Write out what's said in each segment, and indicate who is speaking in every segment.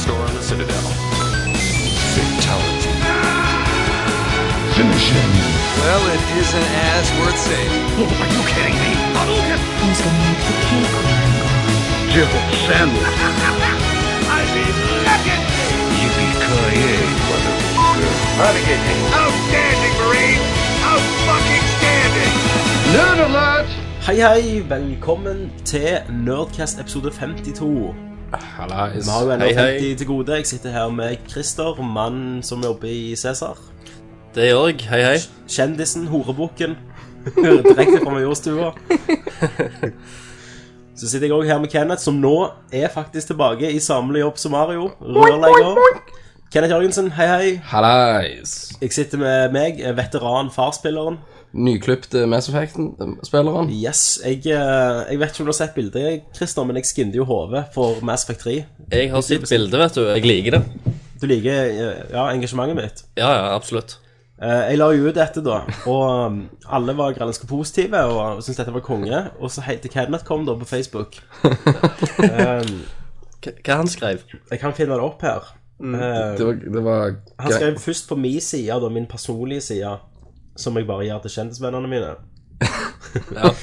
Speaker 1: Citadel. Fatality.
Speaker 2: Well, it isn't as worth saving.
Speaker 3: Hei, hei, velkommen til Nerdcast episode 52. Vi har jo ennå
Speaker 4: Hei, hei.
Speaker 3: 50 til gode. Jeg sitter her med Christer, mannen som jobber i Cæsar.
Speaker 4: Det gjør jeg. Hei, hei.
Speaker 3: Kjendisen, horebukken. Direkte fra Majorstua. Så sitter jeg òg her med Kenneth, som nå er faktisk tilbake i samle jobb som Mario. Rørlegger. Kenneth Jørgensen, hei, hei.
Speaker 5: Hallais!
Speaker 3: Jeg sitter med meg, veteran farspilleren.
Speaker 5: Nyklipte Mass Effect-spilleren.
Speaker 3: Yes, jeg, eh, jeg vet ikke om du har sett bildet, Christer, men jeg skinte jo hodet for Mass Effect 3.
Speaker 4: Jeg har sett bildet, vet du. Jeg liker det.
Speaker 3: Du liker eh, ja, engasjementet mitt.
Speaker 4: Ja, ja, absolutt.
Speaker 3: Eh, jeg la jo ut dette, da, og um, alle var ganske positive og syntes dette var konge. Og så helt til Kenneth kom da på Facebook.
Speaker 4: K hva han skrev?
Speaker 3: Jeg kan finne det opp her.
Speaker 5: Det var, det var
Speaker 3: Han skrev først på min side, da, min personlige side, som jeg bare gir til kjendisvennene mine.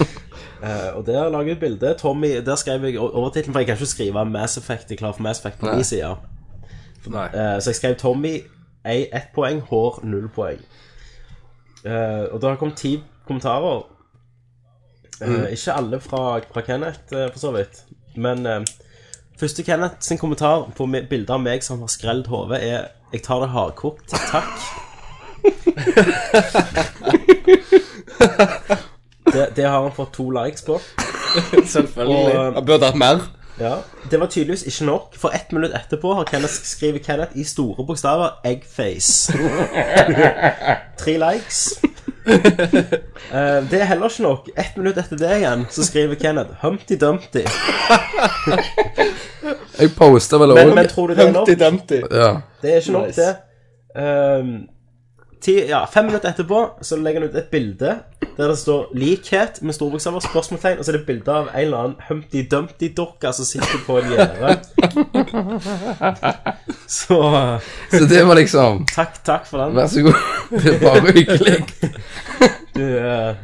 Speaker 3: Eh, og der la jeg ut bilde. Tommy, der skrev jeg o- overtittelen, for jeg kan ikke skrive Mass Effect er klar for Mass Effect på min side.
Speaker 4: Nei.
Speaker 3: Eh, så jeg skrev Tommy ei- ett poeng, hår null poeng. Eh, og det har kommet ti kommentarer. Eh, Ikke alle fra, fra Kenneth, eh, for så vidt. Men eh, første Kenneth sin kommentar på mi- bildet av meg som har skrelt hodet, er 'Jeg tar det hardkokt, takk'. det, det har han fått to likes på.
Speaker 4: Selvfølgelig.
Speaker 3: Og,
Speaker 5: Jeg burde hatt mer.
Speaker 3: ja, Det var tydeligvis ikke nok, for ett minutt etterpå har Kenneth skriver Kenneth i store bokstaver 'Eggface'. Tre likes. Eh, det er heller ikke nok. Ett minutt etter det igjen så skriver Kenneth 'Humpty Dumpty'.
Speaker 5: Jeg posta vel
Speaker 3: Men,
Speaker 5: òg
Speaker 3: men tror du det er nok?
Speaker 5: ja.
Speaker 3: Det er ikke nok, det. Ehm, ti, ja, fem minutter etterpå så legger han ut et bilde der det står 'likhet' med store bokstaver, spørsmålstegn, og så er det et bilde av en eller annen Humpty Dumpty-dokka som sitter på en gjerde. Så eh,
Speaker 5: Så det var liksom
Speaker 3: takk, takk for den.
Speaker 5: Vær så god. Det er bare hyggelig.
Speaker 3: Du, eh,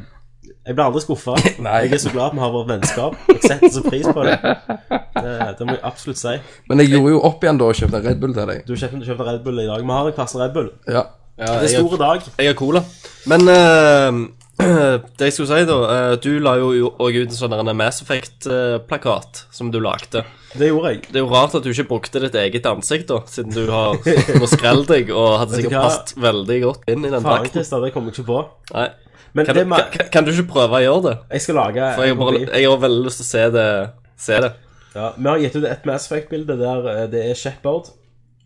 Speaker 3: jeg blir aldri skuffa.
Speaker 5: Nei.
Speaker 3: Jeg er så glad vi har vårt vennskap. Jeg setter så pris på det. Det, det må jeg absolutt si.
Speaker 5: Men jeg gjorde jo opp igjen da og kjøpte en Red Bull til deg.
Speaker 3: Du kjøpte, du kjøpte Red Bull i dag. Vi har en kvarts Red Bull.
Speaker 5: Ja.
Speaker 4: Ja,
Speaker 3: Det er
Speaker 4: jeg,
Speaker 3: store dag.
Speaker 4: jeg har cola. Men eh, det jeg skulle si, da eh, Du la jo jo også ut en sånn der Mass Effect-plakat som du lagde.
Speaker 3: Det gjorde jeg.
Speaker 4: Det er jo rart at du ikke brukte ditt eget ansikt, da, siden du har må skrelle deg og hadde
Speaker 3: Vet du
Speaker 4: sikkert
Speaker 3: hva?
Speaker 4: passet veldig godt inn i den
Speaker 3: Faen,
Speaker 4: drakten.
Speaker 3: Christer, det kom jeg ikke på.
Speaker 4: Nei.
Speaker 3: Men
Speaker 4: Kan,
Speaker 3: det er
Speaker 4: du,
Speaker 3: ma-
Speaker 4: kan, kan du ikke prøve å gjøre det?
Speaker 3: Jeg skal lage
Speaker 4: For jeg,
Speaker 3: en
Speaker 4: har bare,
Speaker 3: kopi.
Speaker 4: jeg har veldig lyst til å se det. Se det.
Speaker 3: Ja, vi har gitt ut et Mass Effect-bilde der eh, det er Shepard.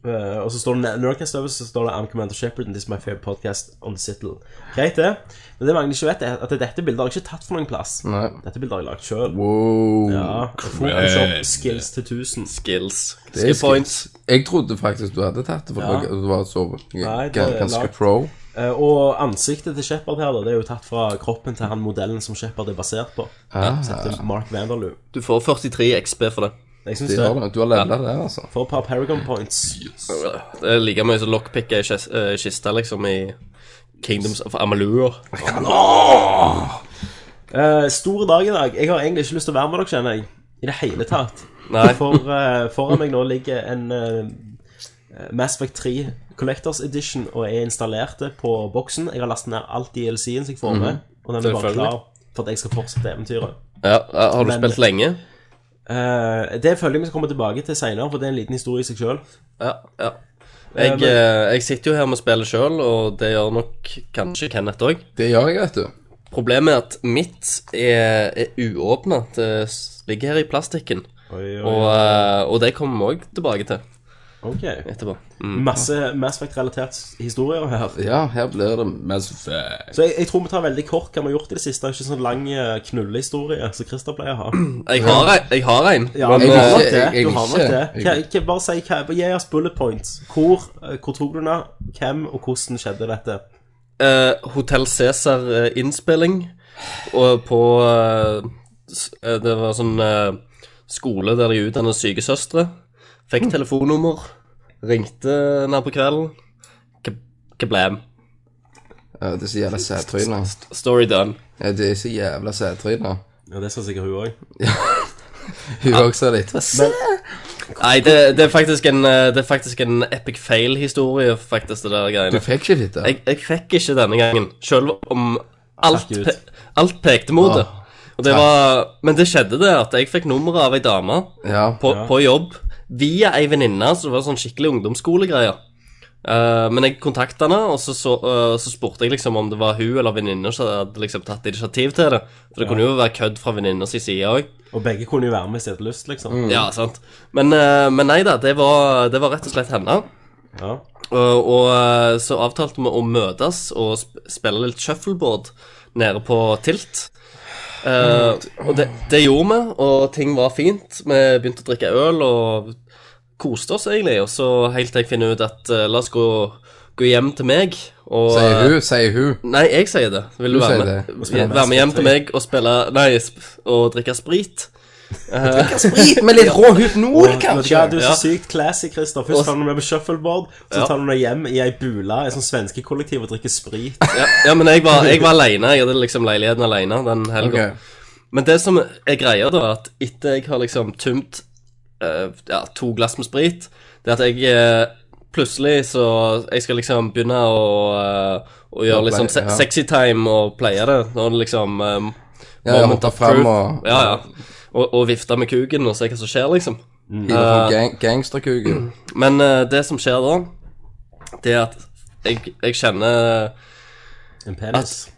Speaker 3: eh, og så står det Nerdcast over, så står det I'm Commander Shepard and this is my favorite podcast on Sittle. Greit, det. Men det mange ikke vet, er at dette bildet har jeg ikke tatt fra noen plass.
Speaker 5: Nei.
Speaker 3: Dette bildet har jeg lagd sjøl.
Speaker 5: Wow.
Speaker 3: Ja, Photoshop skills til 1000.
Speaker 4: Skills.
Speaker 5: er
Speaker 4: Skill
Speaker 5: skills.
Speaker 4: points.
Speaker 5: Jeg trodde faktisk du hadde tatt det, for
Speaker 3: Ja.
Speaker 5: du- du var så
Speaker 3: Nei, det er
Speaker 5: ganske
Speaker 3: lagt.
Speaker 5: pro.
Speaker 3: Eh, og ansiktet til Shepard her, da, det er jo tatt fra kroppen til han modellen som Shepard er basert på.
Speaker 5: Ah.
Speaker 3: Så heter Mark Vanderloo.
Speaker 4: Du får 43 XP for det.
Speaker 3: Jeg syns
Speaker 5: Det
Speaker 3: det.
Speaker 5: har du. Du har levela det, altså.
Speaker 3: For et par Paragon points.
Speaker 4: Det er like mye som lockpicker i kis- eh, kista, liksom, i Kingdoms of Amalur.
Speaker 3: Eh, stor dag i dag. Jeg har egentlig ikke lyst til å være med dere, kjenner jeg. I det hele tatt.
Speaker 4: Nei.
Speaker 3: For eh, foran meg nå ligger en uh, Mass Effect 3 Collectors Edition og er installert på boksen. Jeg har lastet ned alt DLC-en som jeg får med, og den er bare
Speaker 4: Mhm. Selvfølgelig.
Speaker 3: klar for at jeg skal fortsette eventyret.
Speaker 4: Ja, ja, har du
Speaker 3: Men-
Speaker 4: spilt lenge?
Speaker 3: Eh, det føler jeg vi skal komme tilbake til seinere, for det er en liten historie i seg sjøl.
Speaker 4: Ja, ja. Jeg,
Speaker 3: men-
Speaker 4: eh, jeg sitter jo her med spillet sjøl, og det gjør nok kanskje Kenneth òg.
Speaker 5: Det gjør jeg, vet du.
Speaker 4: Problemet er at mitt er, er uåpna. Det s- ligger her i plastikken. Og, eh, og det kommer vi òg tilbake til
Speaker 3: Ok.
Speaker 4: etterpå.
Speaker 3: Masse Mass Effect-relatert historier her.
Speaker 5: Ja, her blir det Mass Effect.
Speaker 3: Så jeg, jeg tror vi tar veldig kort hva vi har gjort i det siste. Ikke sånn lang eh, knullehistorie som Christer pleier å ha.
Speaker 4: Jeg har ei- jeg har en.
Speaker 3: Ja,
Speaker 4: men,
Speaker 3: du har
Speaker 4: eh,
Speaker 3: nok
Speaker 5: jeg-
Speaker 3: det.
Speaker 5: jeg
Speaker 3: Du har nok
Speaker 5: ikke. Jeg-
Speaker 3: det. Hva- hva- Bare si hva Gi oss bullet points. Hvor, eh, hvor tok du den? av? Hvem, og hvordan skjedde dette?
Speaker 4: Eh, Hotel Cæsar-innspilling Og på eh, s- eh, Det
Speaker 5: Mm.
Speaker 4: var sånn eh, skole der de utdannet sykesøstre Fikk telefonnummer Ringte henne på kvelden. Ka- Kablam.
Speaker 5: Ja, det er så jævla sædtryner.
Speaker 4: Story done.
Speaker 5: Ja, det er så jævla sædtryner.
Speaker 3: Ja, det skal sikkert hun òg.
Speaker 5: Hun også er litt
Speaker 4: Nei, det, det, er faktisk en, eh, det er faktisk en epic fail-historie, faktisk, det der
Speaker 5: Du
Speaker 4: greiene.
Speaker 5: fikk ikke fitte?
Speaker 4: Jeg, jeg fikk ikke denne gangen, selv om alt,
Speaker 3: Takk Gud.
Speaker 4: pe alt pekte mot det. Og det
Speaker 5: takk.
Speaker 4: var, men det skjedde det at jeg fikk nummeret av ei dame
Speaker 5: Ja.
Speaker 4: på, på jobb via ei venninne som var sånn skikkelig ungdomsskolegreier. Eh, men jeg kontakta henne, og så, så, eh, så spurte jeg liksom om det var hun eller venninna som hadde liksom tatt initiativ til det. For det kunne jo være kødd fra venninnas side òg.
Speaker 3: Og begge kunne jo være med hvis de hadde lyst, liksom.
Speaker 4: Ja, sant. Men, eh, men nei da, det var, det var rett og slett henne.
Speaker 3: Ja.
Speaker 4: Og, og eh, så avtalte vi å møtes og sp spille litt shuffleboard nede på Tilt. Eh, og det, det gjorde vi, og ting var fint. Vi begynte å drikke øl og koste oss egentlig. Og så helt til jeg finner ut at eh, la oss gå, gå hjem til meg. Og, eh,
Speaker 5: Sier hun, sier hun.
Speaker 4: Nei, jeg sier det. Vil
Speaker 5: Du
Speaker 4: du, være
Speaker 5: sier
Speaker 4: med?
Speaker 5: det.
Speaker 4: Ja, Være med hjem til meg og spille Nei, sp og drikke sprit.
Speaker 5: Sprit med litt rå
Speaker 3: Og,
Speaker 5: hypnol,
Speaker 3: vet du hva, du er så
Speaker 4: Ja.
Speaker 3: sykt classy, Christer. Først
Speaker 4: Og-
Speaker 3: tar du med på shuffleboard, så
Speaker 4: Ja.
Speaker 3: tar du med hjem i ei bula, i sånn svenskekollektiv, og drikker sprit.
Speaker 4: Ja, ja men jeg var, jeg var alene. Jeg hadde liksom leiligheten alene den helga.
Speaker 5: Ok.
Speaker 4: Men det som er greia, da, er at etter jeg har liksom tømt eh, ja, to glass med sprit, det er at jeg eh, plutselig så Jeg skal liksom begynne å, eh, å gjøre litt sånn se
Speaker 5: Ja.
Speaker 4: sexy time og pleie det. Når det liksom eh,
Speaker 5: Ja, jeg
Speaker 4: moment
Speaker 5: hopper
Speaker 4: of
Speaker 5: frem
Speaker 4: truth.
Speaker 5: og-
Speaker 4: Ja, ja. Og, og vifte med kuken og se hva som skjer, liksom.
Speaker 5: Piler gang, Gangsterkuken.
Speaker 4: Men eh, det som skjer da, det er at jeg, jeg kjenner
Speaker 3: En penis.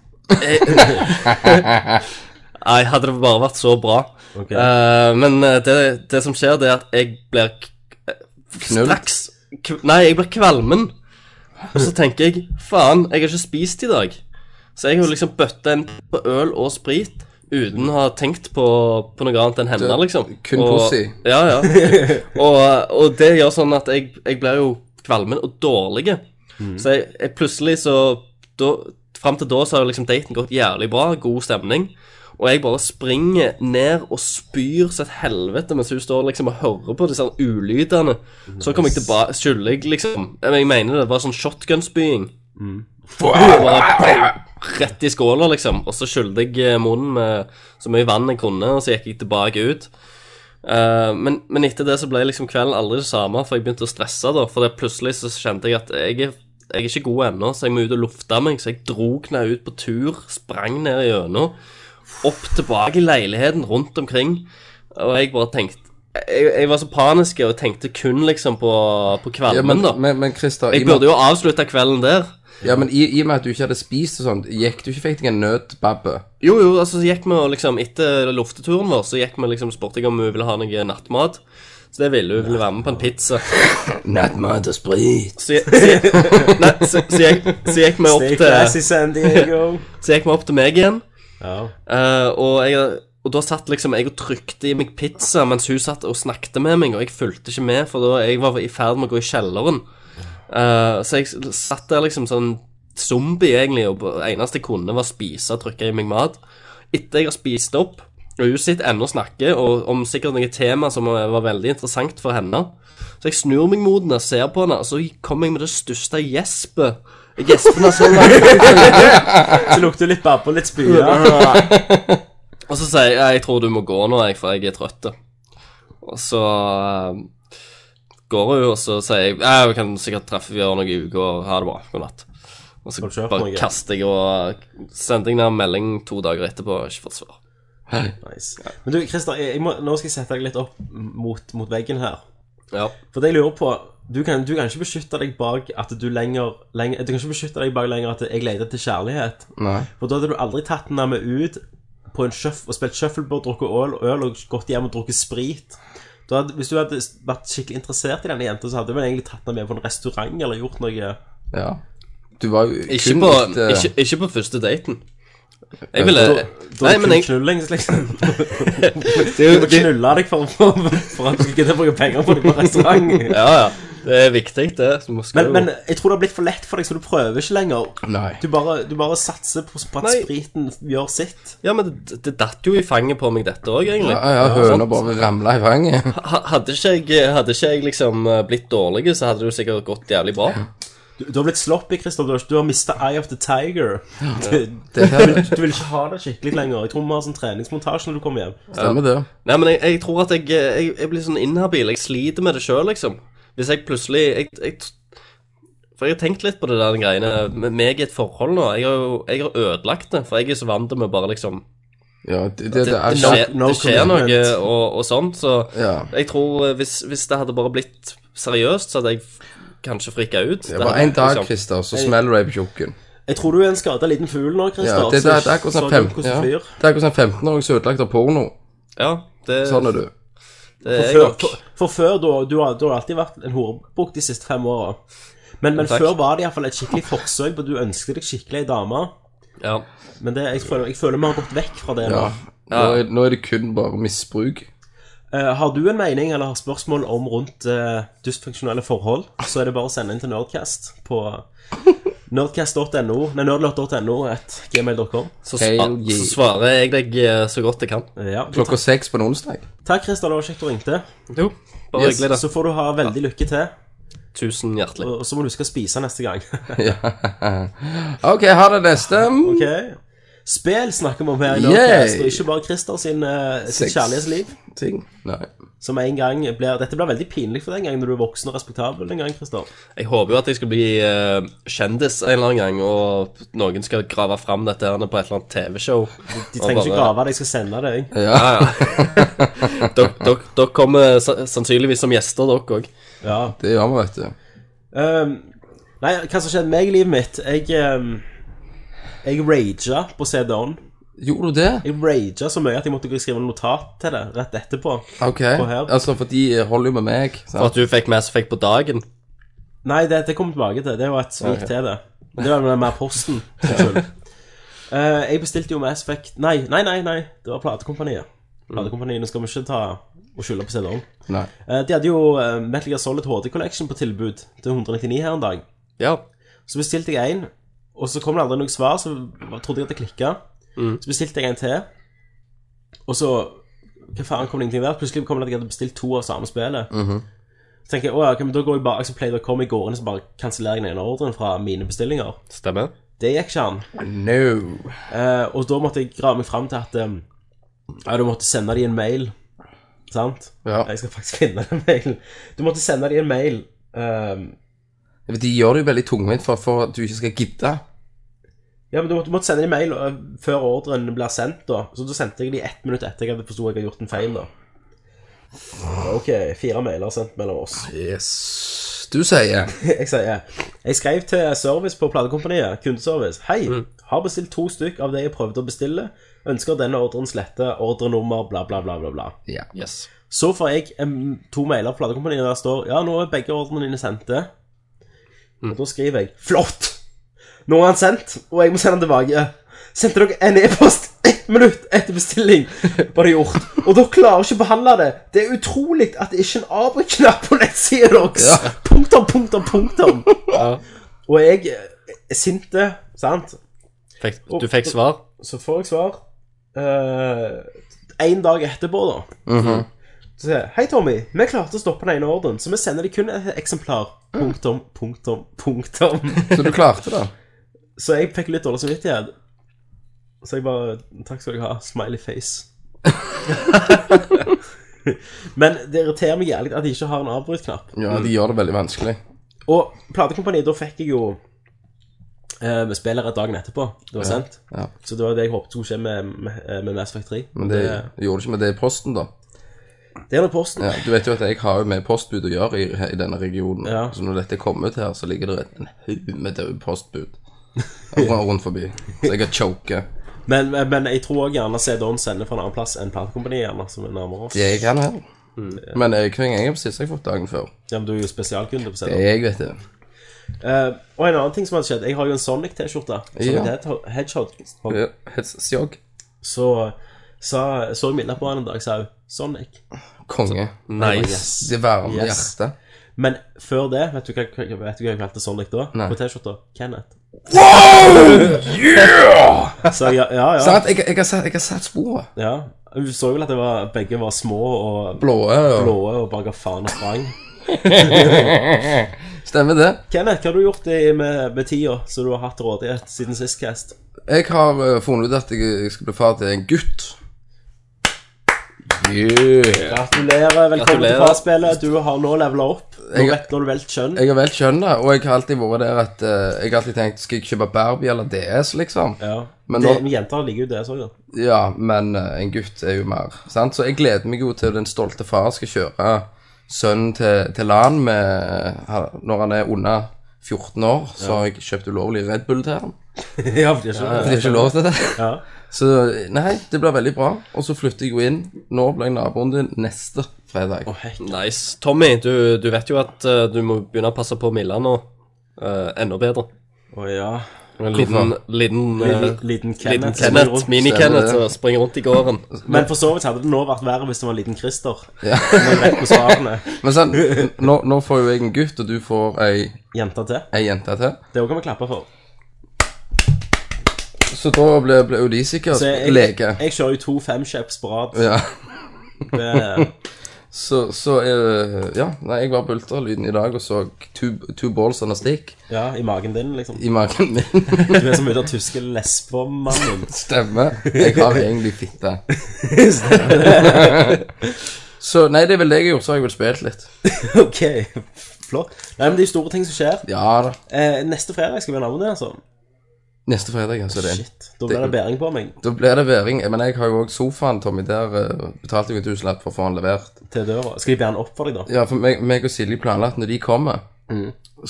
Speaker 4: Nei, hadde det bare vært så bra.
Speaker 3: Ok.
Speaker 4: Eh, men eh, det, det som skjer, det er at jeg blir k- eh,
Speaker 5: Knullt?
Speaker 4: Straks kv Nei, jeg blir kvalmen. Og så tenker jeg faen, jeg har ikke spist i dag. Så jeg har jo liksom bøtta en på øl og sprit uten å ha tenkt på, på noe annet enn henne,
Speaker 5: Det-
Speaker 4: liksom.
Speaker 5: kun
Speaker 4: Og-
Speaker 5: pussy.
Speaker 4: Ja, ja. Og, og det gjør sånn at jeg, jeg blir jo kvalmen og dårlig. Så jeg, jeg plutselig så da, Fram til da så har liksom daten gått jævlig bra, god stemning. Og jeg bare springer ned og spyr som et helvete mens hun står liksom og hører på disse her ulydene. Så kommer jeg tilbake Skylder jeg liksom Jeg mener det var sånn shotgun-spying. Bare Rett i skåla, liksom. Og så skyldte jeg munnen med så mye vann jeg kunne, og så gikk jeg tilbake ut. Eh, men, men etter det så ble liksom kvelden aldri det samme, for jeg begynte å stresse da. For det plutselig så kjente jeg at jeg er, jeg er ikke god ennå, så jeg må ut og lufte meg. Så jeg dro kna ut på tur, sprang ned gjennom, opp tilbake i leiligheten, rundt omkring. Og jeg bare tenkte Jeg, jeg var så panisk og tenkte kun liksom på, på
Speaker 5: Ja,
Speaker 4: kvalmen,
Speaker 5: men,
Speaker 4: da.
Speaker 5: men, men Christer, i,
Speaker 4: jeg
Speaker 5: og med-
Speaker 4: burde jo avslutta kvelden der.
Speaker 5: ja, men i, i og med at du ikke hadde spist og sånt, gikk du ikke fikk deg en nødbabbe?
Speaker 4: Jo, jo, altså så gikk vi og liksom Etter lufteturen vår så gikk vi liksom spurte jeg om hun ville ha noe nattmat. Så det ville hun. Hun ville være med på en pizza.
Speaker 5: Nattmat og sprit.
Speaker 4: Så, jeg- så, jeg- nei, så, så, gikk, så gikk vi opp
Speaker 3: Stay
Speaker 4: til
Speaker 3: classy, San Diego.
Speaker 4: Så gikk vi opp til meg igjen.
Speaker 3: ja.
Speaker 4: eh, og, jeg, og da satt liksom jeg og trykte i meg pizza mens hun satt og snakket med meg, og jeg fulgte ikke med, for da jeg var i ferd med å gå i kjelleren. Eh, så jeg s- satt der liksom sånn zombie, egentlig, og det eneste jeg kunne, var å spise og trykke i meg mat. Etter jeg har spist opp, og hun sitter ennå og snakker og om sikkert noe tema som var veldig interessant for henne. Så jeg snur meg mot henne, ser på henne, og så kommer jeg med det største gjespet. Gjespene er sånn
Speaker 3: Så lukter det litt babbe og litt spya.
Speaker 4: Og så sier jeg jeg tror du må gå nå, jeg, for jeg er trøtt. Og så eh, går hun, og så sier jeg «Ja, vi kan sikkert treffe vi gjør noe i uka, og ha det bra. God natt. Og så
Speaker 3: Har du kjørt
Speaker 4: bare
Speaker 3: noe?
Speaker 4: kaster jeg og sender jeg ned en melding to dager etterpå og har ikke fått svar.
Speaker 3: Nice. Men du, Christer, jeg jeg må, nå skal jeg sette deg litt opp mot, mot veggen her.
Speaker 4: Ja.
Speaker 3: For det jeg lurer på du kan, du kan ikke beskytte deg bak at du lenger, lenger Du kan ikke beskytte deg bak lenger at jeg leter etter kjærlighet.
Speaker 5: Nei.
Speaker 3: For da hadde du aldri tatt den der med ut på en shuff, og spilt shuffleboard, drukket øl, øl og gått hjem og drukket sprit. Da hadde, hvis du hadde vært skikkelig interessert i denne jenta, så hadde du vel egentlig tatt den med på en restaurant eller gjort noe
Speaker 5: Ja. Du var jo
Speaker 4: Ikke
Speaker 5: kun
Speaker 4: på,
Speaker 5: litt, eh,
Speaker 4: ikke, ikke på første daten. Jeg ville
Speaker 5: Da-
Speaker 3: Da
Speaker 4: Eh, Nei,
Speaker 3: er det
Speaker 4: men
Speaker 3: kun
Speaker 4: jeg
Speaker 3: knullings, liksom.
Speaker 4: det,
Speaker 3: Du må knulle deg for, for, for at du ikke gidder å bruke penger på deg på restaurant.
Speaker 4: Ja, ja. Det er viktig, det. Så må-
Speaker 3: Men,
Speaker 4: skal jo-
Speaker 3: men jeg tror det har blitt for lett for deg, så du prøver ikke lenger.
Speaker 5: Nei.
Speaker 3: Du bare, du bare satser på, på at
Speaker 4: Nei.
Speaker 3: spriten gjør sitt.
Speaker 4: Ja, men det, det datt jo i fanget på meg dette òg, egentlig.
Speaker 5: Ja, ja, høna bare ramla i fanget.
Speaker 4: Ha- Hadde ikke, jeg, hadde ikke jeg liksom eh, blitt dårlig, så hadde det jo sikkert gått jævlig bra.
Speaker 3: Du, du har blitt sloppy, Christoph. Du har, du har mista Eye of the Tiger. Du, du,
Speaker 5: Det
Speaker 3: vil,
Speaker 5: her
Speaker 3: du vil ikke ha det skikkelig lenger. Jeg tror vi har sånn treningsmontasje når du kommer hjem.
Speaker 5: stemmer, det.
Speaker 4: Nei, men jeg, jeg tror at jeg, eh, jeg, jeg blir sånn inhabil. Jeg sliter med det sjøl, liksom. Hvis jeg plutselig jeg, jeg, For jeg har tenkt litt på det der greiene med meg i et forhold nå. Jeg har jo jeg har ødelagt det, for jeg er så vant til med bare liksom
Speaker 5: Ja, det, det, det
Speaker 4: Det,
Speaker 5: er
Speaker 4: det,
Speaker 5: sånn.
Speaker 4: skjer,
Speaker 3: no
Speaker 4: det skjer noe
Speaker 3: commitment.
Speaker 4: og, og sånn, så
Speaker 5: Ja.
Speaker 4: jeg tror eh, hvis, hvis det hadde bare blitt seriøst, så hadde jeg f- kanskje frika ut.
Speaker 5: Det var
Speaker 4: hadde
Speaker 5: en dag,
Speaker 4: liksom-
Speaker 5: Christer, så smeller du deg på tjukken.
Speaker 3: Jeg tror du er en skada liten fugl nå,
Speaker 5: Ja,
Speaker 3: Christoph.
Speaker 5: det, det,
Speaker 3: så
Speaker 5: det er akkurat
Speaker 3: så
Speaker 5: som sånn
Speaker 3: du
Speaker 5: fem-
Speaker 3: hvordan
Speaker 5: ja.
Speaker 3: du flyr.
Speaker 5: Det er akkurat som 15-åring som er ødelagt av porno.
Speaker 4: Ja, det,
Speaker 5: Sånn er du.
Speaker 4: det er jeg
Speaker 3: før,
Speaker 4: nok.
Speaker 3: for, for før, da du, har- du har alltid vært en horebukk de siste fem åra. Men, men
Speaker 4: Takk.
Speaker 3: før var det i hvert fall et skikkelig forsøk på at du ønsket deg skikkelig ei dame.
Speaker 4: Ja.
Speaker 3: Men det, jeg, føler, jeg føler vi har gått vekk fra det nå.
Speaker 5: Ja. Nå er, nå er det kun bare misbruk.
Speaker 3: Eh, har du en mening eller har spørsmål om rundt eh, dysfunksjonelle forhold, så er det bare å sende inn til Nerdcast på nerdcast.no, nei, nerdlot.no, et gmail.com.
Speaker 4: Så,
Speaker 5: Hell
Speaker 4: spa,
Speaker 5: yeah.
Speaker 4: så svarer jeg deg eh, så godt jeg kan.
Speaker 3: Eh, ja.
Speaker 5: Klokka seks på en onsdag.
Speaker 3: Takk, Christer, det var kjekt du ringte.
Speaker 4: Jo, bare
Speaker 5: Yes,
Speaker 4: hyggelig, da.
Speaker 3: Så får du ha veldig lykke til,
Speaker 4: Tusen hjertelig.
Speaker 3: og og så må du huske å spise neste gang.
Speaker 5: Ja. OK, ha det neste.
Speaker 3: ok? Spill snakker vi om her i
Speaker 5: Yay!
Speaker 3: Nerdcast, og ikke bare Christer sin, eh, sitt
Speaker 5: Sex.
Speaker 3: kjærlighetsliv.
Speaker 5: Ting. Nei.
Speaker 3: Som en gang blir, Dette blir veldig pinlig for deg en gang når du er voksen og respektabel. en gang, Christer.
Speaker 4: Jeg håper jo at jeg skal bli eh, kjendis en eller annen gang, og noen skal grave fram dette her på et eller annet TV-show.
Speaker 3: De trenger ikke grave deg, jeg skal sende deg.
Speaker 5: Eh.
Speaker 4: Ja, ja. Dere dere- dere kommer sa- sannsynligvis som gjester, dere òg.
Speaker 3: Ja.
Speaker 5: Det gjør vi, vet du.
Speaker 3: Ehm, nei, hva som skjedde med meg i livet mitt Jeg, um, jeg raga på CD-on.
Speaker 5: Gjorde du det?
Speaker 3: Jeg raga så mye at jeg måtte gå og skrive en notat til det rett etterpå.
Speaker 5: OK.
Speaker 3: Og her.
Speaker 5: Altså, for de holder jo med meg.
Speaker 4: For
Speaker 5: Sant?
Speaker 4: at du fikk Mass Effect på dagen.
Speaker 3: Nei, det, det kom jeg tilbake til. Det var et svik
Speaker 5: Ok.
Speaker 3: til det. Det var med mer posten. Unnskyld. Eh, jeg bestilte jo Mass Effect Nei, nei, nei, nei. det var platekompaniet. Platekompaniene skal vi ikke ta og skylde på CD-on.
Speaker 5: Nei.
Speaker 3: Eh, de hadde jo eh, Metal Gear Solid HD Collection på tilbud til 199 her en dag.
Speaker 4: Ja.
Speaker 3: Så bestilte jeg en, og så kom det aldri noe svar, så trodde jeg at det klikka. Så bestilte jeg en til, og så Hva faen kom det ingenting der? Plutselig kom det at jeg hadde bestilt to av samme spillet. Så tenker jeg å ja, ok, men da går jeg bare så pleier jeg å komme i går inn og så bare kansellerer jeg den ene ordren fra mine bestillinger.
Speaker 4: Stemmer.
Speaker 3: Det gikk ikke an.
Speaker 5: No.
Speaker 3: Eh, og da måtte jeg grave meg fram til at eh, Ja, du måtte sende dem en mail. Sant?
Speaker 5: Ja.
Speaker 3: Jeg skal faktisk finne den mailen. Du måtte sende dem en mail. eh,
Speaker 5: De gjør det jo veldig tungvint for, for at du ikke skal gidde.
Speaker 3: Ja, men du måtte, du måtte sende en mail øh, før ordren blir sendt, da. Så da sendte jeg de ett minutt etter jeg hadde forstått at jeg hadde gjort en feil, da. Ok, fire mailer sendt mellom oss.
Speaker 5: Yes. Du sier
Speaker 3: Jeg sier Jeg skrev til service på platekompaniet, kundeservice. Hei, har bestilt to stykk av det jeg prøvde å bestille. Ønsker denne ordren slette. Ordrenummer, bla, bla, bla, bla. bla.
Speaker 5: Ja.
Speaker 4: Yes.
Speaker 3: Så får jeg em, to mailer fra platekompaniet der det står Ja, nå er begge ordrene dine sendte. Og da skriver jeg Flott! Nå er han sendt, og jeg må sende han tilbake. Sendte dere en e-post ett minutt etter bestilling? Var det gjort. Og dere klarer ikke å behandle det. Det er utrolig at det ikke er en avbryt-knapp på nettsida deres.
Speaker 5: Ja.
Speaker 3: Punktum, punktum, punktum.
Speaker 4: Ja.
Speaker 3: Og jeg eh, er sinte, sant?
Speaker 4: Fikk, du fikk svar?
Speaker 3: Så får jeg svar én dag etterpå, da.
Speaker 5: Mhm.
Speaker 3: Så sier jeg Hei, Tommy. Vi klarte å stoppe den ene ordren, så vi sender deg kun et eksemplar.
Speaker 5: Mm.
Speaker 3: Punktum, punktum, punktum.
Speaker 5: Så du klarte det.
Speaker 3: Så jeg fikk litt dårlig samvittighet. Så jeg bare Takk skal du ha. Smiley face. Men det irriterer meg jævlig at de ikke har en avbryt-knapp.
Speaker 5: Ja, de gjør det veldig vanskelig.
Speaker 3: Og platekompaniet, da fikk jeg jo eh, spillet rett dagen etterpå. Det var sendt.
Speaker 5: Ja.
Speaker 3: Så det var det jeg håpet skulle skje med, med, eh, med Mass Effect 3.
Speaker 5: Men det gjorde det ikke med det i posten, da.
Speaker 3: Det er nå posten.
Speaker 5: Ja, du vet jo at jeg har jo med postbud å gjøre i, i denne regionen.
Speaker 3: Ja.
Speaker 5: Så når dette er kommet her, så ligger det en haug med døde postbud rundt, rundt forbi. Så jeg har choket.
Speaker 3: Men, men, men jeg tror også gjerne CD-on sender fra en annen plass enn platekompaniet, gjerne, som er nærmere oss.
Speaker 5: Jeg kan her. Men eh, hver gang jeg har bestilt, så har jeg fått dagen før.
Speaker 3: Ja, men du er jo spesialkunde på CD-on.
Speaker 5: Jeg vet det.
Speaker 3: Eh, og en annen ting som hadde skjedd, jeg har jo en Sonic-T-skjorte,
Speaker 5: Ja.
Speaker 3: Sonic ja. Hedgehog,
Speaker 5: Ja, hets- Sjog.
Speaker 3: så sa, så jeg minnet på han en dag, sa hun, Sonic.
Speaker 5: Konge.
Speaker 4: Nice.
Speaker 3: Yes.
Speaker 5: Det varme
Speaker 3: Yes.
Speaker 5: hjertet.
Speaker 3: Men før det, vet du hva, hva- vet du hva jeg kalte Sonic da?
Speaker 5: Nei.
Speaker 3: På T-skjorta? Kenneth.
Speaker 5: Yeah!
Speaker 3: Så jeg, ja, ja,
Speaker 5: Sant? Sånn Jeg, jeg, har sett, jeg har sett sporet.
Speaker 3: ja. Du så vel at det var, begge var små og
Speaker 5: Blå øyne. og-
Speaker 3: blåe og bare ga faen og sprang.
Speaker 5: Stemmer det.
Speaker 3: Kenneth, hva har du gjort i- med, med tida som du har hatt rådighet siden sist cast?
Speaker 5: Jeg har eh, funnet ut at jeg, jeg skal bli far til en gutt. Yeah.
Speaker 3: Gratulerer, velkommen
Speaker 4: Gratulerer.
Speaker 3: til Farspillet. Du har nå levela opp. Nå
Speaker 5: Jeg-
Speaker 3: vet når du valgt kjønn.
Speaker 5: Jeg har valgt kjønn, da, og jeg har alltid vært der at eh, Jeg har alltid tenkt Skal jeg kjøpe Barbie eller DS, liksom?
Speaker 3: Ja.
Speaker 5: Men
Speaker 3: det,
Speaker 5: nå-
Speaker 3: men jenter liker jo det sånn. ja.
Speaker 5: Ja, men eh, en gutt er jo mer. sant? Så jeg gleder meg jo til den stolte far skal kjøre sønnen til, til LAN med, ha- når han er under 14 år. Så har jeg kjøpt ulovlig Red Bull til han.
Speaker 3: ja, for de er
Speaker 5: Det
Speaker 3: ikke
Speaker 5: er sånn. ikke lov til det.
Speaker 3: Ja.
Speaker 5: Så nei, det blir veldig bra. Og så flytter jeg jo inn. Nå blir jeg naboen din neste fredag.
Speaker 4: Nice. Tommy, du, du vet jo at eh, du må begynne å passe på Milla nå. Eh, enda bedre.
Speaker 3: Å ja.
Speaker 4: En liten, liten, eh,
Speaker 3: Liten, liten
Speaker 4: liten
Speaker 3: Kenneth. som går
Speaker 4: Kenneth,
Speaker 3: rundt.
Speaker 5: Stemmer det.
Speaker 4: mini-Kenneth, som springer rundt i gården.
Speaker 3: Men for så vidt hadde det nå vært verre hvis det var en liten Christer.
Speaker 5: Ja.
Speaker 3: Som er rett på svarene.
Speaker 5: Men sånn, nå, nå får jo jeg en gutt, og du får ei,
Speaker 3: Jenter til.
Speaker 5: ei jente til.
Speaker 3: Det òg kan vi klappe for.
Speaker 5: Så da ble, ble jo de sikkert
Speaker 3: Så jeg,
Speaker 5: leke.
Speaker 3: jeg kjører jo to femkjøps på rad. eh,
Speaker 5: Ja.
Speaker 3: Det-
Speaker 5: Så, så eh, Ja, nei, jeg var på ultralyden i dag og så two, two balls and a stick
Speaker 3: Ja, i magen din, liksom.
Speaker 5: i magen min.
Speaker 3: Du er som ute av tyske lesbermannen.
Speaker 5: Stemmer. Jeg har egentlig fitte. Så nei, det er vel det jeg har gjort, så har jeg vel spilt litt.
Speaker 3: ok, flott. Nei, men det er jo store ting som skjer.
Speaker 5: Ja da.
Speaker 3: Eh, neste fredag skal vi ha navnet, altså.
Speaker 5: Neste fredag, altså. Det.
Speaker 3: Shit, da blir det bæring på meg
Speaker 5: Da blir det væring. Men jeg har jo òg sofaen, Tommy. Der eh, betalte jeg en tusenlapp for å få den levert.
Speaker 3: til døra. Skal de bære den opp for deg, da?
Speaker 5: Ja, for meg, meg og Silje planla at når de kommer,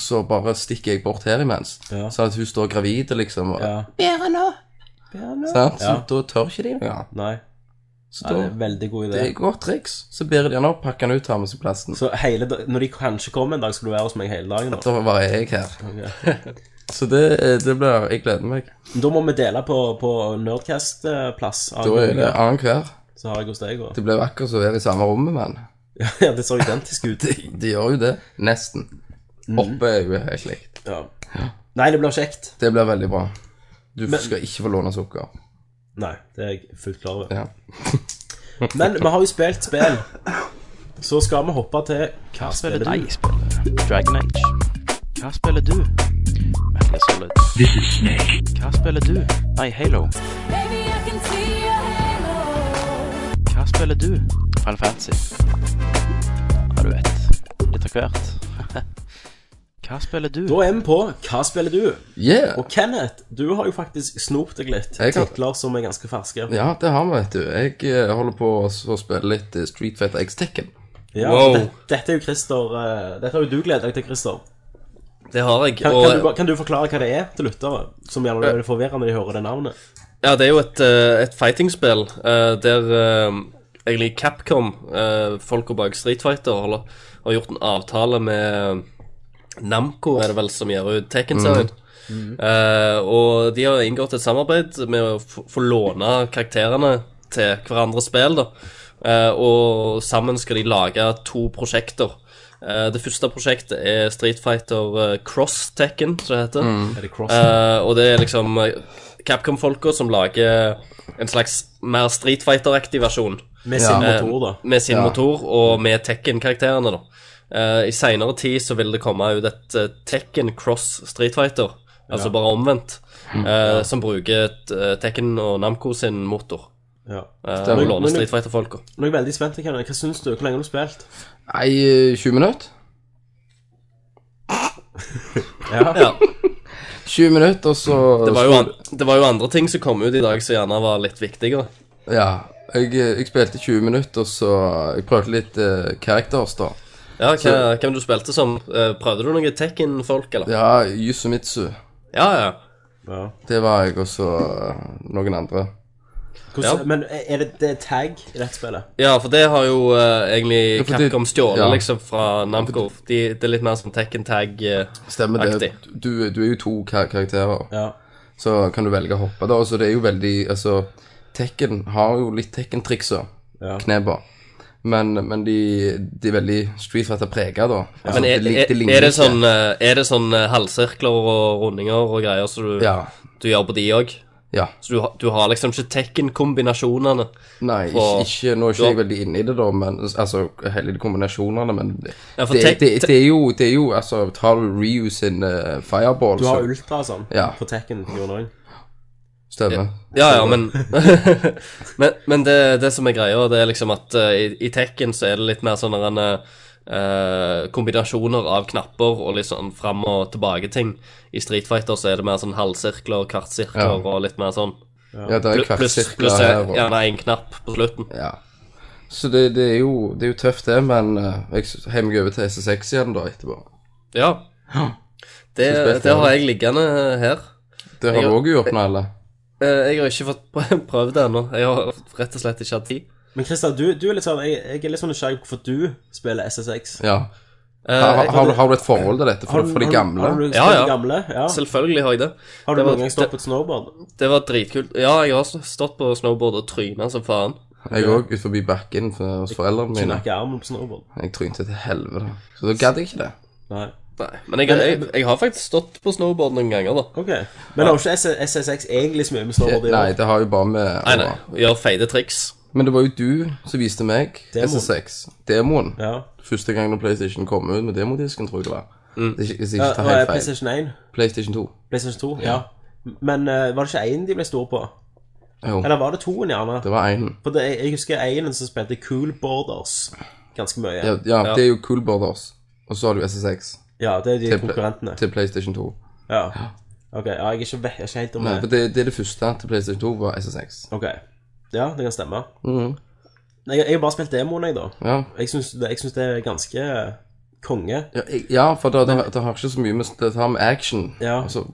Speaker 5: så bare stikker jeg bort her imens.
Speaker 3: Ja.
Speaker 5: Sånn at hun står gravid, liksom. Og,
Speaker 3: Ja.
Speaker 5: Bære nå! Sant? Så
Speaker 3: Ja.
Speaker 5: da tør ikke de noe.
Speaker 3: Nei.
Speaker 5: Så
Speaker 3: Ja,
Speaker 5: da
Speaker 3: det er en veldig god
Speaker 5: Det
Speaker 3: idé.
Speaker 5: er et godt triks. Så bærer de han opp, pakker han ut, tar med seg plasten.
Speaker 3: Så hele, da- når de kanskje kommer en dag, skal du være hos meg hele dagen. Da,
Speaker 5: Da var jeg her. Så det, eh, det blir Jeg gleder meg.
Speaker 3: Men da må vi dele på, på Nerdcast-plass.
Speaker 5: Da er det annenhver.
Speaker 3: Så har jeg hos deg òg.
Speaker 5: Det blir jo akkurat som å være i samme rommet, men
Speaker 3: Ja, det ser identisk ut.
Speaker 5: de gjør jo det. Nesten. Oppe er jo helt likt.
Speaker 3: Ja. Nei, det blir kjekt.
Speaker 5: Det blir veldig bra. Du
Speaker 3: Men-
Speaker 5: skal ikke få låne sukker.
Speaker 3: Nei, det er jeg fullt klar over.
Speaker 5: Ja.
Speaker 3: Men vi har jo spilt spill. Så skal vi hoppe til Hva spiller du?
Speaker 1: Jeg spiller Dragon Age. Hva spiller du? Metal Gear Solid. Hva spiller du? Nei, Halo.
Speaker 6: Baby, I can see your halo.
Speaker 1: Hva spiller du? Final Fantasy. Ja, du vet. Litt av hvert. Hva spiller du?
Speaker 3: Da er vi på Hva spiller du?
Speaker 5: Yeah.
Speaker 3: Og Kenneth, du har jo faktisk snopt deg litt.
Speaker 5: Jeg har-
Speaker 3: Titler som er ganske ferske.
Speaker 5: Ja, det har vi, vet du. Jeg eh, holder på å så spille litt eh, Street Fighter X Tekken.
Speaker 3: Ja,
Speaker 4: Wow.
Speaker 3: det, dette er jo Christer eh, Dette har jo du gledet deg til, Christer.
Speaker 4: Det har jeg.
Speaker 3: Kan, kan, du,
Speaker 4: Og
Speaker 3: bare- kan du forklare hva det er til lyttere, som gjerne blir forvirra når de hører det navnet?
Speaker 4: ja, det er jo et, eh, et fighting-spill eh, der eh, egentlig Capcom, uh, folka bak Street Fighter, holder, har gjort en avtale med Namco, er det vel, som gjør ut Tekken-serien. Eh, og de har inngått et samarbeid med å f- få låne karakterene til hverandres spill. da Eh, Og sammen skal de lage to prosjekter. Eh, det første prosjektet er Street Fighter eh, Cross Tekken, som det heter.
Speaker 3: Er det cross?
Speaker 4: Eh, og det er liksom eh, Capcom-folka som lager en slags mer Street Fighter-aktig versjon.
Speaker 3: Med sin
Speaker 4: Eh,
Speaker 3: motor, da.
Speaker 4: Med sin
Speaker 5: Ja.
Speaker 4: motor og med Tekken-karakterene, da. Eh, I seinere tid så vil det komme ut et eh, Tekken Cross Street Fighter, altså bare omvendt,
Speaker 5: Mm.
Speaker 4: eh, som bruker et, eh, Tekken og Namco sin motor.
Speaker 3: Ja.
Speaker 4: eh,
Speaker 5: Stemmer.
Speaker 4: og
Speaker 5: Men-
Speaker 4: låner
Speaker 3: men-
Speaker 4: Street Fighter-folka.
Speaker 3: Nå er jeg veldig spent. Kenneth. Hva syns du? Hvor lenge har du spilt?
Speaker 5: Nei, eh, 20 minutter?
Speaker 4: Ja.
Speaker 5: 20 minutter, og så
Speaker 4: Det var, jo an det var jo andre ting som kom ut i dag som gjerne var litt viktigere.
Speaker 5: Ja. Jeg, eh, jeg spilte 20 minutter, og så Jeg prøvde litt uh, characters, da.
Speaker 4: Ja, hva, Hvem du spilte som? Eh, Prøvde du noen Tekken-folk, eller?
Speaker 5: Ja, Yusumitsu.
Speaker 4: ja. ja.
Speaker 3: Ja.
Speaker 5: Det var jeg, og så eh, noen andre.
Speaker 3: Hvordan,
Speaker 4: Ja.
Speaker 3: Men er det, det er tag i dette spillet?
Speaker 4: Ja, for det har jo eh, egentlig
Speaker 5: for det-
Speaker 4: Capcom stjålet
Speaker 5: ja.
Speaker 4: liksom fra Namco. De, det er litt mer som Tekken Tag. eh,
Speaker 5: Stemmer det.
Speaker 4: Aktig.
Speaker 5: Du, du er jo to kar karakterer,
Speaker 3: Ja.
Speaker 5: så kan du velge å hoppe. da, Så det er jo veldig Altså, Tekken har jo litt Tekken-trikser.
Speaker 3: Ja.
Speaker 5: Kneba. Men, men de, de er veldig Street Fighter-prega, da. Altså,
Speaker 4: Men er,
Speaker 5: lig-
Speaker 4: er,
Speaker 5: ligner
Speaker 4: er det
Speaker 5: ikke.
Speaker 4: sånn, eh, er det sånn eh, halvsirkler og rundinger og greier som du,
Speaker 5: Ja.
Speaker 4: du gjør på de òg?
Speaker 5: ja.
Speaker 4: Så du, har- du har liksom ikke Tekken-kombinasjonene?
Speaker 5: Nei,
Speaker 4: Og-
Speaker 5: ikke, ikke, nå er ikke
Speaker 4: Ja.
Speaker 5: jeg veldig inne i det, da, men altså, hele de kombinasjonene, men det,
Speaker 4: Ja, for
Speaker 5: det,
Speaker 4: tek-
Speaker 5: det, det, er jo, det er jo Altså, tar du Ryu sin eh, fireball,
Speaker 3: Du har
Speaker 5: så
Speaker 3: ultra og sånn
Speaker 5: Ja.
Speaker 3: på Tekken. Gjorde også.
Speaker 5: stemmer.
Speaker 4: Ja, ja, men Men, men det, det som er greia, det er liksom at eh, i, i Tekken så er det litt mer sånne eh, eh, kombinasjoner av knapper og litt sånn fram og tilbake-ting. I Street Fighter så er det mer sånn halvsirkler, kvartsirkler
Speaker 5: Ja.
Speaker 4: og litt mer sånn.
Speaker 5: Ja, det er
Speaker 4: Pl- Pluss
Speaker 5: kvartsirkler
Speaker 4: plus,
Speaker 5: her. Og,
Speaker 4: gjerne én knapp på slutten.
Speaker 5: ja. Så det, det, er jo, det er jo tøft, det, men eh, jeg s- heier meg over til SS6 igjen da etterpå.
Speaker 4: Ja. Det,
Speaker 5: Så spilte
Speaker 4: det har
Speaker 5: jeg.
Speaker 4: jeg liggende eh, her.
Speaker 5: Det har
Speaker 4: Jeg-
Speaker 5: du òg gjort nå, eller?
Speaker 4: Eh, Jeg har ikke fått prø- prøvd det ennå. Jeg har rett og slett ikke hatt tid.
Speaker 3: Men Christer, du, du er litt sånn Jeg, jeg er litt sånn nysgjerrig på hvorfor du spiller SSX.
Speaker 5: Ja.
Speaker 4: Eh,
Speaker 5: Har,
Speaker 4: jeg-
Speaker 5: har, du, har du et forhold til dette
Speaker 3: Har
Speaker 5: for,
Speaker 3: du-
Speaker 5: for de
Speaker 3: har du-
Speaker 5: gamle?
Speaker 3: Har du spilt
Speaker 4: Ja, ja.
Speaker 3: de gamle? Ja.
Speaker 4: Selvfølgelig har jeg det.
Speaker 3: Har du
Speaker 4: det var-
Speaker 3: noen gang stått på et snowboard?
Speaker 4: Det var dritkult. Ja, jeg har s- stått på snowboard og tryna som faen.
Speaker 5: Jeg òg, ut forbi bakken for, hos foreldrene mine.
Speaker 3: Knakke armen på snowboard?
Speaker 5: Jeg trynte til helvete. Så da gadd jeg ikke det.
Speaker 3: Nei.
Speaker 4: Nei, men jeg, jeg, jeg har faktisk stått på snowboard noen ganger, da.
Speaker 3: Ok. Men har ikke SS- SSX egentlig så mye med snowboard å
Speaker 5: Nei,
Speaker 3: gjøre?
Speaker 5: det har jo bare med
Speaker 4: Nei, nei. Gjør feite triks.
Speaker 5: Men det var jo du som viste meg
Speaker 3: Demoen.
Speaker 5: SS6. Demoen.
Speaker 3: Ja.
Speaker 5: Første gang når PlayStation kom ut med demodisken, tror jeg det var. Hvis jeg hvis jeg
Speaker 3: Ja,
Speaker 5: ikke tar
Speaker 3: og, eh,
Speaker 5: helt feil.
Speaker 3: PlayStation 1?
Speaker 5: PlayStation 2.
Speaker 3: PlayStation 2? Ja. Men eh, var det ikke én de ble store på?
Speaker 5: Jo,
Speaker 3: Eller var det toen, gjerne?
Speaker 5: det var einen.
Speaker 3: For det, jeg, jeg husker én som spilte Cool Borders ganske mye.
Speaker 5: Ja,
Speaker 3: Ja,
Speaker 5: ja, det er jo Cool Borders. Og så har du SS6
Speaker 3: det er de
Speaker 5: til,
Speaker 3: konkurrentene.
Speaker 5: til PlayStation 2.
Speaker 3: Ja. Ok, ja, jeg er ikke, ve- jeg er ikke helt om
Speaker 5: Nei, for
Speaker 3: det.
Speaker 5: det, det er det første til PlayStation 2 var SS6.
Speaker 3: Ok. Ja, det kan stemme.
Speaker 5: Mhm.
Speaker 3: Nei, Jeg, jeg har bare spilt demoen, jeg, da.
Speaker 5: Ja.
Speaker 3: Jeg syns det, jeg synes det er ganske eh, konge.
Speaker 5: Ja, jeg- ja, for det, det, det har ikke så mye med Det har med action
Speaker 3: Ja.
Speaker 5: altså,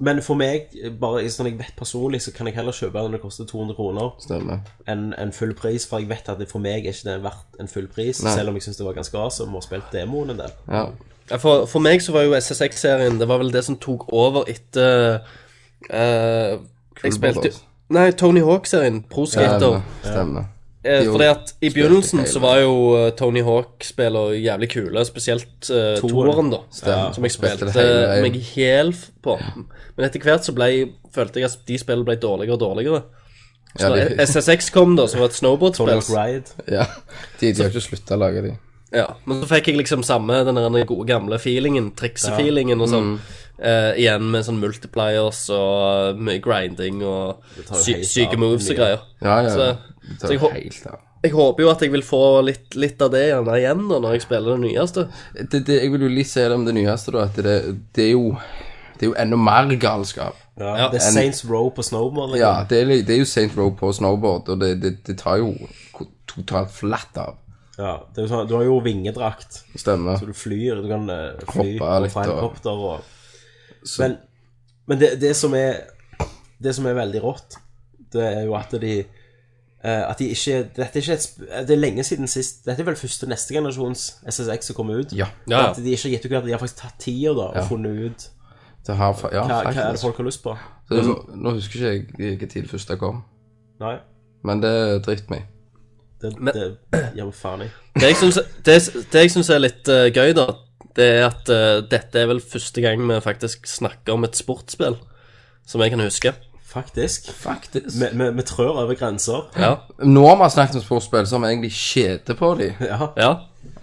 Speaker 3: Men for meg, bare sånn jeg vet personlig, så kan jeg heller kjøpe den når det koster 200 kroner
Speaker 5: Stemmer.
Speaker 3: enn en full pris, for jeg vet at det for meg er ikke det verdt en full pris,
Speaker 5: Nei.
Speaker 3: selv om jeg syns det var ganske awesome og har spilt demoen en del.
Speaker 5: Ja.
Speaker 4: Ja, For, for meg så var jo SSX-serien Det var vel det som tok over etter eh, Jeg spilte
Speaker 5: Brothers.
Speaker 4: Nei, Tony Hawk-serien. Pro Skater.
Speaker 5: Stemmer. Stemmer.
Speaker 4: Eh,
Speaker 5: De
Speaker 4: fordi
Speaker 5: også
Speaker 4: at i begynnelsen
Speaker 5: hele.
Speaker 4: så var jo eh, Tony Hawk-spiller jævlig kule, spesielt eh, toeren, da.
Speaker 5: Stemmer.
Speaker 4: Som jeg spilte
Speaker 5: Spilte det hele
Speaker 4: meg hel f- på. Men etter hvert så ble, følte jeg at de spillene ble dårligere og dårligere. Så
Speaker 5: Ja, de,
Speaker 4: da SSX kom, da, som var et
Speaker 3: Tony Hawk
Speaker 4: snowboardspill
Speaker 3: Ride.
Speaker 5: ja. de, de har ikke slutta å lage de.
Speaker 4: ja, Men så fikk jeg liksom samme den der gode gamle feelingen, triksefeelingen og sånn. Eh, igjen med sånn multipliers og mye grinding og
Speaker 3: tar jo
Speaker 4: sy
Speaker 3: helt
Speaker 4: syke
Speaker 3: av
Speaker 4: moves og
Speaker 3: mye.
Speaker 4: greier.
Speaker 5: Ja, ja. ja.
Speaker 4: Så-
Speaker 5: Det
Speaker 4: så jeg
Speaker 5: tar
Speaker 4: hå-
Speaker 5: helt av.
Speaker 4: Jeg håper jo at jeg vil få litt, litt av det gjerne igjen da, når jeg spiller det nyeste.
Speaker 5: det, det, jeg vil jo litt si det om det nyeste, da, at det, det er jo Det er jo enda mer galskap.
Speaker 3: Ja,
Speaker 4: Ja,
Speaker 3: det er
Speaker 5: en-
Speaker 3: Saints Row på snowboard. liksom.
Speaker 5: Ja, det er, li- det er jo St. Row på snowboard, og det, det, det tar jo ko- totalt flatt av.
Speaker 3: Ja, det er jo sånn, du har jo vingedrakt,
Speaker 5: Stemmer.
Speaker 3: så du flyr. Du kan eh, fly
Speaker 5: Hoppe
Speaker 3: og
Speaker 5: litt
Speaker 3: fra
Speaker 5: og-
Speaker 3: helikopter og Men, men det, det som er Det som er veldig rått, det er jo at de eh, At de ikke Dette er ikke et sp- eh, Det er lenge siden sist Dette er vel første neste generasjons SSX som kommer ut.
Speaker 5: Ja.
Speaker 4: Ja, ja.
Speaker 3: At de ikke har gitt ut at de har faktisk tatt tida da, og
Speaker 5: Ja.
Speaker 3: funnet ut
Speaker 5: Det har fa- Ja,
Speaker 3: hva, hva er det
Speaker 5: faktisk.
Speaker 3: folk har lyst på.
Speaker 5: Så det, er så- nå husker ikke jeg hvilken tid det første kom,
Speaker 3: Nei.
Speaker 5: men det driter meg.
Speaker 3: Det,
Speaker 4: Men-
Speaker 3: det gjør faen i.
Speaker 4: Det jeg syns, det, det jeg synes er litt eh, gøy, da, det er at eh, dette er vel første gang vi faktisk snakker om et sportsspill som jeg kan huske.
Speaker 3: Faktisk.
Speaker 5: Faktisk.
Speaker 3: Vi- Vi vi trør over grenser.
Speaker 4: Ja.
Speaker 5: Når vi har snakket om sportsspill, så har vi egentlig kjedet på dem.
Speaker 3: Ja.
Speaker 4: ja.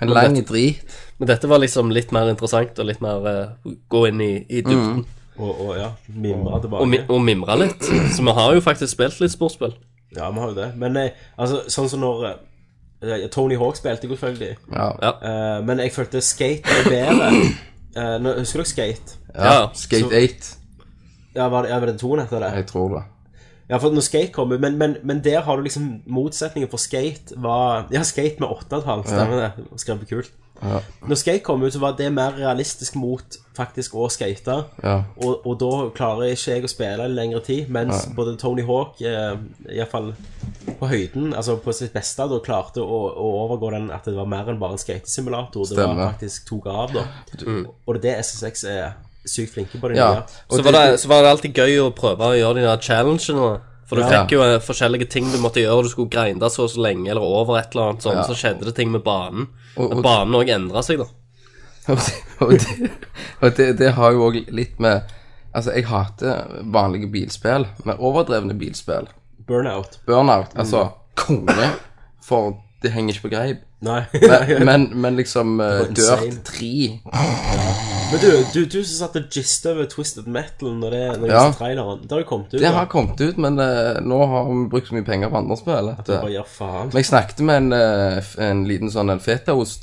Speaker 5: En lang drit.
Speaker 4: Men dette var liksom litt mer interessant og litt mer eh, gå inn i, i dybden
Speaker 3: Og, og ja, mimre
Speaker 4: og, mi,
Speaker 3: tilbake.
Speaker 4: og mimre litt. Så vi har jo faktisk spilt litt sportsspill.
Speaker 3: Ja, vi har jo det. Men eh, altså, sånn som når eh, Tony Hawk spilte, jeg selvfølgelig.
Speaker 5: Ja.
Speaker 4: Ja.
Speaker 3: Eh, men jeg følte skate var bedre. Eh, nå, husker dere skate?
Speaker 5: ja.
Speaker 4: Ja.
Speaker 5: Skate
Speaker 3: Så-
Speaker 5: 8,
Speaker 3: Ja, var det, ja, var det toen etter det?
Speaker 5: jeg tror det.
Speaker 3: Ja, for når skate kom ut, men, men, men der har du liksom motsetningen for skate var Ja, skate med 8,5, stemmer det? Skrev på kult.
Speaker 5: Ja.
Speaker 3: Når skate kom ut, så var det mer realistisk mot faktisk å skate.
Speaker 5: Ja.
Speaker 3: Og, og da klarer ikke jeg å spille i lengre tid, mens både Tony Hawk, eh, iallfall på høyden, altså på sitt beste, da klarte å, å overgå den at det var mer enn bare en skatesimulator. Det var
Speaker 5: Stemmer.
Speaker 3: faktisk tok av, da. Og det er det SSX er sykt flinke på. Det
Speaker 5: ja.
Speaker 3: nye.
Speaker 5: Og
Speaker 4: Så var, det, så var det alltid gøy å prøve å gjøre de der challengene. For du
Speaker 5: Ja.
Speaker 4: fikk jo eh, forskjellige ting du måtte gjøre. Du skulle grinde så og så lenge, eller over et eller annet sånn.
Speaker 5: Ja.
Speaker 4: Så skjedde det ting med banen.
Speaker 5: Og-
Speaker 4: At
Speaker 5: og-
Speaker 4: banen òg endra seg, da.
Speaker 5: Og det, og det, og det, det har jo òg litt med Altså, jeg hater vanlige bilspill, men overdrevne bilspill.
Speaker 3: Burnout.
Speaker 5: Burnout, altså
Speaker 3: Mm.
Speaker 5: konge, for det henger ikke på greip.
Speaker 3: Nei.
Speaker 5: Men, men, men liksom eh, Dirt
Speaker 3: insane.
Speaker 5: 3
Speaker 3: Men du, du, du som satt og gista over Twisted Metal når det når jeg
Speaker 5: Ja.
Speaker 3: så traileren, det har jo kommet ut.
Speaker 5: Det
Speaker 3: da.
Speaker 5: har kommet ut, men eh, nå har vi brukt så mye penger på andre spill. At,
Speaker 3: Bare,
Speaker 5: eh,
Speaker 3: ja, faen.
Speaker 5: men jeg snakket med en, eh, f- en liten sånn en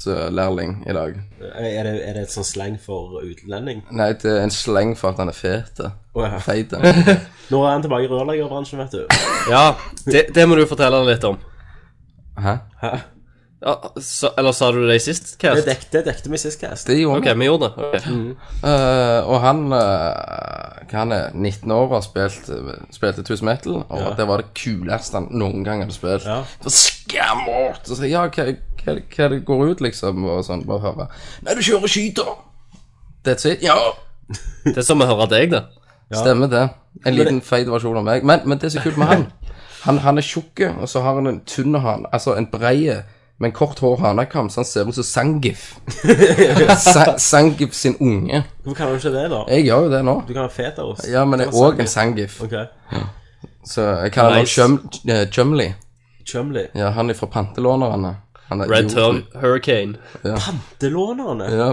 Speaker 5: fetaost-lærling i dag.
Speaker 3: Er det, er det et sånn slang for utlending?
Speaker 5: Nei, det er en sleng for at han er eh. fete.
Speaker 3: Å, ja.
Speaker 5: Feit.
Speaker 3: Nå er han tilbake i rørleggerbransjen, vet du.
Speaker 4: Ja, det, det må du fortelle litt om.
Speaker 5: Hæ?
Speaker 3: Hæ?
Speaker 4: Ja, så, eller sa du det i sist
Speaker 3: Det
Speaker 4: cast?
Speaker 3: dekte, det dekte vi sist cast.
Speaker 5: Det gjorde
Speaker 4: Ok,
Speaker 5: han.
Speaker 4: vi gjorde det. Ok.
Speaker 5: Eh, og han eh, hva han er 19 år og har spilt, spilte Twist Metal, og det var det kuleste han noen gang hadde spilt.
Speaker 3: Ja.
Speaker 5: Så skammert! Og så ja, hva, hva, hva det går ut, liksom, og sånn, bare høre. Nei, du kjører og skyter! That's it. Ja!
Speaker 4: Det er som å høre deg, det.
Speaker 5: Stemmer det. En liten feit versjon av meg. Men, men det er så kult med han. Han, han er tjukk, og så har han en tynn hane, altså en breie med en kort hår hanekam, så han ser ut som Sangif. Sa, Sangif sin unge.
Speaker 3: Hvorfor kaller du ikke det, da?
Speaker 5: Jeg gjør jo det nå.
Speaker 3: Du kan ha fetaost.
Speaker 5: Ja, men jeg er òg en sangif.
Speaker 3: Ok.
Speaker 5: Så jeg kaller
Speaker 4: Nice.
Speaker 5: han Chum- eh, Chumley.
Speaker 3: Chumley.
Speaker 5: Ja, han er fra Pantelånerne. Han er
Speaker 4: Red
Speaker 5: jo-
Speaker 4: Turn Hurricane.
Speaker 3: Delånerne.
Speaker 5: Ja.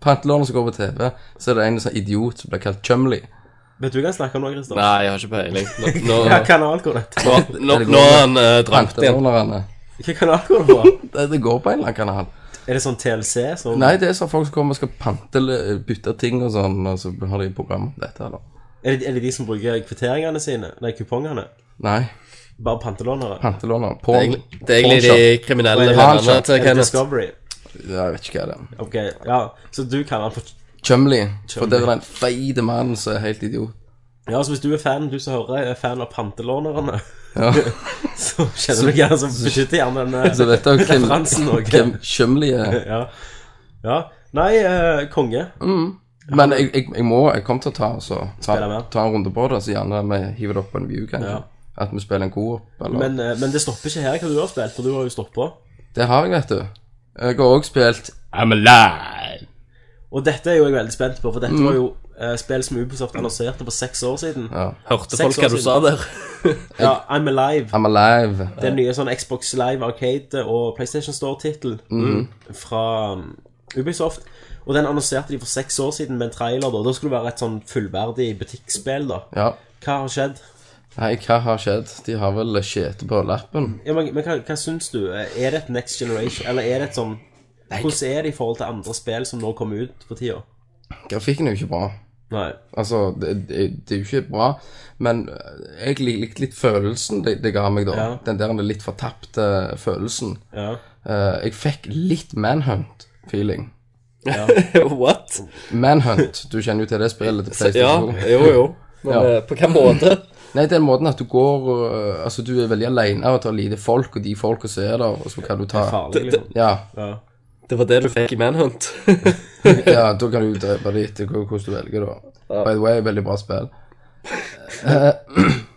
Speaker 5: Pantelåner som går på TV, så er det en sånn idiot som blir kalt Chumley.
Speaker 3: Vet du hva jeg snakker om nå, Christer?
Speaker 4: Nei, jeg har ikke peiling. Nå, nå,
Speaker 3: Hva kanal går dette?
Speaker 4: nå, nå, nå er han uh, dratt igjen.
Speaker 5: Pantelånerne.
Speaker 3: Hva kanal går det på?
Speaker 5: Det, det går på en eller annen kanal.
Speaker 3: Er det sånn TLC? Sånn?
Speaker 5: Nei, det er sånn folk som kommer og skal pante eller bytte ting og sånn, og så har de program om dette, eller?
Speaker 3: Er det, er det de som bruker kvitteringene sine? Nei, kupongene?
Speaker 5: Nei.
Speaker 3: Bare pantelånere?
Speaker 5: Pantelåner.
Speaker 4: Det er
Speaker 5: Porn.
Speaker 4: egentlig- det er egentlig de kriminelle
Speaker 3: Pornshop.
Speaker 4: vennene til
Speaker 3: Er det
Speaker 4: Kenneth.
Speaker 3: Discovery?
Speaker 5: Ja, jeg vet ikke hva det er.
Speaker 3: Ok, ja. Så du kaller han for
Speaker 5: Chumley. For der er det en feite mann som er helt idiot.
Speaker 3: Ja, så hvis du er fan, du som hører, er fan av pantelånerne,
Speaker 5: Ja.
Speaker 3: så kjenner du gjerne som beskytter gjerne den eh,
Speaker 5: Så dette er hvem,
Speaker 3: referansen òg.
Speaker 5: hvem Chumley er.
Speaker 3: Ja. ja. Nei, eh, konge.
Speaker 5: Men jeg, jeg, jeg må, jeg kommer til å ta, så, ta,
Speaker 3: Spille med.
Speaker 5: ta en runde på det, så gjerne vi hiver det opp på en view, kanskje.
Speaker 3: Ja.
Speaker 5: At vi spiller en co-op, eller
Speaker 3: Men, eh, men det stopper ikke her, hva du har spilt, for du har jo stoppa.
Speaker 5: Det har jeg, vet du. Jeg har òg spilt
Speaker 3: Og dette er jo jeg veldig spent på,
Speaker 5: Mhm.
Speaker 3: for dette var jo eh, spill som Ubisoft annonserte for seks år siden. Ja,
Speaker 4: Hørte
Speaker 3: Seks
Speaker 4: folk
Speaker 3: år
Speaker 4: hva du
Speaker 3: siden.
Speaker 4: sa der?
Speaker 3: I'm Alive.
Speaker 5: I'm Alive.
Speaker 3: Den nye sånn Xbox Live Arcade og PlayStation Store-tittel fra um, Ubisoft. Og den annonserte de for seks år siden med en trailer. Da Da skulle det være et sånn fullverdig butikkspill. da
Speaker 5: Ja.
Speaker 3: Hva har skjedd?
Speaker 5: Nei, hva har skjedd? De har vel skjete på lappen.
Speaker 3: Ja, men, men hva, hva syns du? Er det et Next Generation? Eller er det et sånn Hvordan er det i forhold til andre spill som nå kommer ut for tida?
Speaker 5: Grafikken er jo ikke bra.
Speaker 3: Nei.
Speaker 5: Altså, det, det, det er jo ikke bra, men øh, jeg lik- likte litt følelsen det, det ga meg, da.
Speaker 3: Ja.
Speaker 5: Den der litt fortapte følelsen.
Speaker 3: Ja.
Speaker 5: Eh, jeg fikk litt Manhunt-feeling.
Speaker 4: What?
Speaker 5: Manhunt, du kjenner jo til det spillet til
Speaker 4: Ja,
Speaker 5: PlayStation.
Speaker 4: jo, jo. Men
Speaker 5: Ja.
Speaker 4: eh, på hvilken måte?
Speaker 5: Nei, den måten at du går øh, Altså, du er veldig aleine og tar lite folk, og de folka ser der, og så kan du ta
Speaker 3: Farlig, liksom.
Speaker 5: Ja,
Speaker 3: Ja.
Speaker 4: Det var det du fikk i Manhunt.
Speaker 5: ja, da kan du drepe de etter hva- hvordan du velger, da. By the way, veldig bra spill.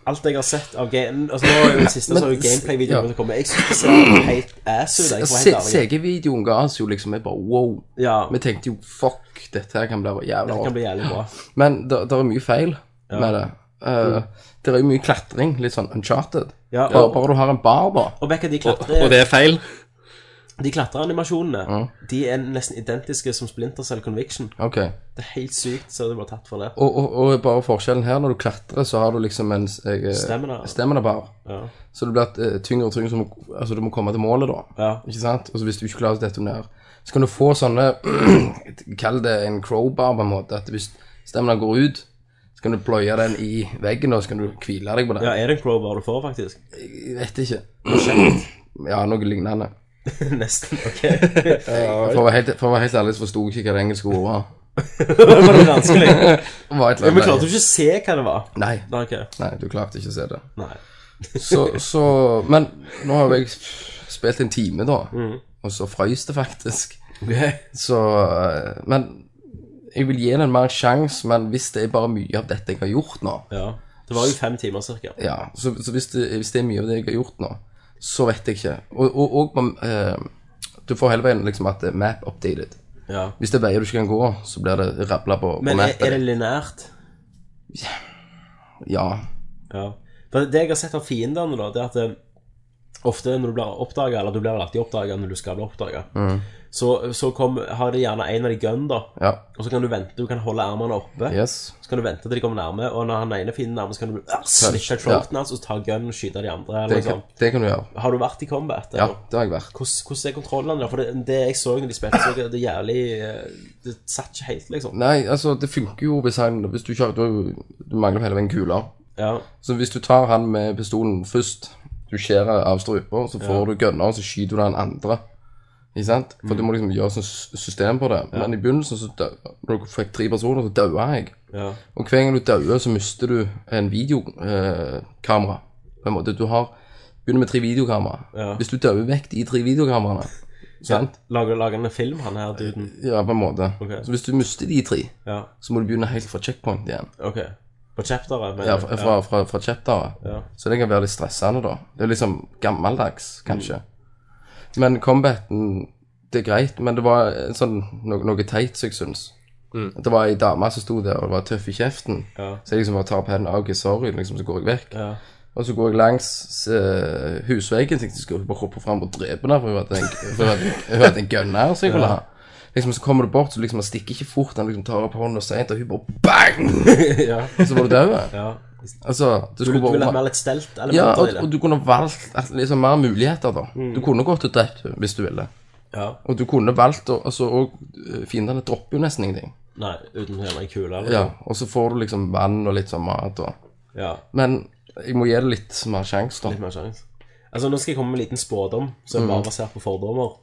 Speaker 3: Alt jeg har sett av game... Altså, nå er jo det siste
Speaker 5: Men-
Speaker 3: så er jo
Speaker 5: ja.
Speaker 3: gameplay-videoen som kommer. Jeg syns det ser helt ass ut. Jeg, for å være
Speaker 5: Se-
Speaker 3: helt ærlig.
Speaker 5: CG-videoen ga oss jo liksom jeg bare wow.
Speaker 3: Ja,
Speaker 5: Vi tenkte jo fuck, dette her kan bli jævla
Speaker 3: det kan bli jævlig bra.
Speaker 5: Men det er mye feil med det. Eh, Det er jo mye klatring, litt sånn uncharted.
Speaker 3: Mm. Ja,
Speaker 5: Bare,
Speaker 3: og-
Speaker 5: bare du har en bar, da.
Speaker 3: Og Becca, de
Speaker 4: Og, og
Speaker 3: klatre,
Speaker 4: det er feil.
Speaker 3: de klatreanimasjonene De er nesten identiske som Splinter Cell Conviction.
Speaker 5: Ok.
Speaker 3: Det er helt sykt, så det var tatt for det.
Speaker 5: Og, og, og bare forskjellen her, når du klatrer, så har du liksom en eh,
Speaker 3: Stamina.
Speaker 5: stamina-bar.
Speaker 3: Ja.
Speaker 5: Så det blir eh, tyngre og tyngre, så må, altså du må komme til målet, da.
Speaker 3: Ja.
Speaker 5: Ikke sant? Og så hvis du ikke klarer å detonere, så kan du få sånne Kall det en crowbar, på en måte. At hvis stemmen går ut, så kan du pløye den i veggen, og så kan du hvile deg på den.
Speaker 3: ja, er det en crowbar du får, faktisk?
Speaker 5: Jeg vet ikke. Ja, noe lignende.
Speaker 3: nesten. ok
Speaker 5: For å være helt, for å være helt ærlig så forsto jeg ikke hva det engelske ordet var.
Speaker 3: Det var litt vanskelig.
Speaker 5: Det var et eller
Speaker 3: Men klarte du
Speaker 5: annet.
Speaker 3: ikke å se hva det var?
Speaker 5: Nei.
Speaker 3: Nei, ok.
Speaker 5: Nei, du klarte ikke å se det.
Speaker 3: Nei.
Speaker 5: Så, så Men nå har jo jeg spilt en time, da.
Speaker 3: Mm.
Speaker 5: Og så frøys det faktisk. Så eh, Men jeg vil gi den mer sjanse, men hvis det er bare mye av dette jeg har gjort nå,
Speaker 3: Ja. Det var jo fem timer cirka.
Speaker 5: Ja, så, så hvis, det, hvis det er mye av det jeg har gjort nå, så vet jeg ikke. Og, og, og man, eh, du får hele veien liksom at det er map updated.
Speaker 3: Ja.
Speaker 5: Hvis det er veier du ikke kan gå, så blir det rabla på, på
Speaker 3: Men er,
Speaker 5: mappet.
Speaker 3: er det linært?
Speaker 5: Ja.
Speaker 3: Ja. For det jeg har sett av fiendene, da, det er at eh, ofte når du blir oppdaga, eller du blir vel alltid oppdaga når du skal bli oppdaga, så, så kom, har de gjerne en av de gun, da.
Speaker 5: ja.
Speaker 3: Og så kan du vente, du kan holde armene oppe.
Speaker 5: Yes.
Speaker 3: Så kan du vente til de kommer nærme, og når han ene fienden nærmer, så kan du ah, slippe throaten hans og ta gun og skyte de andre.
Speaker 5: Det,
Speaker 3: Eller noe
Speaker 5: kan,
Speaker 3: sånt.
Speaker 5: det kan du gjøre.
Speaker 3: Har du vært i combat?
Speaker 5: Ja,
Speaker 3: eller?
Speaker 5: det har jeg vært.
Speaker 3: Hvordan, hvordan er kontrollene der? For det, det jeg så når de spilte, så det, det jævlig eh, Det satt ikke helt, liksom.
Speaker 5: Nei, altså, det funker jo hvis han Hvis du kjører Du, du mangler hele veien kuler.
Speaker 3: Ja,
Speaker 5: Så hvis du tar han med pistolen først, du skjærer av struper, så får du gønner, og så skyter du den andre. Ikke sant? For
Speaker 3: Mm.
Speaker 5: du må liksom gjøre sånn sy- system på det. Men i begynnelsen, så dø, når du fikk tre personer, så daua jeg.
Speaker 3: ja,
Speaker 5: Og hver gang du dauer, så mister du en videokamera. Eh, kamera. på en måte. Du har Begynner med tre videokamera.
Speaker 3: Ja.
Speaker 5: Hvis du dauer vekk de tre videokameraene, sant?
Speaker 3: Lager, lager han en film, han her duden?
Speaker 5: Ja, på en måte.
Speaker 3: Ok.
Speaker 5: Så hvis du mister de tre,
Speaker 3: Ja,
Speaker 5: så må du begynne helt fra checkpoint igjen.
Speaker 3: OK. På chapteret? men-
Speaker 5: Ja, fra, fra, fra, fra chapteret.
Speaker 3: Ja.
Speaker 5: Så det kan være litt stressende, da. Det er liksom gammeldags,
Speaker 3: Mm.
Speaker 5: kanskje. Men combaten Det er greit, men det var en sånn noe, noe teit, som jeg syns. Det var ei dame som sto der og var tøff i kjeften.
Speaker 3: Mm. Ja.
Speaker 5: Så jeg liksom bare tar pennen av, OK, sorry, liksom, så går jeg vekk.
Speaker 3: Ja.
Speaker 5: Og så går jeg langs eh, husveggen, tenkte jeg skulle bare hoppe fram og drepe henne, for hun hadde en, for hun hadde, hun hadde en gunner som jeg ville ha. Liksom, Så kommer du bort, så liksom, han stikker ikke fort, han liksom tar opp hånda seint, og hun bare bang!
Speaker 3: ja.
Speaker 5: Så var du død.
Speaker 3: ja.
Speaker 5: Altså, du
Speaker 3: Du,
Speaker 5: skulle
Speaker 3: du
Speaker 5: bare
Speaker 3: vil ha mer litt stelt elementer
Speaker 5: ja, og,
Speaker 3: i det?
Speaker 5: og du kunne valgt at- liksom, mer muligheter, da.
Speaker 3: Mm.
Speaker 5: Du kunne gått og drept henne hvis du ville.
Speaker 3: Ja.
Speaker 5: Og du kunne valgt å altså, Og øh, fiendene dropper jo nesten ingenting.
Speaker 3: Nei, uten hele ei kule, eller?
Speaker 5: Ja, Og så får du liksom vann og litt sånn mat og
Speaker 3: ja.
Speaker 5: Men jeg må gi det litt mer sjanse, da.
Speaker 3: Litt mer sjanse. Altså, nå skal jeg komme med en liten spådom, som
Speaker 5: Mm.
Speaker 3: er bare basert på fordommer.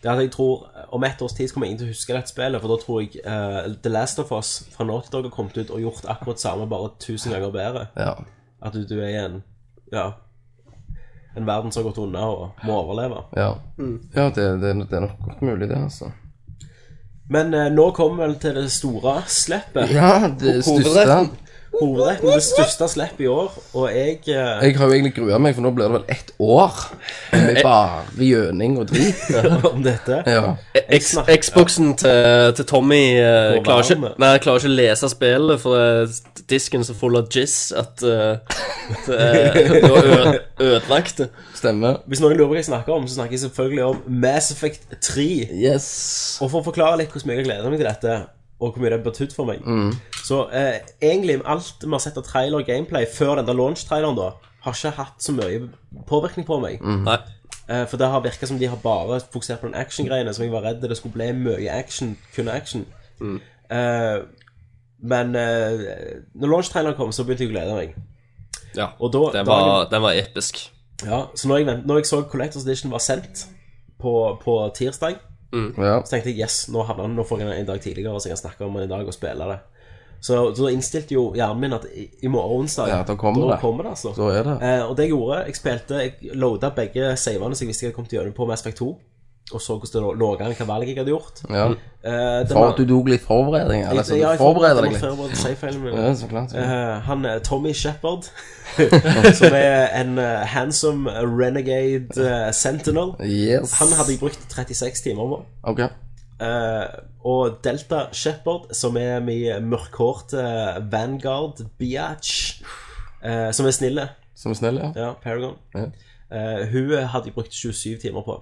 Speaker 3: Det er at jeg tror, Om ett års tid så kommer ingen til å huske dette spillet, for da tror jeg eh, The Last of Us fra Naughty Dog har kommet ut og gjort akkurat samme, bare tusen ganger bedre.
Speaker 5: Ja.
Speaker 3: At du, du er i en ja, en verden som har gått unna og må overleve.
Speaker 5: Ja,
Speaker 3: Mm.
Speaker 5: ja det, det, det er nok godt mulig, det, altså.
Speaker 3: Men eh, nå kommer vi vel til det store slippet.
Speaker 5: Ja, det største
Speaker 3: Hovedretten er det største slippet i år, og jeg eh,
Speaker 5: Jeg har jo egentlig grua meg, for nå blir det vel ett år med bare gjøning og drit.
Speaker 3: om dette.
Speaker 5: Ja.
Speaker 4: X
Speaker 3: snakker-
Speaker 4: Xboxen til, til Tommy eh,
Speaker 3: Går
Speaker 4: klarer,
Speaker 3: varm.
Speaker 4: ikke, nei, klarer ikke å lese spillet, for eh, disken er så full av jizz at eh, det er det var ø- ødelagt.
Speaker 5: Stemmer.
Speaker 3: Hvis noen lurer på hva jeg snakker om, så snakker jeg selvfølgelig om Mass Effect 3.
Speaker 5: Yes.
Speaker 3: Og for å forklare litt hvordan jeg gleder meg til dette, og hvor mye det har betydd for meg Så eh, egentlig alt vi har sett av trailer og gameplay før den der launch-traileren, da, har ikke hatt så mye påvirkning på meg.
Speaker 4: Nei.
Speaker 3: Eh, for det har virka som de har bare fokusert på den action-greiene, som jeg var redd det skulle bli mye action, kun action. Eh, men eh, når launch-traileren kom, så begynte jeg å glede meg.
Speaker 4: Ja,
Speaker 3: Og da,
Speaker 4: den,
Speaker 3: dagen-
Speaker 4: var, den var episk.
Speaker 3: ja, så når jeg, vent, når jeg så Collectors Edition var sendt på, på tirsdag,
Speaker 5: Ja.
Speaker 3: så tenkte jeg yes, nå, havner den, nå får jeg den en dag tidligere, så jeg kan snakke om den i dag og spille det. Så, så da innstilte jo hjernen min at i, i morgen onsdag
Speaker 5: Ja, da kommer det.
Speaker 3: altså.
Speaker 5: Så er det.
Speaker 3: Eh, og det jeg gjorde, jeg spilte Jeg loada begge savene så jeg visste jeg hadde kommet gjennom på Mass Effect 2. Og så hvordan det lå- lå an, hva valg jeg hadde gjort.
Speaker 5: Ja.
Speaker 3: Eh, det
Speaker 5: For
Speaker 3: var-
Speaker 5: at du tok litt forberedning, eller så
Speaker 3: Jeg-
Speaker 5: du
Speaker 3: ja, jeg
Speaker 5: forbereder
Speaker 3: for-
Speaker 5: deg litt.
Speaker 3: jeg forberedte savefeilene mine.
Speaker 5: Ja, så klart. så klart.
Speaker 3: Eh, han er Tommy Shepard, som er en eh, handsome renegade eh, sentinel.
Speaker 5: Yes.
Speaker 3: Han hadde jeg brukt 36 timer på.
Speaker 5: Ok.
Speaker 3: Eh, og Delta Shepherd, som er min mørkhårte Vanguard Biatch, eh, som er snille.
Speaker 5: Som snill, ja.
Speaker 3: Ja, Paragon.
Speaker 5: Ja.
Speaker 3: Eh, hun hadde jeg brukt 27 timer på.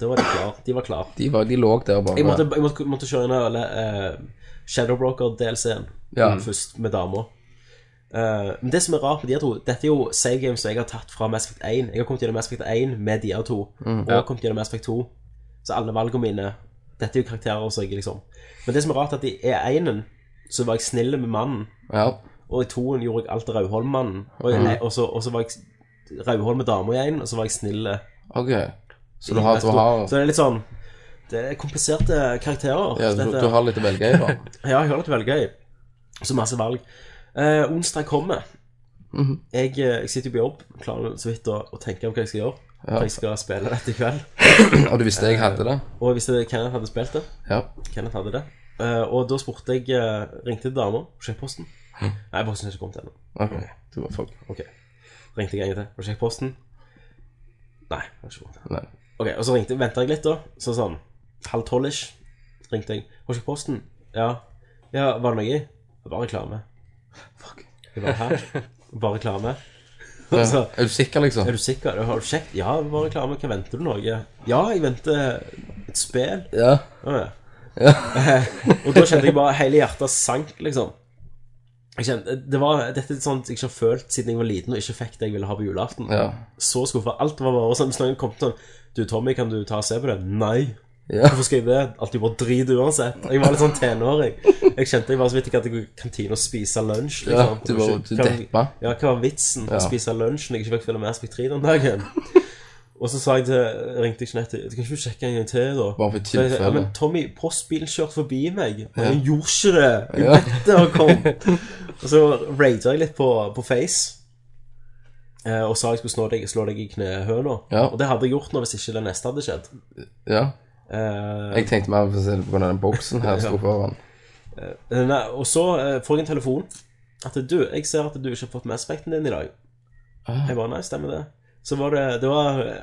Speaker 3: Da var de klar. De var klar.
Speaker 5: De, var, de lå der bare.
Speaker 3: Jeg måtte, jeg måtte, måtte kjøre inn hele eh, Shadowbroker-delscenen
Speaker 5: Ja.
Speaker 3: Mm. først, med dama. Eh, men det som er rart med de her to Dette er jo save games som jeg har tatt fra Mass Effect 1. Jeg har kommet gjennom Mass Effect 1 med de her to,
Speaker 5: Mm.
Speaker 3: og kommet gjennom Mass Effect 2. Så alle valgene mine Dette er jo karakterer som jeg liksom Men det som er rart, er at i E1-en så var jeg snill med mannen,
Speaker 5: Ja.
Speaker 3: og i 2-en gjorde jeg alt til Rauholm-mannen. Og,
Speaker 5: Mm.
Speaker 3: i- E- og, så- og så var jeg Rauholm med dama i 1, og så var jeg snill eh,
Speaker 5: Ok. Så du har, du har,
Speaker 3: Så det er litt sånn Det er kompliserte karakterer.
Speaker 5: ja, du,
Speaker 3: dette.
Speaker 5: du har litt å velge i, da.
Speaker 3: Ja, jeg har litt å velge i. Så masse valg. Eh, onsdag kommer.
Speaker 5: Mhm.
Speaker 3: jeg, eh, jeg sitter jo på jobb, klarer så vidt å, å tenke om hva jeg skal gjøre. For jeg skal spille dette i kveld.
Speaker 5: Og du visste jeg hadde det.
Speaker 3: Og hvis det, Kenneth hadde spilt det.
Speaker 5: Ja.
Speaker 3: Kenneth hadde det. Eh, og da spurte jeg eh, Ringte til dama på Sjekkeposten. Nei, posten er ikke kommet ennå.
Speaker 5: Ok, du var fuck.
Speaker 3: Ok. Ringte jeg en gang til. Har du sjekket posten? Nei. jeg Har ikke kommet
Speaker 5: Nei.
Speaker 3: Ok, og så ringte, ventet jeg litt da Så sånn, halv tolv-ish Ringte jeg, har du ikke posten? Ja, ja var det noe i? Bare reklame Fuck, jeg var her Bare reklame
Speaker 5: Ja.
Speaker 3: Altså,
Speaker 5: Er du sikker, liksom?
Speaker 3: er du sikker? Har du sjekket? Ja, bare reklame, hva venter du noe? Ja, jeg venter et spil
Speaker 5: Ja.
Speaker 3: Å, ja. og da kjente jeg bare hele hjertet sank, liksom. Jeg kjente, det var, dette er litt sånt jeg ikke har følt siden jeg var liten og ikke fikk det jeg ville ha på julaften.
Speaker 5: Ja.
Speaker 3: Så skuffa. Alt var bare sånn. Hvis noen kom til Du, Tommy, kan du ta og se på det? Nei.
Speaker 5: Ja.
Speaker 3: Hvorfor skal jeg det? Alt er bare drit uansett. Jeg var litt sånn tenåring. Jeg kjente jeg var så vidt ikke at jeg gikk i kantina og spise lunsj.
Speaker 5: Ja, du var-
Speaker 3: Ikke-
Speaker 5: du
Speaker 3: hva-
Speaker 5: deppa.
Speaker 3: Ja, hva var vitsen med å
Speaker 5: Ja.
Speaker 3: spise lunsj når jeg ikke fikk følge med Aspik 3 den dagen? Og så sa jeg til, ringte jeg Jeanette Du kan ikke du sjekke en gang til, da?
Speaker 5: Bare for
Speaker 3: Så jeg sa, Ja,
Speaker 5: tilfelle.
Speaker 3: men Tommy, postbilen kjørte forbi meg. Og jeg gjorde ikke det. Jeg vet det og kom. og så raida jeg litt på, på Face. eh, Og sa jeg skulle slå deg, slå deg i knehøna.
Speaker 5: Ja.
Speaker 3: Og det hadde jeg gjort nå hvis ikke det neste hadde skjedd.
Speaker 5: ja.
Speaker 3: Eh,
Speaker 5: Jeg tenkte mer på å se det på grunn av den boksen her sto foran.
Speaker 3: Eh, Nei, og så eh, får jeg en telefon At du, jeg ser at du ikke har fått med aspekten din i dag
Speaker 5: Ah,
Speaker 3: Jeg bare, nei, stemmer det Så var det, det var eh,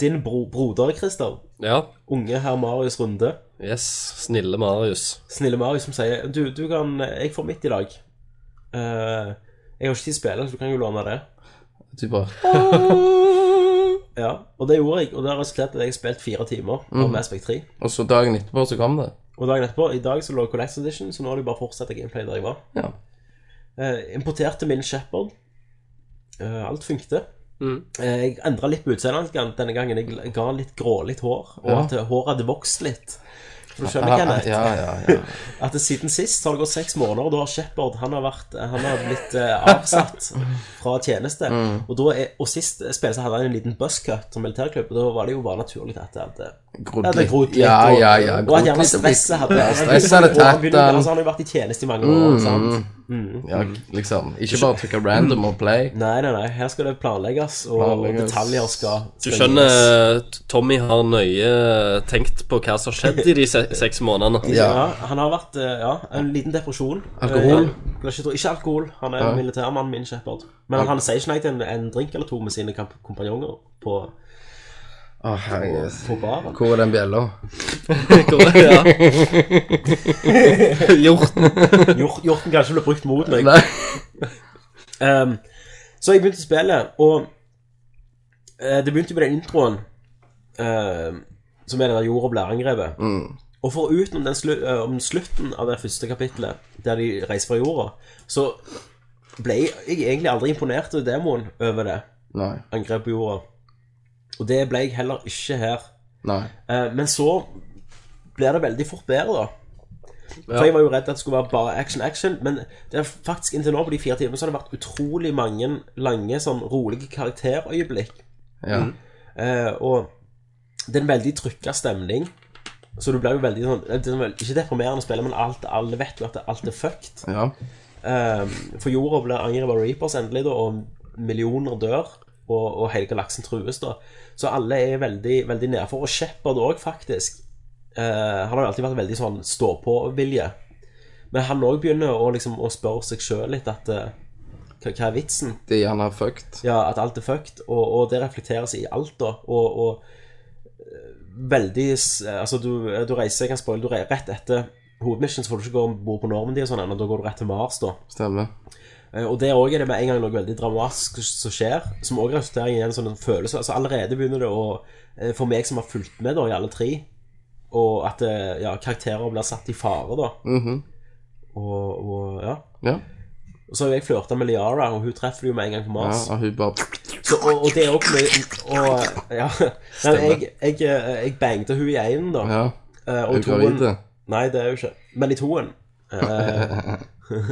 Speaker 3: Din bro, broder, Christer
Speaker 4: Ja.
Speaker 3: Unge herr Marius Runde
Speaker 4: Yes. Snille Marius.
Speaker 3: Snille Marius som sier Du, du kan, jeg får mitt i dag Eh, Jeg har ikke tid til å spille, så du kan jo låne det
Speaker 5: Du bare
Speaker 3: Ja, og det gjorde jeg Og det har resultert i at jeg har spilt fire timer Av Mass Effect 3
Speaker 5: Og så dagen etterpå så kom det.
Speaker 3: Og dagen etterpå, i dag så lå Collectors Edition Så nå har de bare fortsatt gameplay der jeg var
Speaker 5: Ja.
Speaker 3: Eh, importerte min Shepherd. Eh, alt funkte.
Speaker 5: Mm.
Speaker 3: Eh, jeg endra litt på utseendet hans denne gangen. Jeg ga han litt grålitt hår, og
Speaker 5: Ja.
Speaker 3: at eh, håret hadde vokst litt. For du skjønner,
Speaker 5: Ja, Ah,
Speaker 3: Kenneth,
Speaker 5: ja, ja. ja.
Speaker 3: at det siden sist har det gått seks måneder, og da har Shepherd han har, vært, eh, han har blitt eh, avsatt fra tjeneste.
Speaker 5: Mm.
Speaker 3: Og, da er, og sist spilte hadde han en liten buzzcut som militærklubb, og da var det jo bare naturlig at det hadde
Speaker 5: Grodd
Speaker 3: ja, det er grodd litt,
Speaker 5: Ja, ja, ja.
Speaker 3: og, og at gjerne
Speaker 5: litt, og blitt-
Speaker 3: stresset hadde
Speaker 5: Ja, stresset hadde tatt
Speaker 3: han.
Speaker 5: den. Mm.
Speaker 3: Altså, han har jo vært i tjeneste i mange år. sant?
Speaker 5: Ja,
Speaker 3: Mm.
Speaker 5: liksom. Ikke bare trykke random og play.
Speaker 3: Nei, nei, nei. Her skal det planlegges, og
Speaker 5: Planlegges.
Speaker 3: detaljer skal
Speaker 4: Du skjønner Tommy har nøye tenkt på hva som har skjedd i de se seks månedene.
Speaker 3: ja.
Speaker 5: Ja.
Speaker 3: Han har vært eh, ja, en liten depresjon.
Speaker 5: Alkohol?
Speaker 3: Eh, jeg vil ikke, tro- ikke alkohol. Han er militærmannen min, Shepherd. Men han sier ikke nei til en, en drink eller to med sine kamp- kompanjonger på,
Speaker 5: Å, herregud.
Speaker 3: på baren.
Speaker 5: Hvor er den bjella?
Speaker 4: Ja. Gjort.
Speaker 3: Hjort, hjorten kan ikke bli brukt mot meg.
Speaker 5: Nei.
Speaker 3: Ehm, så jeg begynte å spille, og eh, det begynte med den introen ehm, som er det der jorda blir angrepet. Og for utenom den slu, eh, om slutten av det første kapittelet, der de reiser fra jorda, så ble jeg, jeg egentlig aldri imponert over demoen over det
Speaker 5: Nei.
Speaker 3: angrepet på jorda. Og det ble jeg heller ikke her.
Speaker 5: Nei.
Speaker 3: Eh, Men så blir det veldig fort bedre, da. For jeg var jo redd at det skulle være bare action, action, men det er faktisk inntil nå på de fire timene så har det vært utrolig mange lange, sånn rolige karakterøyeblikk.
Speaker 5: Ja.
Speaker 3: Eh, og det er en veldig trykka stemning. Så du blir jo veldig sånn det er vel Ikke deprimerende å spille, men alt, alle vet jo at det- alt er fucked.
Speaker 5: Ja.
Speaker 3: Eh, for jorda blir angrepet av Reapers endelig, da, og millioner dør. Og, og hele galaksen trues, da. Så alle er veldig, veldig nedfor. Og Shepherd òg, faktisk. Eh, han har jo alltid vært veldig sånn stå-på-vilje. Men han òg begynner å, liksom, å spørre seg sjøl litt at eh, hva, hva er vitsen?
Speaker 5: De han har fucked.
Speaker 3: Ja, at alt er fucked, og, og det reflekteres i alt, da. Og, og eh, veldig s- Altså, du, du reiser, jeg kan spoile, du re- rett etter hovedmission så får du ikke gå om bord på Normandy og sånn ennå, da går du rett til Mars, da.
Speaker 5: Stemmer.
Speaker 3: Eh, Og der òg er det med en gang noe veldig dramatisk som skjer, som òg resulterer i en sånn følelse. Altså Allerede begynner det å eh, For meg som har fulgt med da i alle tre, og at eh, ja, karakterer blir satt i fare, da.
Speaker 5: Mhm.
Speaker 3: Og, og ja.
Speaker 5: Ja.
Speaker 3: Og så har jo jeg flørta med Liara, og hun treffer du jo med en gang på
Speaker 5: ja.
Speaker 3: Mars.
Speaker 5: Og hun bare
Speaker 3: Så, og, og det er òg Og ja. Nei, jeg, jeg, eh, jeg bangte hun i einen, da.
Speaker 5: Ja.
Speaker 3: Eh,
Speaker 5: Hun
Speaker 3: Og
Speaker 5: er gravid.
Speaker 3: toen
Speaker 5: det.
Speaker 3: Nei, det er jo ikke Men i toen eh, jeg,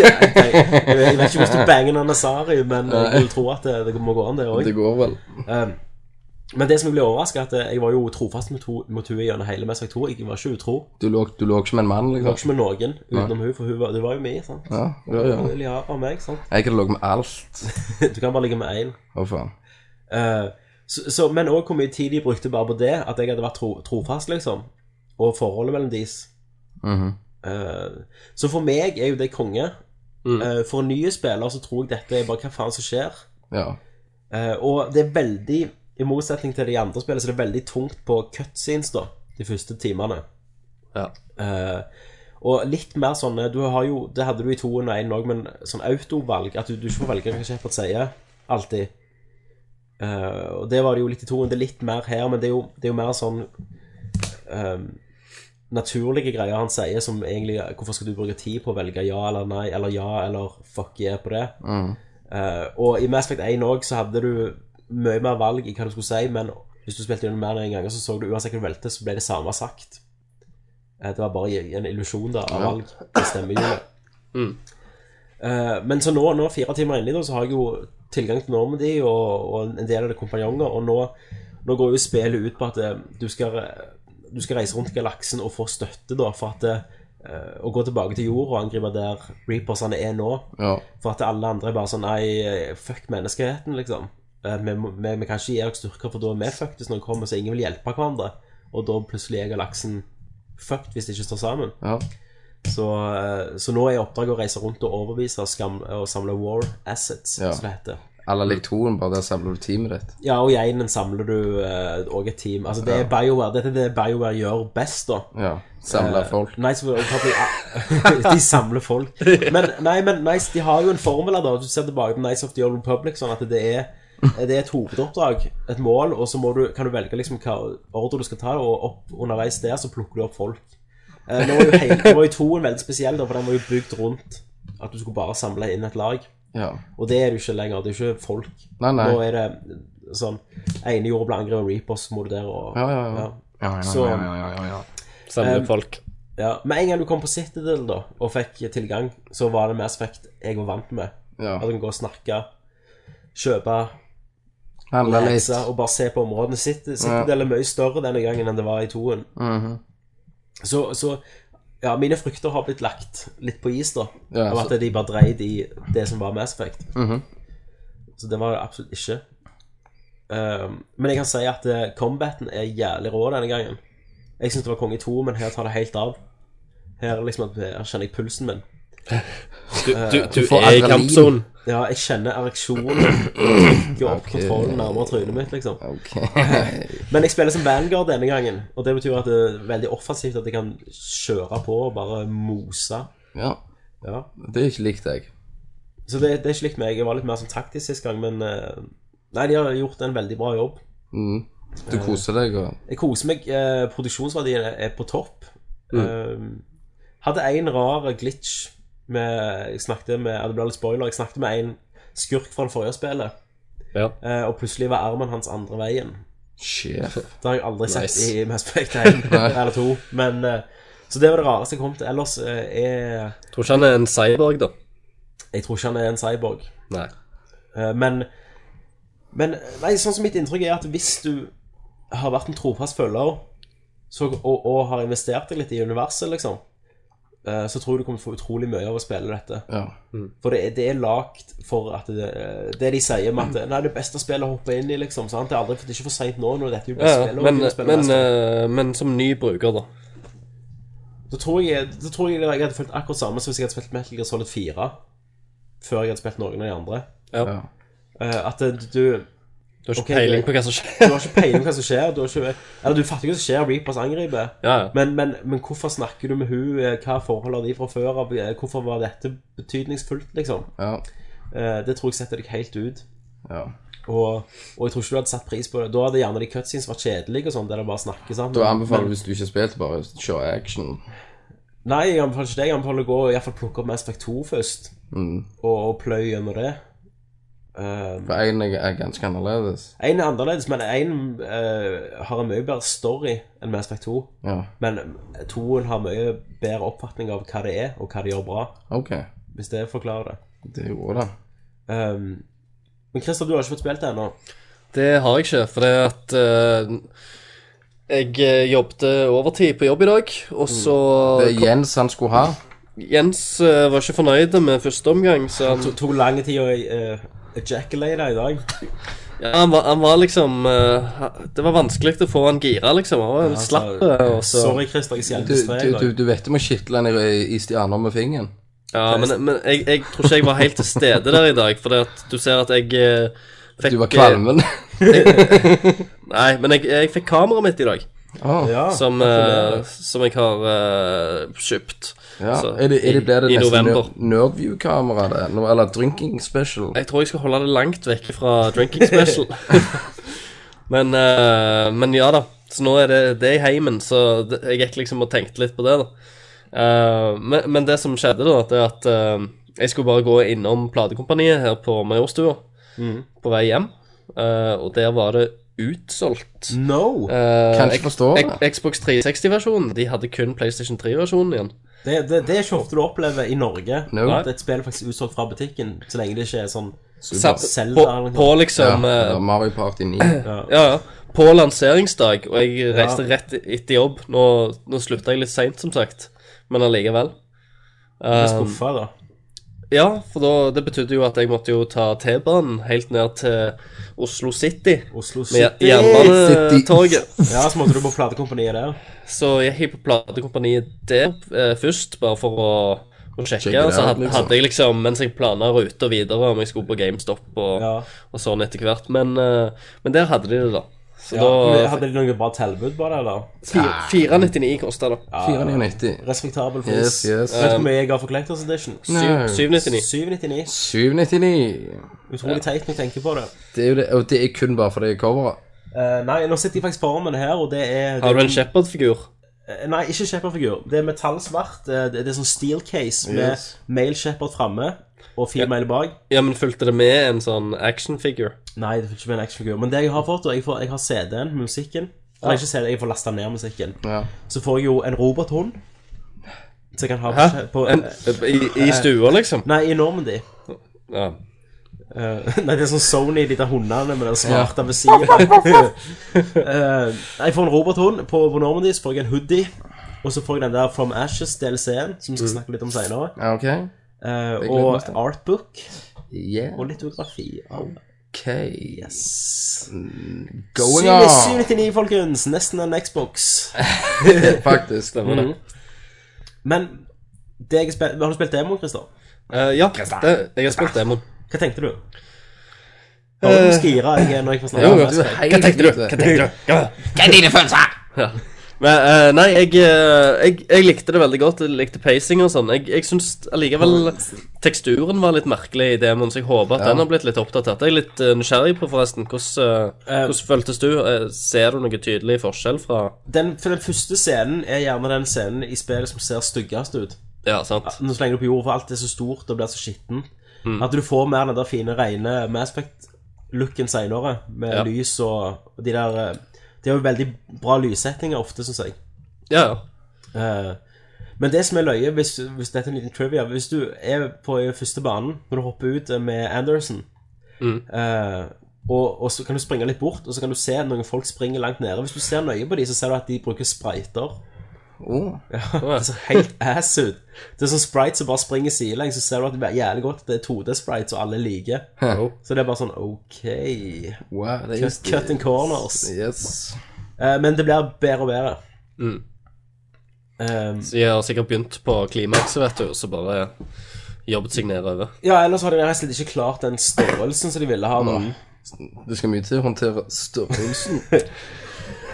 Speaker 3: jeg, jeg vet ikke hvordan du banger en Asari, men jeg vil tro at det, det må gå an, det òg.
Speaker 5: Det går vel.
Speaker 3: Men det som jeg ble overraska, at eh, jeg var jo trofast mot ho- mot henne gjennom hele Mess 2. Jeg var ikke utro.
Speaker 5: Du lå, du lå ikke med en mann,
Speaker 3: Jeg var
Speaker 5: liksom?
Speaker 3: ikke med noen utenom hun, for hun var, det var jo meg. sant?
Speaker 5: Ja, ja, ja.
Speaker 3: Liara og meg, sant?
Speaker 5: Jeg hadde ligget med alt.
Speaker 3: Du kan bare ligge med én.
Speaker 5: Å, faen.
Speaker 3: Eh, så, så, men òg hvor mye tid de brukte bare på det, at jeg hadde vært tro, trofast, liksom. Og forholdet mellom deres.
Speaker 5: Mhm.
Speaker 3: Eh, så for meg er jo det konge, Eh, for nye spillere så tror jeg dette er bare hva faen som skjer.
Speaker 5: Ja.
Speaker 3: Eh, og det er veldig, i motsetning til de andre spillene, så det er veldig tungt på cutscenes da, de første timene.
Speaker 4: Ja.
Speaker 3: Eh, og litt mer sånn eh, du har jo, Det hadde du i 2 og 1 òg, men sånn autovalg At du, du ikke får velge hva Shepard sier, alltid. Eh, og Det var det jo litt i 2, det er litt mer her, men det er jo, det er jo mer sånn ehm, naturlige greier han sier, som egentlig Hvorfor skal du bruke tid på å velge ja eller nei, eller ja eller fuck yeah på det?
Speaker 5: Mhm.
Speaker 3: Eh, og i Mass Effect 1 òg så hadde du mye mer valg i hva du skulle si, men hvis du spilte gjennom mer enn én gang, så så du uansett hva du valgte, så ble det samme sagt. Eh, det var bare en illusjon da, av valg. Det stemmer jo. Eh, men så nå, nå fire timer inni, da, så har jeg jo tilgang til Normandy og, og en del av det kompanjonger, og nå, nå går jo spillet ut på at eh, du skal, du skal reise rundt i galaksen og få støtte, da, for at eh, å gå tilbake til jorda og angripe der Reapersene er nå.
Speaker 5: Ja.
Speaker 3: For at alle andre er bare sånn Nei, fuck menneskeheten, liksom. Eh, Vi, må- vi, vi kan ikke gi dere styrker, for da er vi fucked hvis noen kommer, så ingen vil hjelpe hverandre. Og da plutselig er galaksen fucked hvis de ikke står sammen.
Speaker 5: ja.
Speaker 3: Så, eh, så nå er oppdraget å reise rundt og overbevise og, skam, og samle war assets,
Speaker 5: Ja.
Speaker 3: som det heter.
Speaker 5: Alle lik toen, bare der samler du teamet ditt.
Speaker 3: Ja, og geinen samler du eh, og et team. Altså, det er BioWare. Dette er det BioWare gjør best, da.
Speaker 5: Ja. Samler folk.
Speaker 3: Eh, Nei, så- ah, de samler folk. Men, nei, men Nice, de har jo en formel her, da. Du ser tilbake på Nice of the Old Republic, sånn at det er, det er et hovedoppdrag, et mål, og så må du, kan du velge liksom hva ordre du skal ta, og opp underveis der så plukker du opp folk. Eh, Nå var jo, hele, nå var jo toen veldig spesiell, da, for den var jo bygd rundt at du skulle bare samle inn et lag.
Speaker 5: Ja.
Speaker 3: Og det er du ikke lenger. Det er ikke folk.
Speaker 5: Nei, nei.
Speaker 3: Nå er det sånn Ene jorda blir angrepet av Reapers, så må du der og
Speaker 5: Ja, ja, ja.
Speaker 3: Så,
Speaker 4: Samle folk.
Speaker 3: ja. Med en gang du kom på Citadel da, og fikk tilgang, så var det Mass Effect jeg var vant med.
Speaker 5: Ja.
Speaker 3: At du kan gå og snakke, kjøpe,
Speaker 5: Handler litt.
Speaker 3: reise og bare se på områdene. Cit- Citadel er mye større denne gangen enn det var i toen.
Speaker 5: Mhm,
Speaker 3: Så, så ja, mine frykter har blitt lagt litt på is, da.
Speaker 5: Ja,
Speaker 3: av
Speaker 5: så-
Speaker 3: at de bare dreide i det som var Mass Effect.
Speaker 5: mhm.
Speaker 3: Så det var det absolutt ikke. Ehm, men jeg kan si at eh, combaten er jævlig rå denne gangen. Jeg syns det var konge i to, men her tar det helt av. Her, er liksom, at- her kjenner jeg pulsen min.
Speaker 4: Du, du, eh, du
Speaker 5: får
Speaker 4: er i
Speaker 5: adrenalin.
Speaker 4: kampsonen.
Speaker 3: Ja, jeg kjenner ereksjonen gå opp
Speaker 5: Ok.
Speaker 3: kontrollen nærmere trynet mitt, liksom.
Speaker 5: Ok.
Speaker 3: Men jeg spiller som Vanguard denne gangen, og det betyr at det er veldig offensivt at jeg kan kjøre på og bare mose.
Speaker 5: ja.
Speaker 3: Ja.
Speaker 5: Det er ikke likt jeg.
Speaker 3: Så det, det er ikke likt meg. Jeg var litt mer sånn taktisk sist gang, men eh, Nei, de har gjort en veldig bra jobb.
Speaker 5: Mm. Du koser deg og
Speaker 3: Jeg koser meg. eh, Produksjonsverdien er- er på topp. Eh, hadde en rar glitch med Jeg snakket med ja, Det blir litt spoiler. Jeg snakket med en skurk fra det forrige spillet,
Speaker 4: Ja.
Speaker 3: eh, og plutselig var armen hans andre veien.
Speaker 5: Sjef.
Speaker 3: Det har jeg aldri
Speaker 4: Nice.
Speaker 3: sett i Mass Effect 1 eller 2. Men, eh, så det var det rareste jeg kom til. Ellers eh, er
Speaker 4: Tror ikke han er en cyborg, da.
Speaker 3: Jeg tror ikke han er en cyborg.
Speaker 4: Nei.
Speaker 3: Eh, Men, men nei, sånn som mitt inntrykk er at hvis du har vært en trofast følger så, og, og har investert deg litt i universet, liksom, eh, så tror jeg du kommer til å få utrolig mye av å spille dette.
Speaker 5: Ja.
Speaker 3: For det er, det er lagt for at det, eh, det de sier med at Nei, det beste spillet å hoppe inn i, liksom. Sant? Det er aldri det er ikke for seint nå, når dette er jo beste
Speaker 4: Ja, ja.
Speaker 3: spillet. og
Speaker 4: men,
Speaker 3: begynner å spille
Speaker 4: men,
Speaker 3: beste.
Speaker 4: eh, men som ny bruker, da.
Speaker 3: Da tror jeg, da tror jeg jeg hadde følt akkurat samme som hvis jeg hadde spilt Metal Gear Solid 4 før jeg hadde spilt noen av de andre.
Speaker 4: Ja.
Speaker 5: Ja.
Speaker 3: Eh, at eh, du
Speaker 4: Du har ikke
Speaker 3: Ok,
Speaker 4: peiling
Speaker 3: greit.
Speaker 4: på hva som skjer.
Speaker 3: Du har ikke peiling på hva som skjer. Du, har ikke, eller, du fatter ikke hva som skjer. Reapers angriper.
Speaker 4: Ja, ja.
Speaker 3: Men, men, men hvorfor snakker du med hun? Eh, Hva forhold har de fra før av? Eh, Hvorfor var dette betydningsfullt, liksom?
Speaker 5: Ja.
Speaker 3: Eh, Det tror jeg setter deg helt ut.
Speaker 5: ja.
Speaker 3: Og, og jeg tror ikke du hadde satt pris på det. Da hadde gjerne de cutscenes vært kjedelige og sånn, der det bare snakker sammen.
Speaker 5: Da anbefaler jeg, hvis du ikke har spilt, bare kjør action.
Speaker 3: Nei, jeg anbefaler ikke det. Jeg anbefaler å gå og i hvert fall plukke opp Mass Effect 2 først. Og, og pløye gjennom det. Eh,
Speaker 5: Mhm. For én er er ganske annerledes.
Speaker 3: En er annerledes, men en eh, har en mye bedre story enn Mass Effect 2.
Speaker 5: Ja.
Speaker 3: Men toen har mye bedre oppfatning av hva det er, og hva det gjør bra.
Speaker 5: Ok.
Speaker 3: Hvis det forklarer det.
Speaker 5: Det gjorde det.
Speaker 3: Um, men Christer, du har ikke fått spilt det ennå.
Speaker 4: Det har jeg ikke, for det at eh, Jeg eh, jobbet overtid på jobb i dag, og så
Speaker 5: Det er Jens han skulle ha.
Speaker 4: Jens eh, var ikke fornøyd med første omgang, så han
Speaker 3: Det tok lang tid å uh, ejaculate deg i dag.
Speaker 4: Ja, han var, han var liksom eh, ha- Det var vanskelig å få han gira, liksom. Han var slapp. eh, og så
Speaker 3: Sorry, Christer,
Speaker 5: Du,
Speaker 3: jeg skjelte
Speaker 5: du,
Speaker 3: streg i
Speaker 5: du,
Speaker 3: dag.
Speaker 5: du vet du må kitle han i, i stjerner med fingeren.
Speaker 4: Ja, men, men jeg, jeg tror ikke jeg var helt til stede der i dag, for du ser at jeg eh, fikk eh,
Speaker 5: Du var kvalmen.
Speaker 4: Nei, men jeg, jeg fikk kameraet mitt i dag,
Speaker 5: Åh, ja.
Speaker 3: Ja,
Speaker 4: som, eh, som jeg har eh, kjøpt. Så,
Speaker 5: Er det, er det, blir det
Speaker 4: i, i
Speaker 5: nesten
Speaker 4: november.
Speaker 5: nerd- Nerdview-kamera, det? Nå- Eller drinking special?
Speaker 4: Jeg tror jeg skal holde det langt vekk fra drinking special. men, eh, men ja da. Så nå er det, det er i heimen, så det, jeg gikk liksom og tenkte litt på det, da. Eh, men, men det som skjedde, da, det er at eh, jeg skulle bare gå innom platekompaniet her på Majorstua
Speaker 5: Mm.
Speaker 4: på vei hjem, eh, og der var det utsolgt.
Speaker 3: No!
Speaker 4: Eh,
Speaker 5: Mm. Kan ikke
Speaker 4: X-
Speaker 5: forstå det.
Speaker 4: X- Xbox 360-versjonen. De hadde kun PlayStation 3-versjonen igjen.
Speaker 3: Det, det, det er ikke ofte du opplever i Norge.
Speaker 5: No.
Speaker 3: At et spill er faktisk utsolgt fra butikken, så lenge det ikke er sånn
Speaker 4: Sa-
Speaker 3: Zelda
Speaker 4: På,
Speaker 3: eller noe.
Speaker 4: på liksom
Speaker 5: ja,
Speaker 4: eh,
Speaker 5: eller Mario Party 9.
Speaker 4: Ja, ja. På lanseringsdag, og jeg reiste rett etter jobb. Nå, nå slutta jeg litt seint, som sagt, men allikevel.
Speaker 3: Du
Speaker 4: Eh,
Speaker 3: er skuffa, da.
Speaker 4: ja, for da, det betydde jo at jeg måtte jo ta T-banen helt ned til Oslo City
Speaker 3: Oslo City.
Speaker 4: med jernbanetoget.
Speaker 3: Ja, så måtte du på platekompaniet der.
Speaker 4: Så jeg gikk på platekompaniet der eh, først, bare for å, å sjekke.
Speaker 5: Sjekke det
Speaker 4: og så
Speaker 5: out,
Speaker 4: hadde,
Speaker 5: liksom.
Speaker 4: hadde jeg liksom, mens jeg plana ruter videre, om jeg skulle på GameStop og,
Speaker 3: Ja.
Speaker 4: og sånn etter hvert, men, eh, men der hadde de det, da. Så
Speaker 3: Ja. Men
Speaker 4: da
Speaker 3: Hadde de noe bra tilbud på det, eller?
Speaker 4: Fire- 499 kosta det.
Speaker 5: 499.
Speaker 3: Respektabel pris.
Speaker 5: Yes, yes.
Speaker 3: Vet du
Speaker 4: Um,
Speaker 3: hvor mye jeg har for Collectors Edition?
Speaker 5: Nei.
Speaker 4: Syv- 799.
Speaker 3: 799.
Speaker 5: 799.
Speaker 3: Utrolig teit når jeg tenker på det.
Speaker 5: Det er jo det, og det er kun bare fordi coveret
Speaker 3: Eh, nei, nå sitter jeg faktisk foran med det her, og det er
Speaker 4: Har du en Shepherd-figur?
Speaker 3: Eh, Nei, ikke Shepherd-figur. Det er metallsvart. eh, Det det er sånn steel case med
Speaker 5: Yes.
Speaker 3: male Shepherd framme og female bak.
Speaker 4: Ja, men fulgte det med en sånn action-figur?
Speaker 3: Nei, det er ikke en actionfigur. Men det jeg har fått, og jeg, får, jeg har CD-en, musikken Eller ikke CD, jeg får lasta ned musikken.
Speaker 5: ja.
Speaker 3: Så får jeg jo en robothund. Så jeg kan ha på, på Eh,
Speaker 4: En, i, I stua, liksom?
Speaker 3: Nei, i Normandy.
Speaker 4: Ja.
Speaker 3: Eh, nei, det er sånn Sony, de der hundene med den smarte ved siden. Eh, jeg får en robothund på, på Normandy, så får jeg en hoodie. Og så får jeg den der From Ashes DLC-en, som vi skal snakke litt om seinere.
Speaker 5: Ja, OK? Mm. gleder meg
Speaker 3: og
Speaker 5: til.
Speaker 3: artbook.
Speaker 5: Yeah.
Speaker 3: Og litt geografi.
Speaker 5: OK. Mm,
Speaker 3: Yes.
Speaker 5: Going on.
Speaker 3: 799, folkens. Nesten en Xbox.
Speaker 5: Faktisk. Mm.
Speaker 4: Stemmer det.
Speaker 3: Men det jeg spil... har du spilt demo, Christer?
Speaker 4: Eh, ja, det, jeg har spilt demon.
Speaker 3: Hva tenkte du? Hører du skira jeg er når jeg får snakke
Speaker 5: Eh. Jo,
Speaker 3: om
Speaker 5: jo,
Speaker 3: det?
Speaker 5: du er helt ute.
Speaker 4: tenkte du? Hva er dine følelser? Ja. Men, eh, nei, jeg, eh, jeg, jeg likte det veldig godt. Jeg likte pacing og sånn. Jeg, jeg syns allikevel teksturen var litt merkelig i demoen, så jeg håper at den har blitt litt oppdatert. Jeg er litt eh, nysgjerrig på, forresten, hvordan, eh, hvordan føltes du? Eh, ser du noe tydelig forskjell fra
Speaker 3: Den, for den første scenen er gjerne den scenen i spillet som ser styggest ut.
Speaker 4: Ja, sant?
Speaker 3: Nå slenger du på jorda, for alt er så stort og blir så skitten. At du får mer den der fine, rene Mass Effect-looken seinere, med
Speaker 4: Ja.
Speaker 3: lys og og de der eh, De har jo veldig bra lyssettinger ofte, syns jeg.
Speaker 4: Ja, ja.
Speaker 3: Eh, Men det som er løye, hvis, hvis dette er en liten trivia Hvis du er på i første banen, når du hopper ut med Anderson eh, og, og så kan du springe litt bort, og så kan du se noen folk springer langt nede. Hvis du ser nøye på dem, så ser du at de bruker spriter.
Speaker 5: Oh,
Speaker 3: Det ser helt ass ut. Det er sånn sprite som bare springer sidelengs, så ser du at det er jævlig godt at det er 2D-sprite som alle liker. Så det er bare sånn OK. Eh,
Speaker 5: wow, det er
Speaker 3: Cut, cut and corners.
Speaker 5: Yes.
Speaker 3: Eh, men det blir bedre og bedre.
Speaker 4: Mm.
Speaker 3: Eh,
Speaker 4: Så De har sikkert begynt på klimakset, vet du, og så bare jobbet seg nedover.
Speaker 3: ja, ellers har de rett og slett ikke klart den størrelsen som de ville ha nå.
Speaker 5: Det skal mye til å håndtere størrelsen.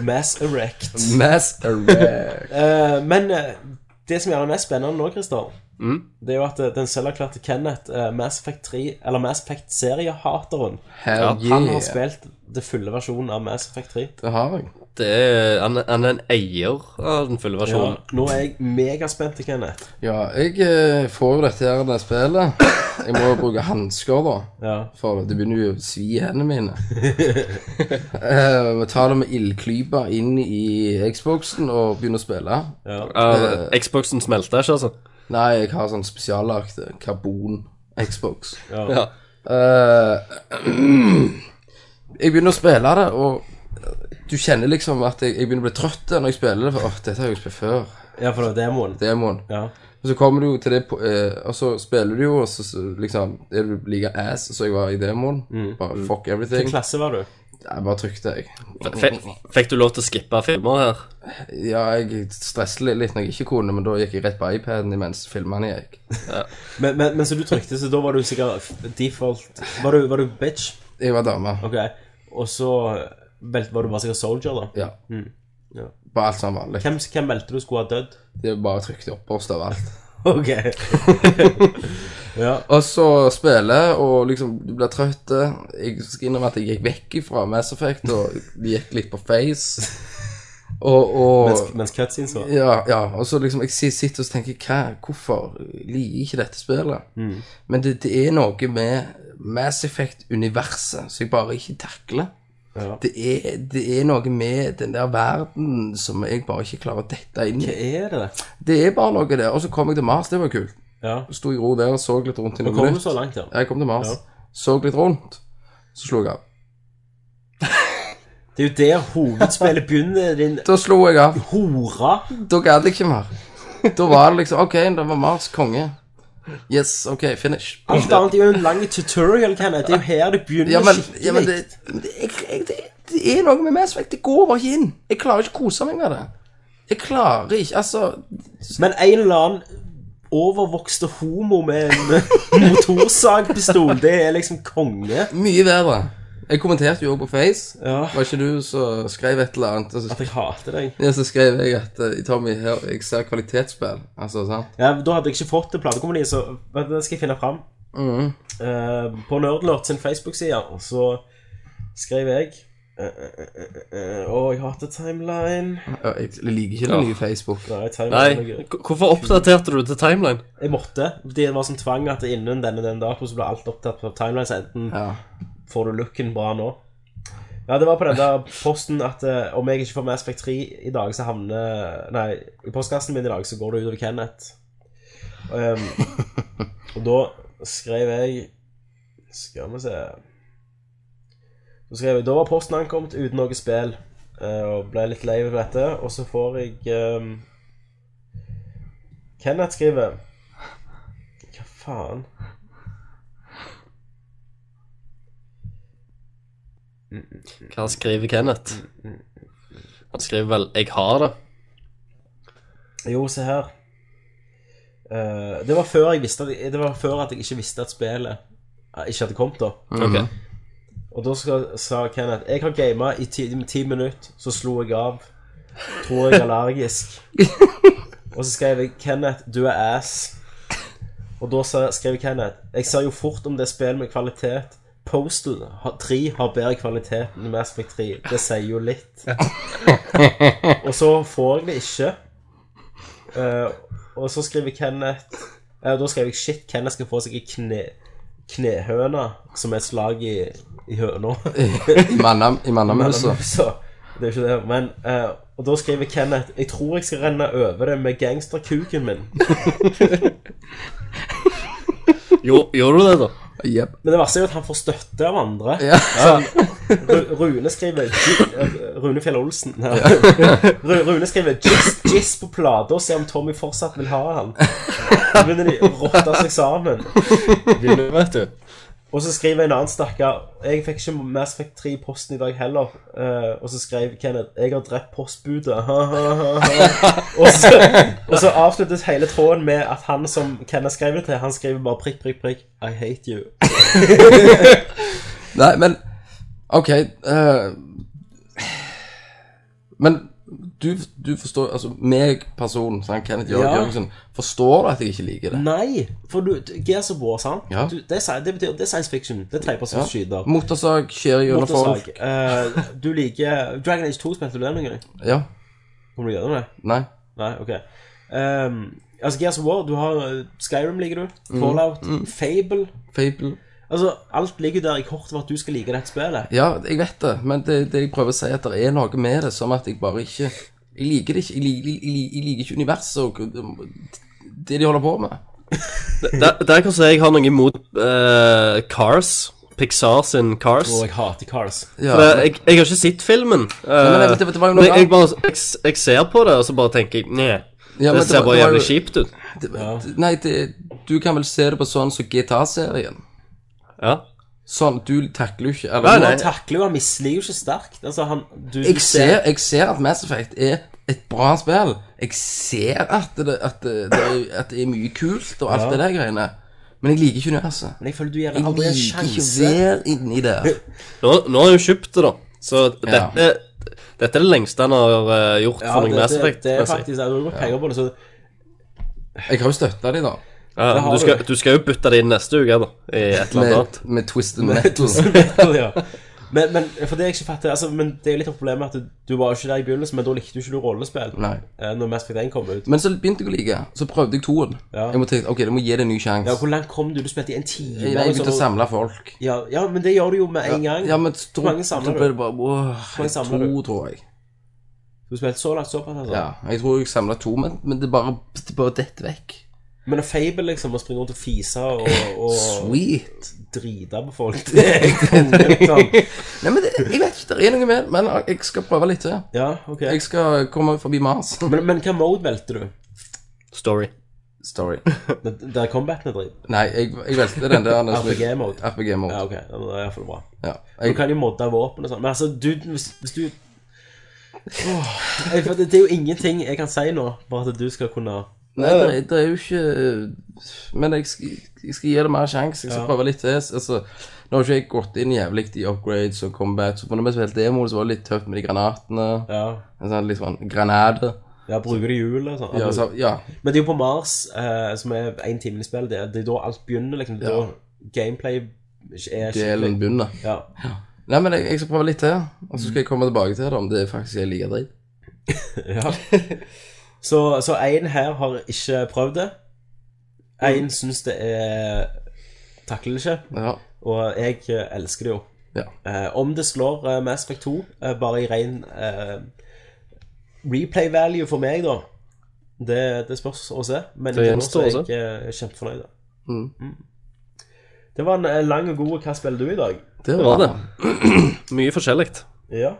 Speaker 3: Mass Erect.
Speaker 5: Mass erect.
Speaker 3: Eh, men eh, det som gjør det mest spennende nå, Christer, det er jo at eh, den selverklærte Kenneth, eh, Mass Effect 3, eller Mass Effect-seriehateren,
Speaker 5: Hell yeah.
Speaker 3: han har spilt det fulle versjonen av Mass Effect 3.
Speaker 5: Det har jeg.
Speaker 4: Det er, han, han er en eier av den fulle
Speaker 3: Ja,
Speaker 4: versjonen.
Speaker 3: nå er jeg megaspent, Kenneth.
Speaker 5: Ja, jeg eh, får jo dette her det spillet. Jeg må jo bruke hansker, da.
Speaker 3: Ja.
Speaker 5: For det begynner jo å svi i hendene mine. Eh, må ta det med ildklyper inn i Xboxen og begynne å spille.
Speaker 4: Ja, Xboxen smelter ikke, altså.
Speaker 5: Nei, jeg har sånn spesiallagt karbon-Xbox.
Speaker 4: Ja.
Speaker 5: Eh, jeg begynner å spille det, og du kjenner liksom at jeg, jeg begynner å bli trøtt når jeg spiller det. For åh, dette har jeg jo spilt før.
Speaker 3: ja, for det var demoen.
Speaker 5: Demoen.
Speaker 3: Ja.
Speaker 5: Og så kommer du jo til det po- eh, Og så spiller du jo,
Speaker 4: Mm.
Speaker 5: og så, så liksom er du like ass som jeg var i demoen. Bare fuck everything.
Speaker 3: Klasse var du.
Speaker 5: Jeg bare trykte, jeg.
Speaker 4: Fikk, fikk du lov til å skippe filmer her?
Speaker 5: Ja, jeg stresset litt- litt når jeg ikke kunne, men da gikk jeg rett på iPaden imens filmene gikk.
Speaker 3: Men, men, men så du trykte, så da var du sikkert default Var du, var du bitch?
Speaker 5: Jeg var dame.
Speaker 3: Ok. Og så vel- var du bare sikkert soldier, da.
Speaker 5: Ja.
Speaker 3: Mm. Ja.
Speaker 5: Bare alt som vanlig.
Speaker 3: Hvem, hvem meldte du skulle ha dødd?
Speaker 5: Det bare trykte oppoverst overalt.
Speaker 3: Ok. ja.
Speaker 5: Og så spille, og liksom du blir trøtt. Jeg skal innrømme at jeg gikk vekk fra Mass Effect, og det gikk litt på face. Og, og
Speaker 3: Mens, mens cutscenes var
Speaker 5: Ja, ja, og så liksom jeg si- sitter og tenker hva, hvorfor liker jeg ikke dette spillet?
Speaker 3: Mm.
Speaker 5: Men det, det er noe med Mass Effect-universet som jeg bare ikke takler.
Speaker 3: Ja.
Speaker 5: Det, er, det er noe med den der verden som jeg bare ikke klarer å dette inn
Speaker 3: Hva
Speaker 5: i.
Speaker 3: er det?
Speaker 5: Det er bare noe der. Og så kom jeg til Mars, det var kult.
Speaker 3: Ja.
Speaker 5: Sto i ro der og så litt rundt i
Speaker 3: Nå
Speaker 5: noen
Speaker 3: kom du
Speaker 5: minutter.
Speaker 3: så langt, ja.
Speaker 5: Jeg kom til Mars,
Speaker 3: Ja.
Speaker 5: så litt rundt, så slo jeg av.
Speaker 3: Det er jo der hovedspillet begynner, din
Speaker 5: Da slo jeg av.
Speaker 3: hora.
Speaker 5: Da gadd jeg ikke mer. Da var det liksom OK, det var Mars konge. Yes, OK, finish.
Speaker 3: Alt annet er jo en lang tutorial, Kenneth. Det er jo her det begynner
Speaker 5: Ja, men,
Speaker 3: skikkelig.
Speaker 5: ja, men det, men det, jeg, jeg, det, det er noe med Mass Effect. Det går bare ikke inn. Jeg klarer ikke å kose meg med det. Jeg klarer ikke Altså,
Speaker 3: Men en eller annen overvokste homo med en motorsagpistol, det er liksom konge.
Speaker 5: mye bedre. Jeg kommenterte jo også på Face.
Speaker 3: Ja.
Speaker 5: Var ikke du som skrev et eller annet? Og
Speaker 3: At
Speaker 5: så,
Speaker 3: jeg hater deg.
Speaker 5: ja, så skrev jeg at eh, Tommy, her, jeg ser kvalitetsspill. Altså, sant?
Speaker 3: Ja, da hadde jeg ikke fått det platekompaniet, så vet du, det skal jeg finne fram. Eh, på Nerdlord sin Facebook-side, og så skrev jeg eh, eh, eh, eh, Å, jeg hater timeline.
Speaker 5: Ja, Jeg liker ikke den nye Facebook.
Speaker 3: Nei, timeline er
Speaker 4: Nei.
Speaker 3: gøy.
Speaker 4: H- Hvorfor oppdaterte du til timeline?
Speaker 3: Jeg måtte. Det var som tvang at innen denne den datoen så ble alt opptatt på timeline, så enten
Speaker 5: Ja.
Speaker 3: får du looken bra nå. Ja, det var på den der posten at eh, om jeg ikke får Mass Effect 3 i dag, så havner Nei, i postkassen min i dag, så går det utover Kenneth. Um, og da skrev jeg Skal vi se Da skrev jeg Da var posten ankommet uten noe spill, eh, og ble litt lei av dette. Og så får jeg um, Kenneth skriver Hva faen?
Speaker 4: Hva skriver Kenneth? Han skriver vel 'Jeg har det'.
Speaker 3: Jo, se her. Eh, det, var før jeg visste, at- det var før at jeg ikke visste at spillet eh, ikke hadde kommet, da.
Speaker 4: Ok.
Speaker 3: Og da skal, sa Kenneth Jeg har gama i ti, ti minutter, så slo jeg av. Tror jeg er allergisk. Og så skrev jeg 'Kenneth, du er ass'. Og da sa- skrev Kenneth 'Jeg ser jo fort om det er spill med kvalitet'. Postal har- 3 har bedre kvalitet enn Mass Effect 3. Det sier jo litt. Og så får jeg det ikke. Eh, og så skriver Kenneth eh, Da skrev jeg 'Shit, Kenneth skal få seg ei kne, knehøne', som er et slag i, i høna.
Speaker 5: I manna- i mannamusa.
Speaker 3: Så, det er ikke det, men eh, Og da skriver Kenneth Jeg tror jeg skal renne over det med gangsterkuken min.
Speaker 4: Jo, gjorde du det, da?
Speaker 5: Jep.
Speaker 3: Men det verste er jo at han får støtte av andre.
Speaker 5: Ja.
Speaker 3: Ru- Rune skriver gi- eh, Rune Fjell Olsen. Nei. Ru- Rune skriver Jizz jizz på plata og se om Tommy fortsatt vil ha han. Så begynner de å rotte seg sammen.
Speaker 4: Vet du.
Speaker 3: Og så skriver en annen stakkar Jeg fikk ikke Mass Effect 3 i posten i dag heller. Eh, og så skrev Kenneth 'Jeg har drept postbudet'. og, så, og så avsluttes hele tråden med at han som Kenneth skrev det til, han skriver bare prikk, prikk, prikk 'I hate you'.
Speaker 5: Nei, men OK eh, Men du, du forstår Altså, meg personen, sånn, Kenneth Jørg
Speaker 3: Ja.
Speaker 5: Jørgensen, forstår du at jeg ikke liker det?
Speaker 3: Nei, for du, du- Gears of War, sant?
Speaker 5: Ja.
Speaker 3: Du, det, er, sci- det betyr det er science fiction. Det er
Speaker 5: Ja.
Speaker 3: tredjepersonsskyter. Ja.
Speaker 5: Motorsag skjer gjennom folk.
Speaker 3: Motorsag. Eh, du liker Dragon Age 2 spilte du det noen gang?
Speaker 5: Ja.
Speaker 3: Kommer du gjøre det?
Speaker 5: Nei.
Speaker 3: Nei, ok. Ehm, altså, Gears of War, du har eh, Skyrim, liker du.
Speaker 5: Mm.
Speaker 3: Fallout. Fable.
Speaker 5: Fable.
Speaker 3: Altså, alt ligger der i kortet for at du skal like dette spillet.
Speaker 5: Ja, jeg vet det, men det, det jeg prøver å si, er at det er noe med det som at jeg bare ikke Jeg liker det ikke. Jeg, li- li- jeg, li- jeg liker ikke universet og det de holder på med.
Speaker 4: Der, der kan jeg si jeg har noe imot eh, Cars. Pixar sin Cars.
Speaker 3: Og jeg hater Cars.
Speaker 5: Ja,
Speaker 4: For jeg, jeg, jeg har ikke sett filmen. eh,
Speaker 5: men jeg vet- det var jo noe
Speaker 4: men jeg,
Speaker 5: annet.
Speaker 4: bare, jeg, s- jeg ser på det, og så bare tenker jeg Nei,
Speaker 5: ja, men
Speaker 4: det ser
Speaker 5: var- det var
Speaker 4: bare
Speaker 5: jo-
Speaker 4: jævlig kjipt ut.
Speaker 5: det- Nei, det, du kan vel se det på sånn som GTA-serien.
Speaker 4: Ja.
Speaker 5: Sånn, du takler jo ikke
Speaker 4: Nei,
Speaker 5: eller,
Speaker 4: nei.
Speaker 3: Han takler jo, han misliker jo ikke sterkt. Altså, han du, du
Speaker 5: Jeg, ser, jeg ser at Mass Effect er et bra spill. Jeg ser at det, at det, det, er, at det er mye kult og alt
Speaker 3: Ja.
Speaker 5: det der greiene. Men jeg liker ikke universet.
Speaker 3: Men jeg føler du gir det
Speaker 5: Jeg
Speaker 3: aldri en
Speaker 5: liker ikke å
Speaker 3: sjanse.
Speaker 5: være inni der.
Speaker 4: Nå, nå har jeg jo kjøpt det, da. Så
Speaker 5: Ja.
Speaker 4: dette, dette er det lengste han har eh, gjort
Speaker 3: Ja,
Speaker 4: for
Speaker 3: det,
Speaker 4: noen Mass
Speaker 3: det,
Speaker 4: Effect.
Speaker 3: det er
Speaker 5: altså.
Speaker 4: vil jeg si.
Speaker 3: faktisk altså, Du har gått penger på det, så
Speaker 5: Jeg har jo støtta de, da.
Speaker 4: Ja,
Speaker 3: det har
Speaker 4: du, skal,
Speaker 3: du.
Speaker 4: du skal jo bytte det inn neste uke, da. I et eller annet
Speaker 5: Med,
Speaker 4: annet.
Speaker 5: med Twisted Metal.
Speaker 3: ja. men, men for det jeg ikke fatter altså, Men det er jo litt av problemet at du, du var jo ikke der i begynnelsen, men da likte du ikke du rollespill.
Speaker 5: Nei.
Speaker 3: eh, Når Mass Effect 1 kom ut.
Speaker 5: Men så begynte jeg å like. Så prøvde jeg toen.
Speaker 3: Ja.
Speaker 5: Jeg må tenke, ok, jeg må gi det en ny
Speaker 3: Ja,
Speaker 5: sjanse.
Speaker 3: Hvor langt kom du? Du spilte i en time?
Speaker 5: Jeg jeg
Speaker 3: liksom,
Speaker 5: begynte å
Speaker 3: og-
Speaker 5: samle folk.
Speaker 3: ja, ja, men det gjør du jo med en gang.
Speaker 5: Ja, men så,
Speaker 3: Hvor mange
Speaker 5: så
Speaker 3: samler
Speaker 5: ble
Speaker 3: du?
Speaker 5: det bare åh,
Speaker 3: mange samler
Speaker 5: to,
Speaker 3: du?
Speaker 5: tror jeg.
Speaker 3: Du spilte så langt såpass, altså.
Speaker 5: Ja, jeg tror jeg samla to, men, men det bare, det bare detter vekk.
Speaker 3: Men å fable, liksom, å springe rundt og fise og, og
Speaker 5: Sweet.
Speaker 3: drite på folk Det er kongen, sånn.
Speaker 5: Nei, men det, jeg vet ikke, det er noe med men jeg skal prøve litt til.
Speaker 3: Ja, ok.
Speaker 5: Jeg skal komme forbi Mars.
Speaker 3: Men, men hva mode valgte du?
Speaker 4: Story.
Speaker 5: Story.
Speaker 3: Der- Der combaten er dritt?
Speaker 5: Nei, jeg, jeg valgte den der den som-
Speaker 3: RPG-mode? Ja,
Speaker 5: RPG-mode.
Speaker 3: ok. Ja, men Det er iallfall bra.
Speaker 5: Ja.
Speaker 3: Du
Speaker 5: Jeg,
Speaker 3: kan jo modde våpen og sånn. Men altså, du Hvis, hvis du Åh, jeg, for det, det er jo ingenting jeg kan si nå, bare at du skal kunne
Speaker 5: nei, det, er- det er jo ikke Men jeg skal, jeg skal gi det mer sjanse. Jeg skal
Speaker 3: Ja.
Speaker 5: prøve litt til. Altså, nå har ikke jeg gått inn jævlig i upgrades og combat, så for når vi spilte demo, så var det litt tøft med de granatene.
Speaker 3: Ja,
Speaker 5: En sånn litt sånn granate.
Speaker 3: ja bruker du hjulet og sånn.
Speaker 5: Ja, så, ja.
Speaker 3: Men det er jo på Mars, eh, som er én time i spillet, det, er- det er da alt begynner, liksom. Det er da gameplay er
Speaker 5: Delen
Speaker 3: skikkelig
Speaker 5: begynner.
Speaker 3: ja.
Speaker 5: Nei, men jeg, jeg skal prøve litt til, og så skal jeg komme tilbake til det om det faktisk er like dritt.
Speaker 3: Ja. Så, så en her har ikke prøvd det. En syns det er Takler det ikke.
Speaker 5: Ja.
Speaker 3: Og jeg eh, elsker det jo.
Speaker 5: Ja.
Speaker 3: Eh, om det slår eh, Mass Effect 2, eh, bare i ren eh, replay value for meg, da Det, det spørs å se. Men
Speaker 4: Det
Speaker 3: det gjenstår
Speaker 4: gjenstår
Speaker 3: å
Speaker 4: å
Speaker 3: Jeg eh, er kjempefornøyd. da.
Speaker 5: Mm.
Speaker 3: Det var en eh, lang og god Hva spiller du i dag?
Speaker 5: Det
Speaker 4: var det. Mye forskjellig.
Speaker 3: Ja.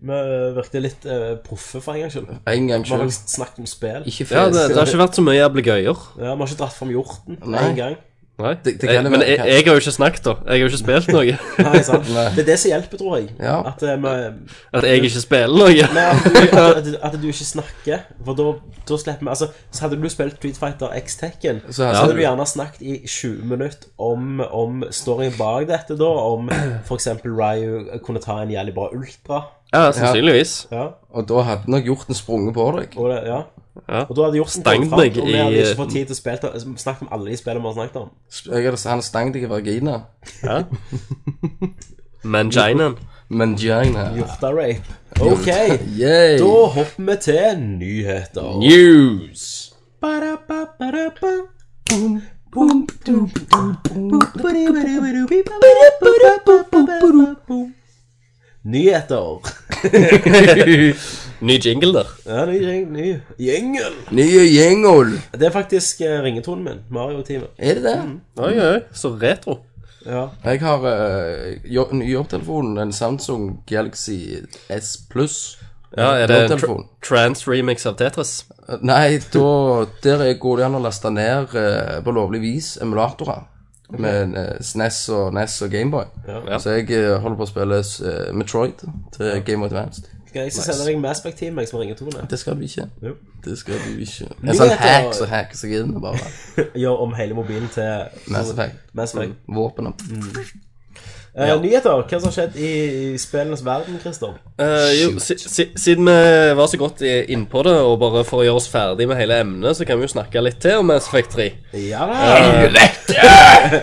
Speaker 3: Vi virket litt eh, proffe for en gangs skyld.
Speaker 5: En gang
Speaker 3: Vi har
Speaker 5: sjøl.
Speaker 3: faktisk snakket om spill.
Speaker 5: Ikke fes.
Speaker 4: Ja, det, det har ikke vært så mye jævlig gøyer.
Speaker 3: Ja, Vi har ikke dratt fram hjorten
Speaker 5: Nei.
Speaker 3: én gang.
Speaker 4: Nei.
Speaker 5: Det- det kan det
Speaker 4: men
Speaker 5: være.
Speaker 4: jeg, jeg har jo ikke snakket, da. Jeg har jo ikke spilt noe.
Speaker 3: Nei, sant?
Speaker 5: Nei.
Speaker 3: Det er det som hjelper, tror jeg.
Speaker 5: Ja.
Speaker 3: At, eh, med,
Speaker 4: At jeg ikke spiller noe.
Speaker 3: nei, at, du, at, at, at du ikke snakker. For da, da slipper vi altså, så Hadde du spilt Street Fighter X Tekken,
Speaker 5: Så
Speaker 3: så,
Speaker 5: hadde du-
Speaker 3: hadde du gjerne snakket i 20 minutter om, om storyen bak dette, da. Om f.eks. Ryu kunne ta en jævlig bra ultra.
Speaker 4: Ja, sannsynligvis.
Speaker 3: Ja,
Speaker 5: Og da hadde nok hjorten sprunget på deg.
Speaker 3: og, det, ja.
Speaker 4: Ja.
Speaker 3: og da hadde Hjorten
Speaker 4: Stang
Speaker 3: kommet fram,
Speaker 4: meg
Speaker 3: og vi hadde
Speaker 4: i-
Speaker 3: ikke fått tid til å spille, snakke om alle de spillene vi har snakket om.
Speaker 5: Jeg hadde, han stang deg i vagina.
Speaker 4: Manginaen.
Speaker 5: Men Jane
Speaker 3: Hjorta-rape. OK,
Speaker 5: Yay.
Speaker 3: da hopper vi til nyheter.
Speaker 4: News.
Speaker 3: Nyheter.
Speaker 4: Ny jingle der.
Speaker 3: Ja, ny, gjeng- ny gjengel.
Speaker 5: Nye gjengol.
Speaker 3: Det er faktisk eh, ringetonen min. Mario-teamet.
Speaker 5: Er det det?
Speaker 3: Mm.
Speaker 4: Oi, oi. Så retro.
Speaker 3: Ja.
Speaker 5: Jeg har eh, jo, ny jobbtelefon. En Samsung Galaxy S Pluss.
Speaker 4: Ja, er det en tr
Speaker 5: Jobbtelefon. Eh,
Speaker 4: trans-remix av Tetris?
Speaker 5: Nei, da Der er- går det an å laste ned eh, på lovlig vis emulatorer. Med eh, SNES og NES og Gameboy.
Speaker 4: Ja.
Speaker 5: Så jeg eh, holder på å spille eh, Metroid til Game of Advanced.
Speaker 3: Skal jeg ikke sende deg Maspect-teamet som ringetone?
Speaker 5: Det skal du ikke.
Speaker 3: Jo.
Speaker 5: Det skal du ikke. En
Speaker 3: Nyheter.
Speaker 5: sånn hack som hacker seg inn og bare
Speaker 3: Gjør om hele mobilen til
Speaker 5: Mass Effect.
Speaker 3: Mass Effect.
Speaker 5: Våpen opp.
Speaker 3: Eh, Nyheter. Hva som har skjedd i, i spillenes verden, Christer?
Speaker 4: Eh, jo, si, si, siden vi var så godt i- innpå det, og bare for å gjøre oss ferdig med hele emnet, så kan vi jo snakke litt til om Mass Effect 3.
Speaker 3: Ja da.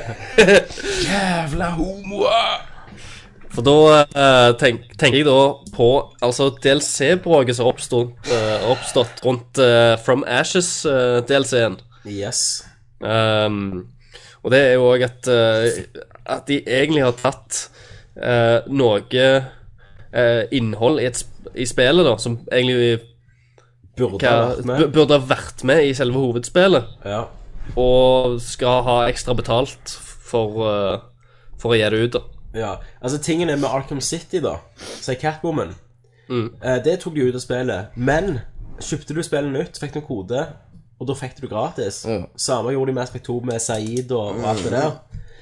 Speaker 5: Jævla homoer!
Speaker 4: For da eh, tenk, tenker jeg da på altså DLC-bråket som har oppstått, eh, oppstått rundt eh, From eh, Ashes-DLC-en.
Speaker 3: Yes.
Speaker 4: Um, og det er jo òg at, eh, at de egentlig har tatt eh, noe eh, innhold i, et, sp- i spillet, da, som egentlig
Speaker 3: Burde
Speaker 4: hva,
Speaker 3: ha vært
Speaker 4: bu-
Speaker 3: med.
Speaker 4: burde ha vært med i selve hovedspillet.
Speaker 3: Ja.
Speaker 4: og skal ha ekstra betalt for, eh, for å gi det ut. da.
Speaker 3: Ja, altså tingen er med Arkham City da Sier Catwoman eh, Det tok de ut av spillet Men kjøpte du spillet nytt, fikk du en kode Og da fikk du det gratis
Speaker 5: Ja.
Speaker 3: Samme gjorde de med Aspect 2 med Said og, og alt det der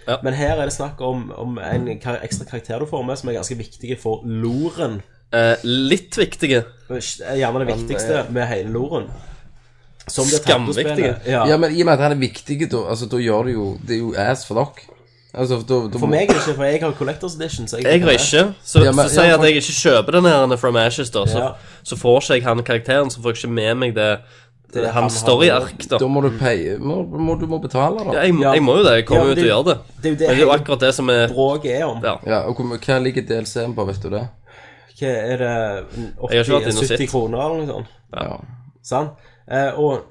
Speaker 4: Ja.
Speaker 3: Men her er det snakk om, om en kar ekstra karakter du får med, som er ganske viktig for loren.
Speaker 4: Eh, litt viktige.
Speaker 3: Det er Gjerne det viktigste med hele loren. Som det tapte spillet.
Speaker 4: Skamviktige.
Speaker 3: Ja.
Speaker 5: Ja, men i og med at han er viktig, da altså, da gjør det jo Det er jo ass for dere. Altså, da, da
Speaker 3: For
Speaker 5: må-
Speaker 3: meg er det ikke, for jeg har Collectors Edition. Så jeg,
Speaker 4: Jeg har ikke. Så,
Speaker 5: Ja, men-
Speaker 4: så sier
Speaker 5: ja,
Speaker 4: jeg at
Speaker 5: for-
Speaker 4: jeg ikke kjøper den her From Ashes, da. Så,
Speaker 3: Ja.
Speaker 4: så får ikke jeg han karakteren, så får jeg ikke med meg det,
Speaker 3: Det han
Speaker 4: hans
Speaker 3: har-
Speaker 4: storyark, da.
Speaker 5: Da må du paye må, må, Du må betale, da.
Speaker 4: Ja, jeg,
Speaker 3: Ja.
Speaker 4: jeg må jo det. Jeg kommer
Speaker 3: Ja, men
Speaker 4: jo til å gjøre det.
Speaker 3: det er jo det
Speaker 4: Men det er jo
Speaker 3: hele-
Speaker 4: akkurat det som er
Speaker 3: Bråket er om.
Speaker 4: Ja.
Speaker 5: Ja, og hvor, Hva ligger DLC-en på, vet du det?
Speaker 3: Hva er det
Speaker 4: Jeg har ikke vært inne og
Speaker 3: 80-70
Speaker 4: sett.
Speaker 3: kroner eller noe sånt?
Speaker 5: Ja.
Speaker 3: Sant? Eh, og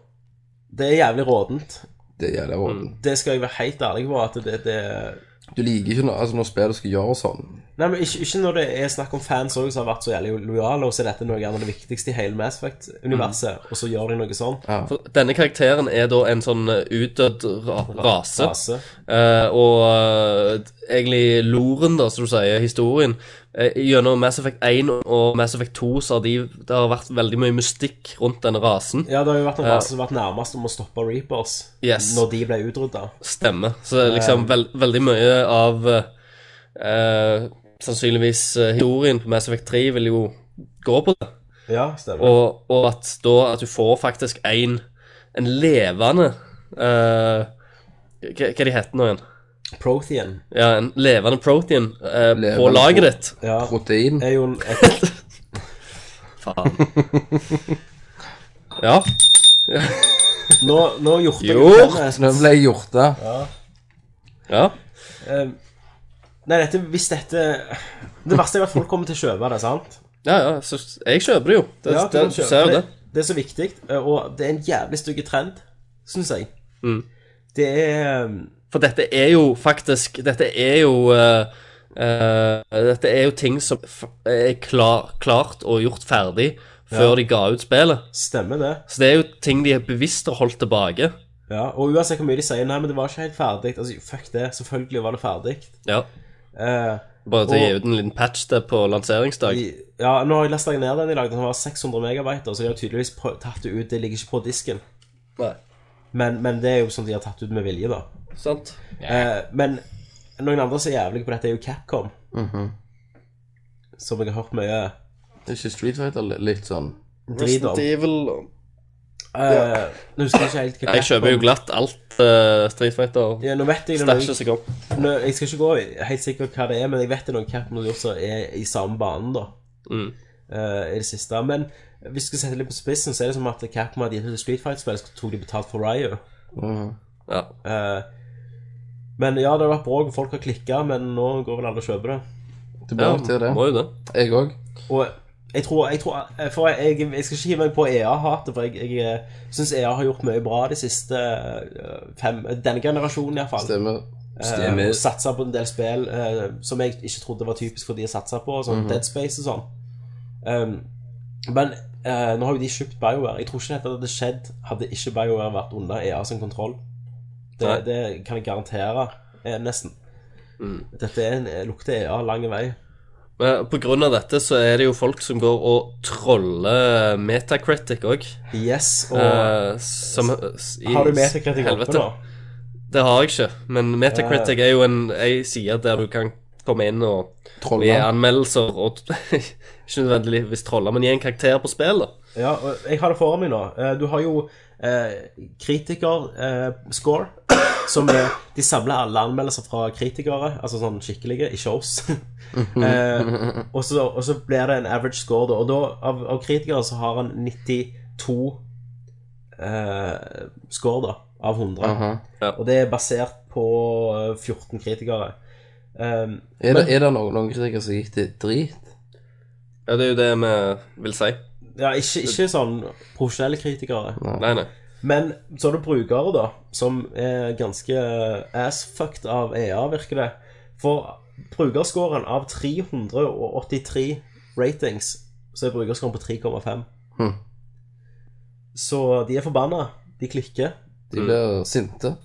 Speaker 3: det er jævlig rådent.
Speaker 5: Det er jævlig råd.
Speaker 4: Mm.
Speaker 3: Det skal jeg være helt ærlig på. at det, det
Speaker 5: Du liker ikke når, altså, når spillet skal gjøre sånn.
Speaker 3: Nei, men ikke, ikke når det er snakk om fans også, som har vært så jævlig lojale, og så er dette noe av det viktigste i hele Mass Effect-universet,
Speaker 4: Mm.
Speaker 3: og så gjør de noe sånn.
Speaker 4: For denne karakteren er da en sånn eh, utdødd ra rase.
Speaker 3: Rase.
Speaker 4: Eh, og eh, egentlig loren, da, som du sier, historien eh, Gjennom Mass Effect 1 og Mass Effect 2 så har de, det har vært veldig mye mystikk rundt denne rasen.
Speaker 3: Ja, det har jo vært en rase som har vært nærmest om å stoppe Reapers
Speaker 4: Yes.
Speaker 3: når de ble utrydda.
Speaker 4: Stemmer. Så det er liksom vel- veldig mye av eh, eh, Sannsynligvis eh, historien på Mass Effect 3 vil jo gå på det.
Speaker 3: Ja, stemmer.
Speaker 4: Og, og at da at du får faktisk en, en levende eh, Hva hva de heter nå igjen?
Speaker 3: Prothean.
Speaker 4: Ja, en levende protein eh, på
Speaker 5: Levende
Speaker 4: laget
Speaker 5: pro-
Speaker 4: ditt.
Speaker 3: Ja,
Speaker 5: Protein.
Speaker 3: er jo en, et,
Speaker 4: Faen. Ja.
Speaker 3: Nå, nå gjorde jeg
Speaker 4: Gjort.
Speaker 5: Nå ble jeg gjort det.
Speaker 4: ja.
Speaker 3: Ehm, Nei, dette, hvis dette Det verste er at folk kommer til å kjøpe det, sant?
Speaker 4: Ja, ja, så jeg kjøper det jo. Det,
Speaker 3: Ja,
Speaker 4: det,
Speaker 3: kan
Speaker 4: du
Speaker 3: kjøpe
Speaker 4: ser jo det.
Speaker 3: Det er så viktig, eh, og det er en jævlig stygg trend, syns jeg.
Speaker 4: Mm.
Speaker 3: Det er ehm,
Speaker 4: For dette er jo faktisk Dette er jo eh, eh, Dette er jo ting som f er klar, klart og gjort ferdig før de ga ut spillet.
Speaker 3: Stemmer det.
Speaker 4: Så det er jo ting de er bevisst har holdt tilbake.
Speaker 3: Ja, Og uansett hvor mye de sier 'nei, men det var ikke helt ferdig', altså fuck det, selvfølgelig var det ferdig.
Speaker 4: Ja.
Speaker 3: Eh,
Speaker 4: Bare til å gi
Speaker 3: Og-
Speaker 4: ut en liten patch der på lanseringsdag.
Speaker 3: i- ja, nå har jeg lasta ned den i dag, den var 600 megabyte, så de har tydeligvis prø- tatt det ut, det ligger ikke på disken.
Speaker 4: Nei.
Speaker 3: Men, men det er jo som de har tatt ut med vilje, da.
Speaker 4: Sant?
Speaker 3: Eh, men noen andre som er jævlige på dette, er jo Capcom. Som jeg har hørt mye
Speaker 5: Det er ikke Street Fighter li- litt sånn
Speaker 3: drit om. Eh, Nå husker jeg ikke helt hva
Speaker 4: Jeg kjøper jo glatt alt eh, Street Fighter.
Speaker 3: Ja, nå vet jeg det er noe-
Speaker 4: Stæsjer seg opp.
Speaker 3: Nå, jeg skal ikke gå i- helt sikkert hva det er, men jeg vet det er noen Captain har gjort som er i samme banen, da.
Speaker 4: Mm.
Speaker 3: Eh, I det siste. Men hvis vi skal sette det litt på spissen, så er det som at Captain hadde gitt ut et Street Fight-spill, så tok de betalt for Ryo.
Speaker 5: Mhm.
Speaker 4: Ja.
Speaker 3: Men ja, det har vært bråk, og folk har klikka, men nå går vel alle og kjøper det.
Speaker 5: Det
Speaker 4: ja,
Speaker 5: blir nok til det.
Speaker 4: må jo det.
Speaker 5: Jeg òg.
Speaker 3: Og jeg tror, jeg, tror, eh, for jeg, jeg skal ikke hive meg på EA-hatet, for jeg, eh, jeg syns EA har gjort mye bra de siste eh, fem Denne generasjonen, iallfall.
Speaker 5: Stemmer.
Speaker 3: Eh, og satsa på en del spill eh, som jeg ikke trodde var typisk for de å satse på, sånn
Speaker 5: Mhm.
Speaker 3: Dead Space og sånn. Um, men eh, nå har jo de kjøpt BioWare. Jeg tror ikke dette hadde skjedd hadde ikke BioWare vært under EA sin kontroll.
Speaker 4: Nei.
Speaker 3: Det, det kan jeg garantere, eh, nesten.
Speaker 5: Mm.
Speaker 3: Dette er en, eh, lukter EA lang vei.
Speaker 4: Men på grunn av dette så er det jo folk som går og troller eh, Metacritic òg.
Speaker 3: Yes, og
Speaker 5: Eh,
Speaker 4: som i
Speaker 3: har du Metacritic oppe
Speaker 4: helvete.
Speaker 3: nå?
Speaker 4: Det har jeg ikke. Men Metacritic er jo en ei side der du kan komme inn og
Speaker 5: Trolla.
Speaker 4: gi anmeldelser og Ikke nødvendigvis trolle, men gi en karakter på spill, da.
Speaker 3: Ja, og jeg har det foran meg nå. Eh, Du har jo eh, kritiker-score, som er De samler alle anmeldelser fra kritikere, altså sånn skikkelige, ikke oss. eh, og, så, og så blir det en average score, da. Og da, av, av kritikere så har han 92 eh, score, da, av 100.
Speaker 5: Mhm.
Speaker 4: Ja.
Speaker 3: Og det er basert på eh, 14 kritikere. Um,
Speaker 5: Er det, er det noen, noen kritikere som gikk til drit?
Speaker 4: Ja, det er jo det vi vil si.
Speaker 3: ja, ikke, ikke sånn profesjonelle kritikere.
Speaker 4: Nei, nei.
Speaker 3: Men så har du brukere, da, som er ganske ass-fucked av EA, virker det. For brukerscoren av 383 ratings, så er brukerscoren på 3,5.
Speaker 5: Hm.
Speaker 3: Så de er forbanna. De klikker.
Speaker 5: De
Speaker 4: Mm.
Speaker 5: blir sinte.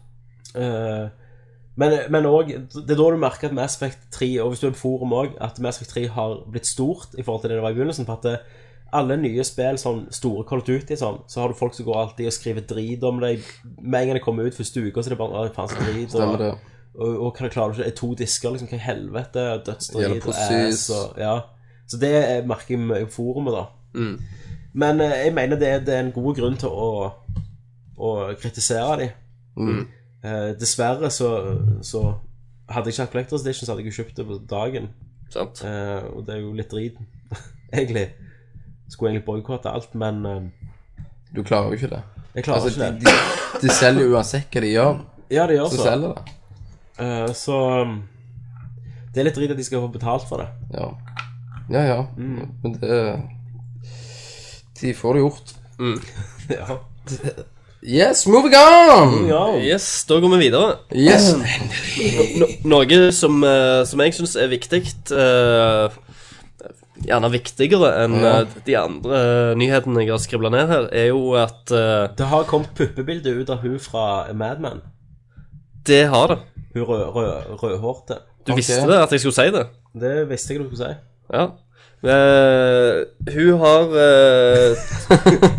Speaker 3: Eh, men, men også, det er da du merker at Mass Effect 3, og hvis du er på forum òg, at Mass Effect 3 har blitt stort i forhold til det det var i begynnelsen. på at det, alle nye spill, sånn store Call of Duty, sånn, så har du folk som går alltid og skriver drit om deg. Med en gang det kommer ut første uka, så er det bare «Å, faen så drit.
Speaker 5: Stemmer
Speaker 3: Og,
Speaker 5: det.
Speaker 3: Og, og hva klarer du ikke? Er to disker, liksom? Hva i helvete?
Speaker 5: Gjelder
Speaker 3: Dødsdrit og ass
Speaker 5: pussies.
Speaker 3: og Ja. Så det er- merker jeg mye på forumet, da.
Speaker 5: Mm.
Speaker 3: Men eh, jeg mener det, er- det er en god grunn til å, å kritisere dem.
Speaker 5: Mhm.
Speaker 4: Mm.
Speaker 3: Eh, dessverre så, så hadde jeg ikke hatt Collectors Edition, så hadde jeg jo kjøpt det på dagen.
Speaker 4: Sant?
Speaker 3: Eh, og det er jo litt drit, egentlig. Skulle egentlig boikotte alt, men eh,
Speaker 5: Du klarer jo ikke det.
Speaker 3: jeg klarer
Speaker 5: Altså, de,
Speaker 3: ikke det.
Speaker 5: de, de selger jo uansett hva de gjør,
Speaker 3: Ja, det gjør
Speaker 5: så
Speaker 3: så.
Speaker 5: selger det.
Speaker 3: Eh, så um, det er litt drit at de skal få betalt for det.
Speaker 5: Ja, ja. ja.
Speaker 4: Mm.
Speaker 5: Men det De får det gjort.
Speaker 3: Ja.
Speaker 5: Yes, moving on!
Speaker 3: ja.
Speaker 4: Yes, da går vi videre.
Speaker 5: Yes.
Speaker 4: Mm. No, noe som, eh, som jeg syns er viktig eh, Gjerne viktigere enn
Speaker 5: Ja.
Speaker 4: eh, de andre eh, nyhetene jeg har skribla ned her, er jo at eh,
Speaker 3: Det har kommet puppebilde ut av hun fra Mad Men.
Speaker 4: det har det.
Speaker 3: Hun rød, rød, rødhårte.
Speaker 4: Du
Speaker 5: Ok.
Speaker 4: visste det, at jeg skulle si det.
Speaker 3: Det visste jeg du skulle si.
Speaker 4: Ja. Eh, hun har eh,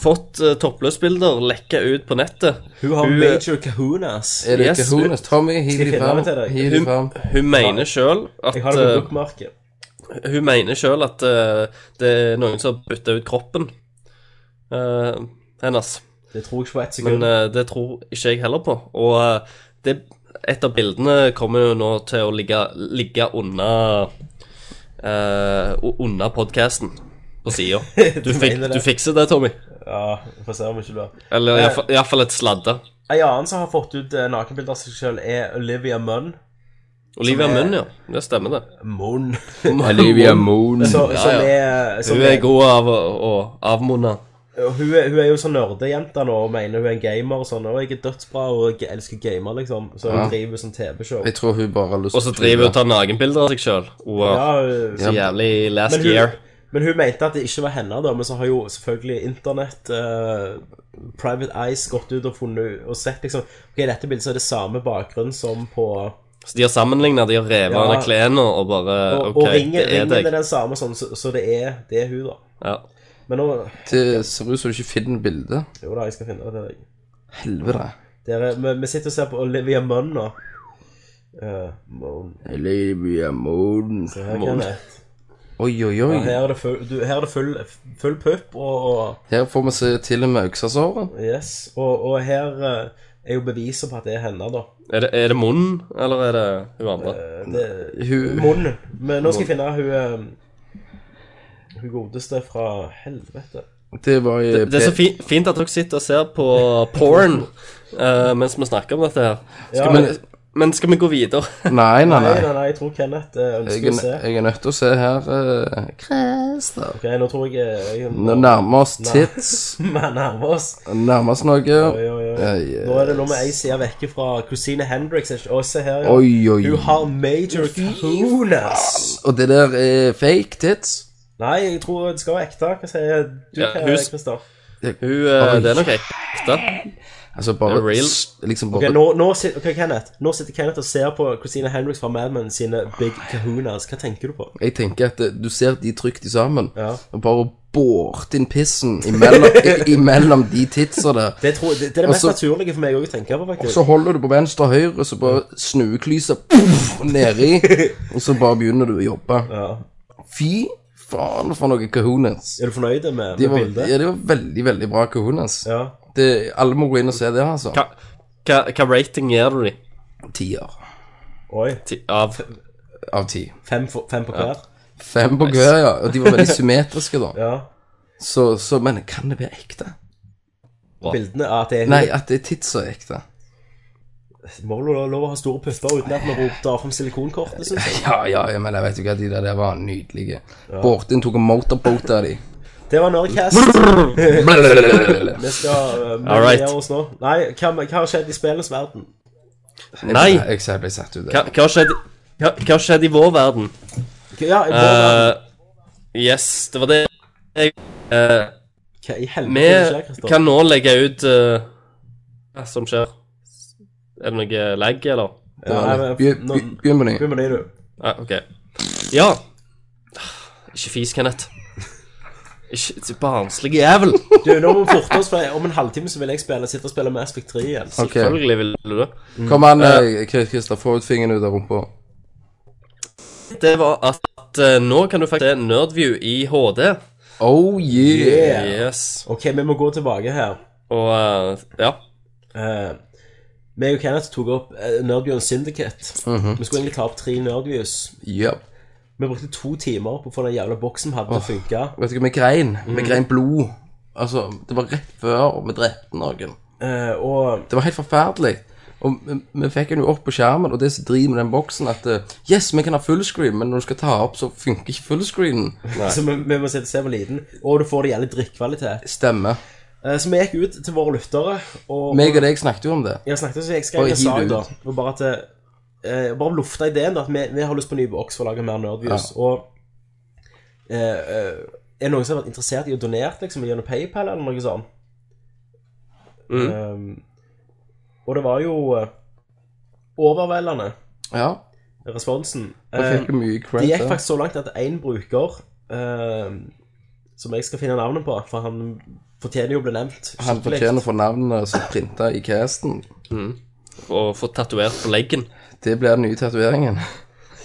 Speaker 4: fått eh, toppløsbilder lekka ut på nettet.
Speaker 3: Hun har
Speaker 4: Hun-
Speaker 3: major kahunas.
Speaker 5: Er det
Speaker 4: Yes.
Speaker 5: yes. Kahonas? Tommy, hiv
Speaker 3: Skal jeg
Speaker 5: de
Speaker 3: finne
Speaker 5: fram.
Speaker 3: den til deg?
Speaker 5: Hiv de
Speaker 4: Hun,
Speaker 5: fram.
Speaker 4: hun mener sjøl at
Speaker 3: Jeg har det på
Speaker 4: eh,
Speaker 3: bookmarket.
Speaker 4: Hun mener sjøl at eh, det er noen som har bytta ut kroppen eh, hennes.
Speaker 3: Det tror jeg ikke på ett sekund.
Speaker 4: Men eh, det tror ikke jeg heller på. Og eh, det, et av bildene kommer jo nå til å ligge, ligge unna uh, Unna podkasten på sida. Du, fik,
Speaker 3: mener det?
Speaker 4: du fikser det, Tommy.
Speaker 3: ja, vi får se om ikke du har
Speaker 4: Eller iallfall et sladde.
Speaker 3: En annen som har fått ut eh, nakenbilder av seg selv, er Olivia Munn.
Speaker 4: Olivia
Speaker 3: Som er-
Speaker 4: Munn, ja. Det stemmer, det.
Speaker 3: Munn.
Speaker 5: Olivia Moon.
Speaker 3: Så,
Speaker 4: Ja,
Speaker 3: Som
Speaker 4: ja.
Speaker 3: er, som
Speaker 4: Hun er god av å, å avmunne.
Speaker 3: Og hun, er, hun er jo sånn nerdejente nå og mener hun er en gamer og sånn. Og jeg er dødsbra og jeg elsker gamer, liksom. Så hun
Speaker 5: Ja.
Speaker 3: driver med sånn TV-show.
Speaker 5: Jeg tror hun bare har lyst
Speaker 4: Og så driver hun og tar nakenbilder av seg sjøl.
Speaker 3: Ja,
Speaker 4: Wow.
Speaker 3: hun-
Speaker 4: Så jævlig last
Speaker 3: men, hun,
Speaker 4: year.
Speaker 3: men hun mente at det ikke var henne, da. Men så har jo selvfølgelig internett, eh, Private Eyes, gått ut og funnet og sett liksom Ok, i dette bildet så er det samme bakgrunn som på
Speaker 4: Så de har sammenligna, de har revet
Speaker 3: Ja.
Speaker 4: av ja. klærne og bare
Speaker 3: Og,
Speaker 4: Eh, OK,
Speaker 3: og ringen
Speaker 4: det er
Speaker 3: ringen
Speaker 4: deg.
Speaker 3: er den samme, sånn, så, så det er det er hun, da.
Speaker 4: Ja.
Speaker 3: Men nå
Speaker 5: Det ser ut som du ikke finner bildet.
Speaker 3: Jo da, jeg skal finne det til deg.
Speaker 5: Helvete.
Speaker 3: Dere, vi, vi sitter og ser på Olivia Munn nå. Eh, Munn
Speaker 5: Olivia Moon.
Speaker 3: Se her, Kenneth.
Speaker 5: Oi, oi, oi.
Speaker 3: Ja, her er det full, du, her er det full, full pupp, og, og
Speaker 5: Her får vi se til og med øksasåren.
Speaker 3: Yes. Og, og her eh, er jo beviset på at det er henne, da.
Speaker 4: Er, det, er det munnen, eller er det hun andre?
Speaker 3: Eh, Det,
Speaker 5: Hun
Speaker 3: Munn. Men nå skal jeg finne hun eh, Hun godeste fra helvete.
Speaker 5: Det var i
Speaker 4: Det er så
Speaker 5: P-
Speaker 4: fi fint at dere sitter og ser på porn eh, mens vi snakker om dette her.
Speaker 3: Ja,
Speaker 4: Skal vi, men skal vi gå videre?
Speaker 5: Nei, nei,
Speaker 3: nei,
Speaker 5: nei.
Speaker 3: nei, nei, jeg tror Kenneth eh,
Speaker 5: Jeg
Speaker 3: ønsker
Speaker 5: er,
Speaker 3: å se.
Speaker 5: jeg er nødt til å se her eh, Christer.
Speaker 3: Ok, nå tror jeg eh, jeg
Speaker 5: Nå nærmer oss tits.
Speaker 3: Vi nærmer oss.
Speaker 5: Nærmer oss noe.
Speaker 3: Oi, oi, oi.
Speaker 5: Ja, yes.
Speaker 3: Nå er det noe med ei side vekke fra Christine Hendricks. er ikke- Å, se her, ja.
Speaker 5: Oi, oi.
Speaker 3: Hun har major kahunas.
Speaker 5: Og det der er fake tits.
Speaker 3: Nei, jeg tror det skal være ekte. Hva sier du,
Speaker 4: Ja, hus-
Speaker 3: Kristian?
Speaker 4: Hun, eh,
Speaker 5: Oi.
Speaker 4: det er nok ekte.
Speaker 5: Altså bare
Speaker 4: Det er real.
Speaker 5: s- Liksom
Speaker 3: Ok,
Speaker 5: bare
Speaker 3: nå, nå, sit- ok, Kenneth. nå sitter Kenneth og ser på Christina Hendricks fra Mad Men sine Big Kahunas. Hva tenker du på?
Speaker 5: Jeg tenker at eh, du ser de trygt i sammen,
Speaker 3: Ja.
Speaker 5: og bare båret inn pissen imellom, i- imellom de titsa der.
Speaker 3: Det, tror, det, det er det mest
Speaker 5: Altså-
Speaker 3: naturlige for meg å tenke på, faktisk.
Speaker 5: Så holder du på venstre og høyre, så bare snueklyser puff, nedi, og så bare begynner du å jobbe.
Speaker 3: ja.
Speaker 5: Fy faen for noe kahunas.
Speaker 3: Er du fornøyd med,
Speaker 5: De
Speaker 3: med
Speaker 5: var,
Speaker 3: bildet?
Speaker 5: ja, de var veldig, veldig bra kahunas.
Speaker 3: Ja.
Speaker 5: Det- Alle må gå inn og se det, altså.
Speaker 4: Hva, hva, hva rating gir du dem
Speaker 5: Tier
Speaker 3: Oi.
Speaker 4: til- av
Speaker 5: av ti.
Speaker 3: Fem, for, fem på hver?
Speaker 5: Fem på hver, ja. Og de var veldig symmetriske, da.
Speaker 3: Ja.
Speaker 5: Så, så Men kan det være ekte?
Speaker 3: Bildene er at det er
Speaker 5: Nei, at det er titsa er ekte.
Speaker 3: Må du ha lov å ha store pupper uten at vi roter frem silikonkortet, syns jeg.
Speaker 5: Ja, ja, ja, men jeg vet jo hva de der, der var nydelige. Bårtin tok en motorboat av de.
Speaker 3: Det var Nerdcast.
Speaker 5: Blablabla.
Speaker 3: Vi skal uh,
Speaker 4: All right.
Speaker 3: oss nå. Nei, hva, hva har skjedd i spillets verden?
Speaker 4: Nei!
Speaker 5: Jeg, jeg, jeg ble satt ut
Speaker 4: Hva
Speaker 5: der.
Speaker 4: hva har skjedd, hva, hva har skjedd i vår verden?
Speaker 3: Ja, i vår verden.
Speaker 4: Eh, yes, det var det jeg eh,
Speaker 3: Hva i helvete er det som skjer,
Speaker 4: Vi
Speaker 3: Kristian?
Speaker 4: kan nå legge ut eh, hva som skjer. Er det noe lag, eller?
Speaker 5: Det var
Speaker 3: Ja,
Speaker 5: litt-
Speaker 3: men-
Speaker 5: Begynn
Speaker 3: nå-
Speaker 5: begynn- begynn på ny.
Speaker 3: Begynn med det, du.
Speaker 4: Ja, ok. Ja. Ikke fis, Kenneth. Ikke så barnslig jævel.
Speaker 3: Du, nå må vi forte oss, for om en halvtime så vil jeg spille, sitte og spille Mass Effect 3 igjen.
Speaker 5: Ok.
Speaker 4: Selvfølgelig vil du det.
Speaker 5: Kom an, eh, Christer. Få ut fingeren ut av rumpa.
Speaker 4: Det var at, at eh, nå kan du faktisk se Nerdview i HD.
Speaker 5: Oh yeah.
Speaker 3: Yeah.
Speaker 4: Yes.
Speaker 3: Ok, vi må gå tilbake her.
Speaker 4: Og eh, ja.
Speaker 3: Eh, meg og Kenneth tok opp uh, Nerdview Syndicate. Vi skulle egentlig ta opp tre Nerdviews.
Speaker 5: Ja.
Speaker 3: Vi brukte to timer på å få den jævla boksen vi hadde til å funke.
Speaker 5: Vet du hva, vi grein. Vi grein blod. Altså, det var rett før vi drepte noen.
Speaker 3: Eh, og
Speaker 5: Det var helt forferdelig. Og vi, vi fikk den jo opp på skjermen, og det som driver med den boksen, at eh, Yes, vi kan ha fullscreen, men når du skal ta opp, så funker ikke fullscreenen.
Speaker 3: så vi, vi må sitte og se på liten. Og du får det jævlig drittkvalitet.
Speaker 5: Stemmer.
Speaker 3: Eh, så vi gikk ut til våre lyttere og
Speaker 5: Meg og deg snakket jo om det.
Speaker 3: Jeg snakket så jeg
Speaker 5: Bare
Speaker 3: skrev en
Speaker 5: hiv
Speaker 3: sak
Speaker 5: det
Speaker 3: da,
Speaker 5: ut.
Speaker 3: og bare at eh, Bare lufta ideen da, at vi, vi har lyst på ny boks for å lage mer Nerdviews. Og eh, eh, er det noen som har vært interessert i å donere liksom, gjennom PayPal eller noe sånt?
Speaker 5: Mm.
Speaker 3: Eh, og det var jo eh, overveldende
Speaker 5: Ja.
Speaker 3: responsen.
Speaker 5: Da
Speaker 3: Eh,
Speaker 5: fikk vi mye
Speaker 3: det
Speaker 5: cred.
Speaker 3: gikk
Speaker 5: da.
Speaker 3: faktisk så langt at én bruker, eh, som jeg skal finne navnet på, for han fortjener jo å bli nevnt
Speaker 5: Han
Speaker 3: skikkelig.
Speaker 5: fortjener for navnene som printa i casten.
Speaker 4: Og få tatovert på leggen.
Speaker 5: Det blir den nye tatoveringen.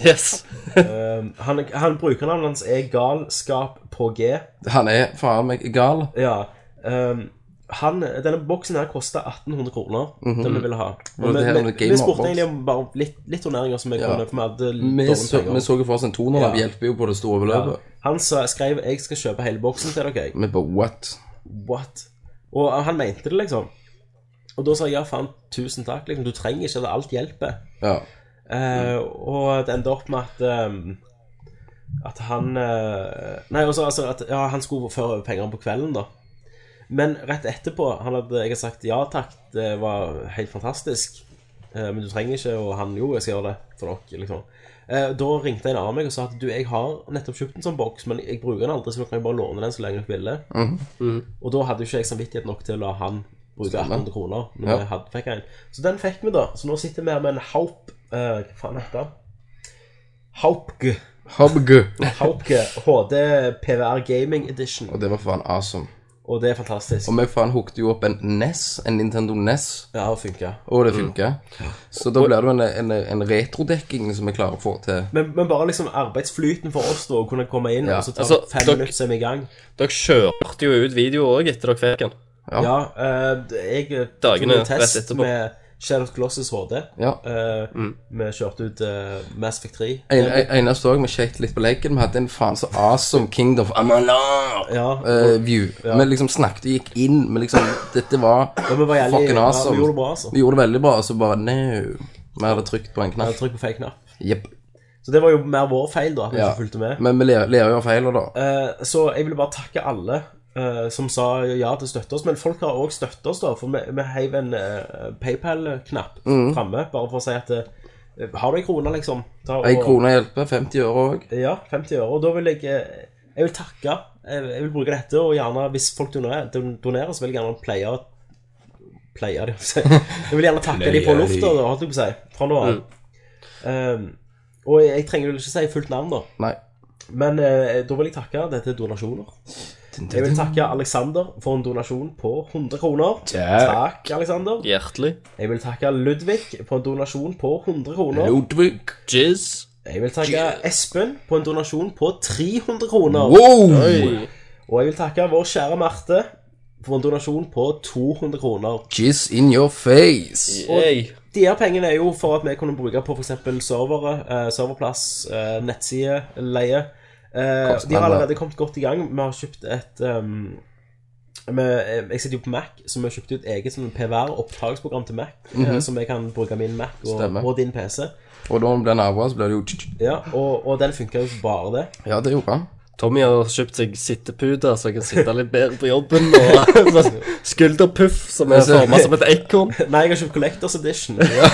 Speaker 4: Yes.
Speaker 3: Ehm, Han, han brukernavnet hans er Galskap på G.
Speaker 5: Han er faen meg gal.
Speaker 3: Ja. ehm, han, denne boksen her kosta 1800 kroner, den vi ville ha.
Speaker 5: Mhm. det
Speaker 3: Og vi,
Speaker 5: her
Speaker 3: vi,
Speaker 5: med
Speaker 3: vi,
Speaker 5: gamer
Speaker 3: spurte
Speaker 5: box?
Speaker 3: egentlig om bare litt, litt turneringer som vi
Speaker 5: Ja.
Speaker 3: kunne, for vi hadde
Speaker 5: Vi
Speaker 3: dårlig
Speaker 5: så, vi
Speaker 3: penger.
Speaker 5: så jo for oss en 200-lapp
Speaker 3: Ja.
Speaker 5: hjelper jo på det store beløpet.
Speaker 3: Han sa, skrev 'Jeg skal kjøpe hele boksen til dere'. jeg.
Speaker 5: Vi bare what?
Speaker 3: What? Og han mente det, liksom. Og da sa jeg ja, faen, tusen takk. liksom, Du trenger ikke det. Alt hjelper.
Speaker 5: Ja.
Speaker 3: Eh, og det endte opp med at ehm, At han eh, Nei, også altså at ja, han skulle føre over penger på kvelden, da. Men rett etterpå han hadde, Jeg har sagt ja takk, det var helt fantastisk. eh, men du trenger ikke, og han jo, jeg skal gjøre det for dere, liksom. Eh, da ringte en av meg og sa at du, jeg har nettopp kjøpt en sånn boks, men jeg bruker den aldri, så nå kan jeg bare låne den så lenge dere ville. Og da hadde jo ikke jeg samvittighet nok til å la han bruke 1800 kroner. Når
Speaker 5: Ja.
Speaker 3: jeg hadde, fikk en. Så den fikk vi, da. Så nå sitter vi her med en haup eh, Hva faen heter den? Haupke.
Speaker 5: Hobgu.
Speaker 3: Haupke HD PVR Gaming Edition.
Speaker 5: Og det var faen awesome.
Speaker 3: Og det er fantastisk.
Speaker 5: Og vi faen hookte jo opp en NES, en Nintendo E NES,
Speaker 3: Ja, det funker.
Speaker 5: og det funka.
Speaker 3: Mm.
Speaker 5: Så da blir det jo en, en, en retrodekking som vi klarer å få til.
Speaker 3: Men, men bare liksom arbeidsflyten for oss, da, å kunne komme inn
Speaker 5: Ja,
Speaker 3: og så ta
Speaker 4: altså,
Speaker 3: fem
Speaker 4: dere-
Speaker 3: minutter, så er vi i gang.
Speaker 4: Dere kjørte jo ut video òg etter dere fikk den.
Speaker 5: Ja.
Speaker 3: Ja, eh, jeg eh, tok
Speaker 4: Dagene
Speaker 3: en test
Speaker 4: rett etterpå.
Speaker 3: med Shadow Glosses HD.
Speaker 5: Ja. Mm.
Speaker 3: Eh, Vi kjørte ut eh, Mass Effect 3.
Speaker 5: En, en, eneste òg, vi sjekket litt på leggen. Vi hadde en faen så awesome Kingdom of Amalur
Speaker 3: Ja,
Speaker 5: eh, view. Vi liksom snakket og gikk inn, men liksom Dette var
Speaker 3: Ja, vi var jævlig-
Speaker 5: fucking
Speaker 3: ja, vi
Speaker 5: awesome.
Speaker 3: gjorde det bra, altså.
Speaker 5: Vi gjorde det veldig bra, og så bare no. Vi hadde trykt på en
Speaker 3: og
Speaker 5: knapp.
Speaker 3: Trykk på feil knapp.
Speaker 5: Jepp.
Speaker 3: Så det var jo mer vår feil, da, at vi
Speaker 5: Ja.
Speaker 3: ikke fulgte med.
Speaker 5: Men vi ler ler jo av feiler, da.
Speaker 3: Eh, så jeg vil bare takke alle eh, som sa ja til å støtte oss. Men folk har òg støttet oss, da. For vi, vi heiv en eh, PayPal-knapp
Speaker 5: Mm.
Speaker 3: fremme, framme, bare for å si at eh, Har du ei krone, liksom? Ta og-
Speaker 5: Ei krone hjelper. 50 øre òg.
Speaker 3: Ja, 50 øre. Og da vil jeg eh, Jeg vil takke. Jeg, jeg vil bruke dette, og gjerne hvis folk donerer, don- donerer så vil jeg gjerne pleie Pleie de, si. Jeg vil gjerne takke de på
Speaker 5: Pleie de.
Speaker 3: lufta, da, holdt jeg på å si. Fra nå
Speaker 5: Mm.
Speaker 3: av. Eh, og jeg, jeg trenger vel ikke si fullt navn, da.
Speaker 5: Nei.
Speaker 3: Men eh, da vil jeg takke dette er donasjoner. Jeg vil takke Alexander for en donasjon på 100 kroner.
Speaker 5: Takk.
Speaker 3: Takk, Alexander.
Speaker 4: Hjertelig.
Speaker 3: Jeg vil takke Ludvig på en donasjon på 100 kroner.
Speaker 5: Ludvig.
Speaker 4: Jizz.
Speaker 3: Jeg vil takke Espen på en donasjon på 300 kroner.
Speaker 5: Wow!
Speaker 3: Og jeg vil takke vår kjære Marte for en donasjon på 200 kroner.
Speaker 5: Jizz in your face.
Speaker 4: Yay.
Speaker 3: De her pengene er jo for at vi kunne bruke på f.eks. servere, eh, serverplass, eh, nettside, leie. Eh, de har allerede kommet godt i gang. Vi har kjøpt et ehm, vi, eh, Jeg sitter jo på Mac, så vi har kjøpt ut eget sånn PVR-opptaksprogram til Mac. eh, som jeg kan bruke min Mac og,
Speaker 5: Mhm. Stemmer.
Speaker 3: og din PC.
Speaker 5: Og da blir den arva, så blir det jo tsk, tsk.
Speaker 3: Ja, og, og den funker jo bare det.
Speaker 5: Ja, det gjorde han.
Speaker 4: Tommy har kjøpt seg sitteputer, så jeg kan sitte litt bedre på jobben. Og sånn skulderpuff som er
Speaker 5: Altså-
Speaker 4: forma som et ekorn.
Speaker 3: Nei, jeg har kjøpt Collectors Edition. Ja.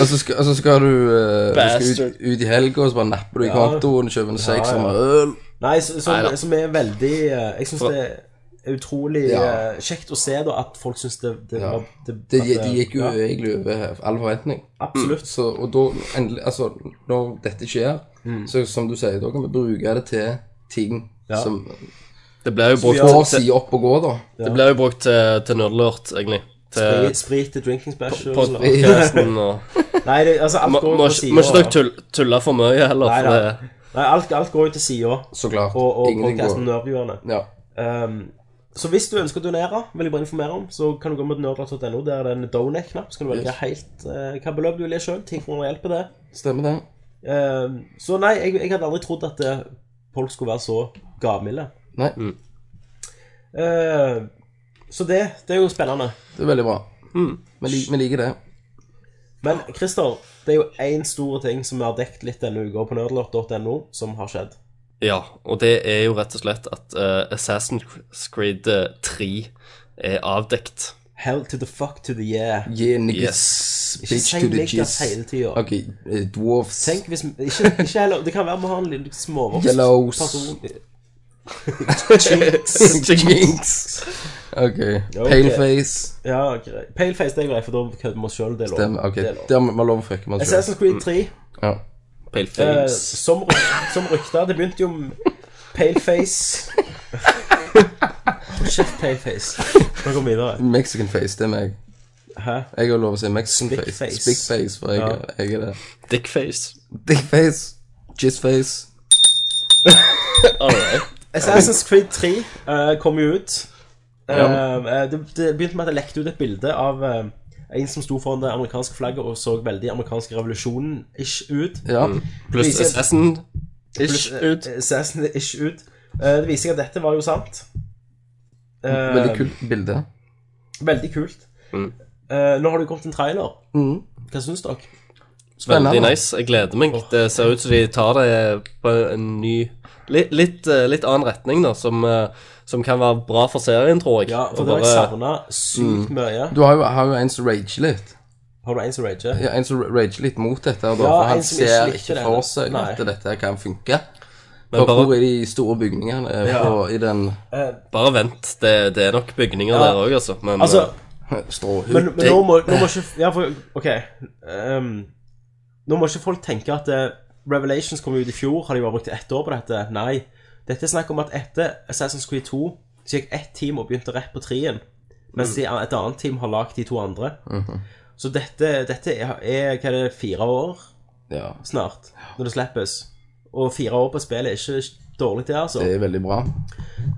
Speaker 5: Og så skal, og så skal du, eh, du skal ut,
Speaker 4: Bastard.
Speaker 5: ut i helga, og så bare napper du i kontoen, kjøper en seks
Speaker 3: Ja, ja.
Speaker 5: som øl.
Speaker 3: Nei, så- som,
Speaker 4: Neida.
Speaker 3: som er veldig eh, Jeg syns det er utrolig
Speaker 5: Ja.
Speaker 3: eh, kjekt å se da at folk syns det, det, var- det,
Speaker 5: Det,
Speaker 3: at eh,
Speaker 5: de gikk jo
Speaker 3: ja,
Speaker 5: egentlig over all forventning.
Speaker 4: Mm.
Speaker 3: Absolutt.
Speaker 5: Så, og da, endelig, altså,
Speaker 3: Mm.
Speaker 5: når dette skjer, så som du sier, da kan vi bruke det til ting som
Speaker 4: Det blir jo
Speaker 5: Får
Speaker 4: brukt til,
Speaker 5: si opp og gå, da.
Speaker 4: det blir jo brukt til, til nødlort, egentlig. Til
Speaker 3: Sprit, sprit til drinking special. og-
Speaker 4: podcasten og
Speaker 3: Nei, det, altså, alt
Speaker 4: Må
Speaker 3: går jo
Speaker 4: må
Speaker 3: til
Speaker 4: ikke må ikke dere
Speaker 3: sida.
Speaker 4: tull- tulle for mye heller,
Speaker 3: Nei,
Speaker 4: for
Speaker 3: nei.
Speaker 4: det
Speaker 3: Nei, alt, alt går jo til sida.
Speaker 5: Så klart.
Speaker 3: Og, og
Speaker 5: Ingenting går-
Speaker 3: podkasten Nerdvjuerne.
Speaker 5: Ja.
Speaker 3: Um, så hvis du ønsker å donere, vil jeg bare informere om, så kan du gå mot nerdlart.no. Der er det en donate-knapp. Så kan du velge helt eh, hva beløp du vil gi sjøl. 10 kroner hjelper det.
Speaker 5: Stemmer det.
Speaker 3: Um, så nei, jeg, jeg hadde aldri trodd at eh, folk skulle være så gavmilde.
Speaker 5: Nei,
Speaker 3: Eh, så det, det er jo spennende.
Speaker 5: det er veldig bra.
Speaker 3: Mm.
Speaker 5: Vi lik- vi liker det.
Speaker 3: Men Christer, det er jo én stor ting som vi har dekket litt denne uka på nerdlort.no, som har skjedd.
Speaker 4: Ja, og det er jo rett og slett at eh, Assassin's Creed eh, 3 er avdekt.
Speaker 3: Hell to the fuck to the yeah.
Speaker 5: Yeah, niggas.
Speaker 3: Ikke
Speaker 5: Bitch
Speaker 3: si
Speaker 5: to the
Speaker 3: niggas
Speaker 5: jizz.
Speaker 3: hele tiden.
Speaker 5: Ok, eh, dwarfs.
Speaker 3: Tenk hvis vi- ikke, ikke heller, Det kan være vi har en liten småvokst
Speaker 5: Yellows.
Speaker 3: person.
Speaker 5: Jinx. Ok. Paleface.
Speaker 3: Ja, grei. Paleface det er greit, for da kødder vi oss sjøl. Det er lov.
Speaker 5: Stemmer. Ok,
Speaker 3: Det er lov. sånn-
Speaker 5: der må man lov å fucke med seg selv.
Speaker 3: Assassin's Creed 3,
Speaker 5: Ja.
Speaker 3: eh,
Speaker 4: Paleface.
Speaker 3: som, ryk- som rykta Det begynte jo med Paleface Hold kjeft, Paleface. Nå går vi videre.
Speaker 5: Mexican face, det er meg.
Speaker 3: Hæ?
Speaker 5: Jeg har lov å si Mexican
Speaker 3: Spick
Speaker 5: face.
Speaker 3: face.
Speaker 5: Spick face, for jeg,
Speaker 3: Ja.
Speaker 5: jeg er det.
Speaker 4: Eh, Dickface.
Speaker 5: Dick face. Jizz face.
Speaker 3: Assassin's Creed 3 eh, kom jo ut. Eh, eh, det, det begynte med at jeg lekte ut et bilde av eh, en som sto foran det amerikanske flagget og så veldig amerikansk revolusjon-ish ut.
Speaker 5: Ja.
Speaker 4: Pluss
Speaker 3: Viser-
Speaker 4: Assassin. Ish ut.
Speaker 3: Assassin-ish ut. Eh, det viser seg at dette var jo sant. Eh,
Speaker 5: Veldig kult bilde.
Speaker 3: Veldig kult. Eh, nå har det jo kommet en trailer. Hva syns dere?
Speaker 5: Spennende.
Speaker 4: Veldig nice. Jeg gleder meg. Det ser ut som de tar det på en ny Litt, litt, eh, litt annen retning, da, som, eh, som kan være bra for serien, tror jeg.
Speaker 3: Ja, for
Speaker 4: Og
Speaker 3: det har jeg
Speaker 4: bare-
Speaker 3: savna sykt mye.
Speaker 5: Du har jo, har jo en som rager litt.
Speaker 3: Har du en som rager?
Speaker 5: Ja, en som rager litt mot dette. Da,
Speaker 3: Ja,
Speaker 5: for
Speaker 3: en
Speaker 5: han
Speaker 3: som ikke
Speaker 5: ser
Speaker 3: likte
Speaker 5: ikke
Speaker 3: det.
Speaker 5: for seg
Speaker 3: Nei.
Speaker 5: at dette kan funke.
Speaker 4: men
Speaker 5: Og
Speaker 4: bare,
Speaker 5: hvor er de store bygningene eh,
Speaker 3: Ja.
Speaker 5: på, i den
Speaker 4: bare vent. Det, det er nok bygninger der òg, altså. Men
Speaker 3: Altså,
Speaker 4: eh,
Speaker 3: men,
Speaker 5: stråhuden?
Speaker 3: men nå, må, nå må ikke Ja, for OK. ehm, nå må ikke folk tenke at eh, Revelations kom ut i fjor, har de bare brukt ett år på dette? Nei. Dette er snakk om at etter Assassin's Creed 2 så gikk ett team og begynte rett på treen, mens de, et annet team har lagd de to andre.
Speaker 5: Mhm.
Speaker 3: Så dette, dette er, er hva er det, fire år
Speaker 5: Ja,
Speaker 3: snart, når det slippes. Og fire år på spillet er ikke dårlig, det, altså.
Speaker 5: det er veldig bra.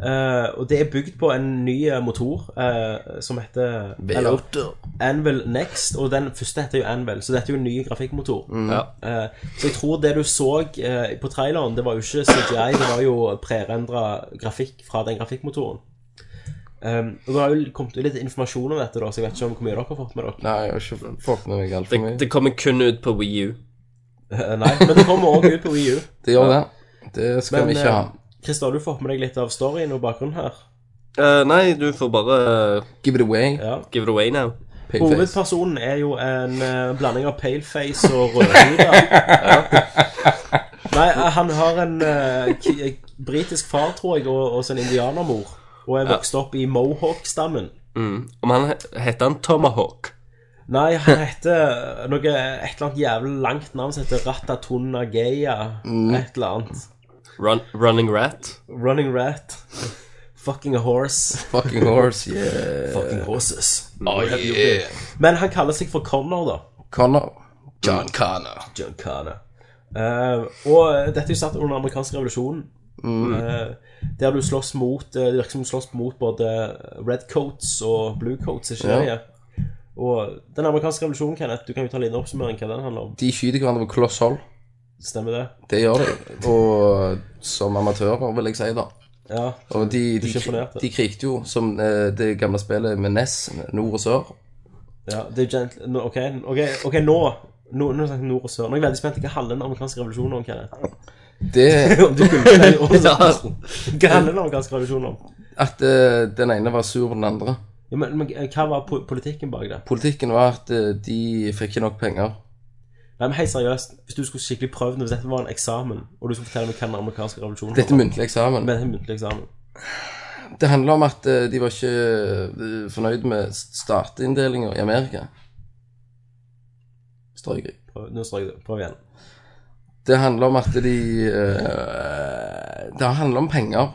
Speaker 3: Eh, og det er bygd på en ny eh, motor eh, som heter eller,
Speaker 5: V8.
Speaker 3: Anvil Next, og den første heter jo Anvil, så dette er jo en ny grafikkmotor.
Speaker 5: Mm.
Speaker 4: ja.
Speaker 3: Eh, så jeg tror det du så eh, på traileren, det var jo ikke CGI, det var jo prerendra grafikk fra den grafikkmotoren. Um, og Det har jo kommet ut litt informasjon om dette, da, så jeg vet ikke om hvor mye dere har fått med dere.
Speaker 5: Nei, jeg har ikke fått med meg altfor
Speaker 4: det,
Speaker 5: mye.
Speaker 4: det kommer kun ut på Wii U.
Speaker 3: Eh, nei, Men det kommer òg ut på Wii U.
Speaker 5: Det gjør det. Det skal
Speaker 3: Men,
Speaker 5: vi ikke ha.
Speaker 3: eh, Christer, har du fått med deg litt av storyen og bakgrunnen her?
Speaker 4: Eh, nei, du får bare eh,
Speaker 5: Give it away.
Speaker 3: Ja.
Speaker 4: give it away now.
Speaker 5: Paleface.
Speaker 3: Hovedpersonen er jo en eh, blanding av paleface og rødhuda. Nei, eh, han har en eh, k- eh, britisk far, tror jeg, og, og så en indianermor. Og er vokst opp i Mohawk-stammen.
Speaker 4: Mm. Om han he- heter han Tomahawk.
Speaker 3: Nei, han heter eh, noe, et eller annet jævlig langt navn som heter Ratatuna Geya. Et eller annet.
Speaker 4: Run, running Rat.
Speaker 3: Running Rat. Fucking a horse.
Speaker 5: Fucking horse, yeah.
Speaker 3: Fucking horses. Men han kaller seg for Connor, da.
Speaker 5: Connor. John Connor.
Speaker 3: Giancana. Eh, og dette er jo satt under den amerikanske revolusjonen.
Speaker 5: Mm.
Speaker 3: Eh, der du slåss mot eh, Det virker som du slåss mot både red coats og blue coats. Ikke
Speaker 5: Ja.
Speaker 3: det? Og den amerikanske revolusjonen, Kenneth, du kan jo ta en liten oppsummering hva den handler om.
Speaker 5: De skyter hverandre på kloss hold.
Speaker 3: Stemmer det?
Speaker 5: Det gjør de. Og eh, som amatører, vil jeg si, da.
Speaker 3: Ja.
Speaker 5: Og de, de,
Speaker 3: ikke imponert, da.
Speaker 5: de krigte jo som eh, det gamle spillet med NES, nord og sør.
Speaker 3: ja det er gent nå, ok, ok, ok, nå nå, nå snakker vi nord og sør. Nå er jeg veldig spent. Hva handler den amerikanske revolusjonen om? Kenneth?
Speaker 5: Det
Speaker 3: Om du kunne si om-
Speaker 4: Ja.
Speaker 3: Hva handler den amerikanske revolusjonen om?
Speaker 5: at eh, den ene var sur på den andre.
Speaker 3: Ja, men, men Hva var po- politikken bak det?
Speaker 5: Politikken var at eh, de fikk ikke nok penger.
Speaker 3: Nei, men helt seriøst, hvis du skulle skikkelig prøvd Hvis dette var en eksamen, og du skulle fortelle meg hva den amerikanske revolusjonen
Speaker 5: Dette er muntlig eksamen.
Speaker 3: Men det er en muntlig eksamen.
Speaker 5: Det handler om at eh, de var ikke eh, fornøyd med stateinndelinger i Amerika. Strøkrig.
Speaker 3: Prøv, nå står jeg det. Prøv igjen.
Speaker 5: Det handler om at de eh, Det handler om penger.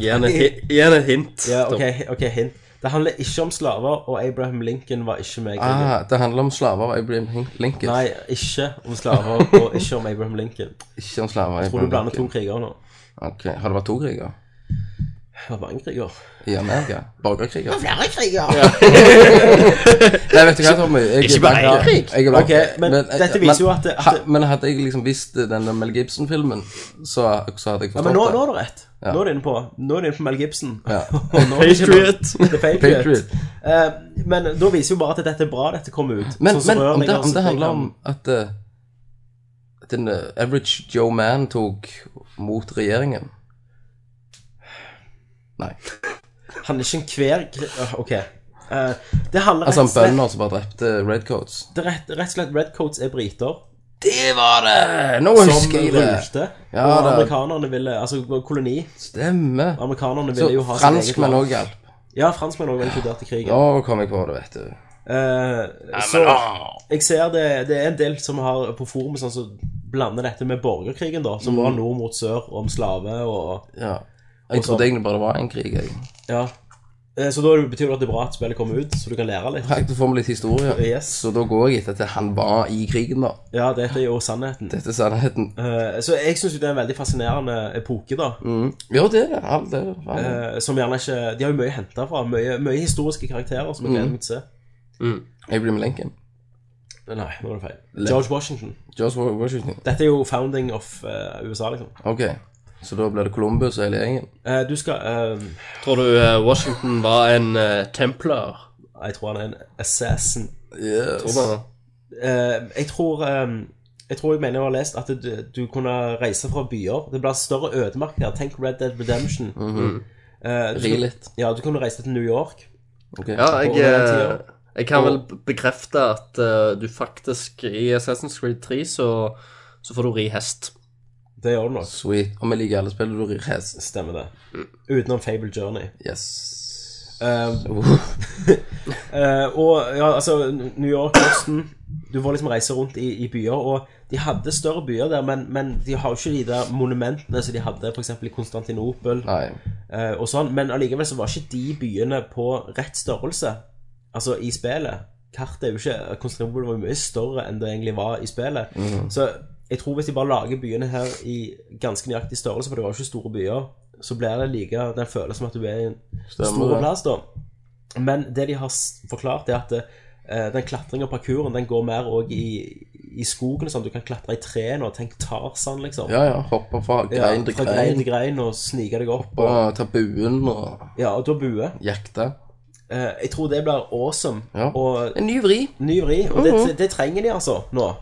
Speaker 4: Gi henne et hi- gi henne et hint.
Speaker 3: Ja,
Speaker 4: Tom.
Speaker 3: ok, ok, hint. Det handler ikke om slaver, og Abraham Lincoln var ikke med i krigen.
Speaker 5: Ah, det handler om slaver. Abraham Hin- Lincoln.
Speaker 3: Nei, ikke om slaver, og ikke om Abraham Lincoln.
Speaker 5: Ikke om slaver.
Speaker 3: Jeg tror du blander to kriger nå.
Speaker 5: Ok, Har det vært to kriger
Speaker 3: Det var mange kriger.
Speaker 5: i Amerika? Borgerkriger? Det flere kriger! Nei, vet du hva, Tommy? Jeg
Speaker 4: Ikke bare
Speaker 5: blank.
Speaker 4: en
Speaker 5: Jeg er blank.
Speaker 3: Ok, men dette viser jo at det- at
Speaker 5: ha,
Speaker 3: det-
Speaker 5: Men hadde jeg liksom visst denne Mel Gibson-filmen, så, så hadde jeg
Speaker 3: Ja,
Speaker 5: forstått
Speaker 3: men nå,
Speaker 5: det.
Speaker 3: nå er det rett.
Speaker 5: Ja.
Speaker 3: Nå er det inne på, nå er det inne på Mel Gibson.
Speaker 5: Ja.
Speaker 3: Og nå er det ikke noe-
Speaker 4: Patriot.
Speaker 3: The Patriot.
Speaker 5: Patriot.
Speaker 3: Eh, men da viser jo bare at dette er bra, dette kommer ut.
Speaker 5: Men,
Speaker 3: Sånn som
Speaker 5: men om, det,
Speaker 3: rørleggere
Speaker 5: om
Speaker 3: som
Speaker 5: det handler
Speaker 3: tenker-
Speaker 5: om at eh, at den eh, average Joe Man tok mot regjeringen Nei.
Speaker 3: Han er ikke en hver gri- Åh, Ok. Eh, det handler
Speaker 5: Altså
Speaker 3: rett, og
Speaker 5: han
Speaker 3: slett,
Speaker 5: bønder som bare drepte Redcoats.
Speaker 3: det er rett, rett og slett Redcoats er briter.
Speaker 5: Det var det! Eh, Nå
Speaker 3: Som
Speaker 5: husker jeg det!
Speaker 3: rulte.
Speaker 5: Ja,
Speaker 3: og
Speaker 5: det-
Speaker 3: amerikanerne ville Altså det var koloni.
Speaker 5: Stemmer. Så
Speaker 3: Amerikanerne ville jo ha
Speaker 5: franskmenn òg hjalp.
Speaker 3: Ja, franskmenn òg var inkludert i krigen.
Speaker 5: Nå kom jeg på det, vet du.
Speaker 3: Eh, så jeg ser det, det er en del som har på forumet sånn som blander dette med borgerkrigen, da.
Speaker 5: Mm.
Speaker 3: Som var nord mot sør, om slave og
Speaker 5: Ja. Jeg
Speaker 3: så-
Speaker 5: trodde egentlig bare det var én krig. Jeg.
Speaker 3: Ja. Eh, Så da betyr det at det er bra at spillet kommer ut, så du kan lære litt.
Speaker 5: Praktisk for meg litt historie.
Speaker 3: Yes.
Speaker 5: Så da går jeg etter at han var i krigen, da.
Speaker 3: Ja, dette er jo sannheten.
Speaker 5: Dette er sannheten.
Speaker 3: Eh, Så jeg syns jo det er en veldig fascinerende epoke, da.
Speaker 5: Mm. Jo, det er det. Alt det. er-
Speaker 3: Eh, Som gjerne ikke De har jo mye å hente fra. Mye, mye historiske karakterer som jeg gleder meg til å se.
Speaker 5: Abraham Lincoln.
Speaker 3: Nei, nå var det feil. George Washington.
Speaker 5: George Wa- Washington.
Speaker 3: Dette er jo founding of eh, USA, liksom.
Speaker 5: Ok, så da blir det Columbus og hele gjengen.
Speaker 3: Eh, du skal eh,
Speaker 4: Tror du eh, Washington var en eh, templar?
Speaker 3: Jeg tror han er en assassin.
Speaker 5: Yes.
Speaker 3: Eh, jeg tror eh, Jeg tror jeg mener jeg har lest at du, du kunne reise fra byer. Det blir større ødemark her. Tenk Red Dead Redemption. Eh, du,
Speaker 5: Ri litt.
Speaker 3: ja, du kunne reise til New York.
Speaker 5: Ok.
Speaker 4: Ja, jeg,
Speaker 3: eh,
Speaker 4: jeg kan vel bekrefte at eh, du faktisk i Assassin's Creed 3 så, så får du ri hest.
Speaker 3: Det gjør du nok.
Speaker 5: Sweet. Om jeg liker alle spillene, du rir hest.
Speaker 3: Stemmer det. Utenom Fable Journey.
Speaker 5: Yes.
Speaker 3: Eh,
Speaker 5: Uh,
Speaker 3: Eh, og ja, altså New York, Boston Du får liksom reise rundt i, i byer. Og de hadde større byer der, men, men de har jo ikke de der monumentene som de hadde f.eks. i Konstantinopel.
Speaker 5: Nei.
Speaker 3: eh, og sånn, Men allikevel så var ikke de byene på rett størrelse. Altså i spillet. Kartet er jo ikke Konstantinopel var jo mye større enn det egentlig var i spillet. Så jeg tror hvis de bare lager byene her i ganske nøyaktig størrelse, for det var jo ikke store byer, så blir det like den følelsen at du er i en
Speaker 5: Stemmer
Speaker 3: store
Speaker 5: det.
Speaker 3: plass, da. Men det de har s- forklart, er at eh, den klatringen og parkuren den går mer òg i, i skogen. og Sånn. Du kan klatre i trærne og tenk Tarzan, liksom.
Speaker 5: Ja, ja. Hopper fra
Speaker 3: Ja,
Speaker 5: grein til
Speaker 3: fra grein
Speaker 5: grein.
Speaker 3: til grein og snike deg opp. Og,
Speaker 5: Og tar buen og
Speaker 3: ja, og da bue.
Speaker 5: jakter.
Speaker 3: Eh, jeg tror det blir awesome.
Speaker 5: Ja.
Speaker 3: Og
Speaker 5: En ny vri. Mhm.
Speaker 3: ny vri. Og det, det trenger de, altså, nå.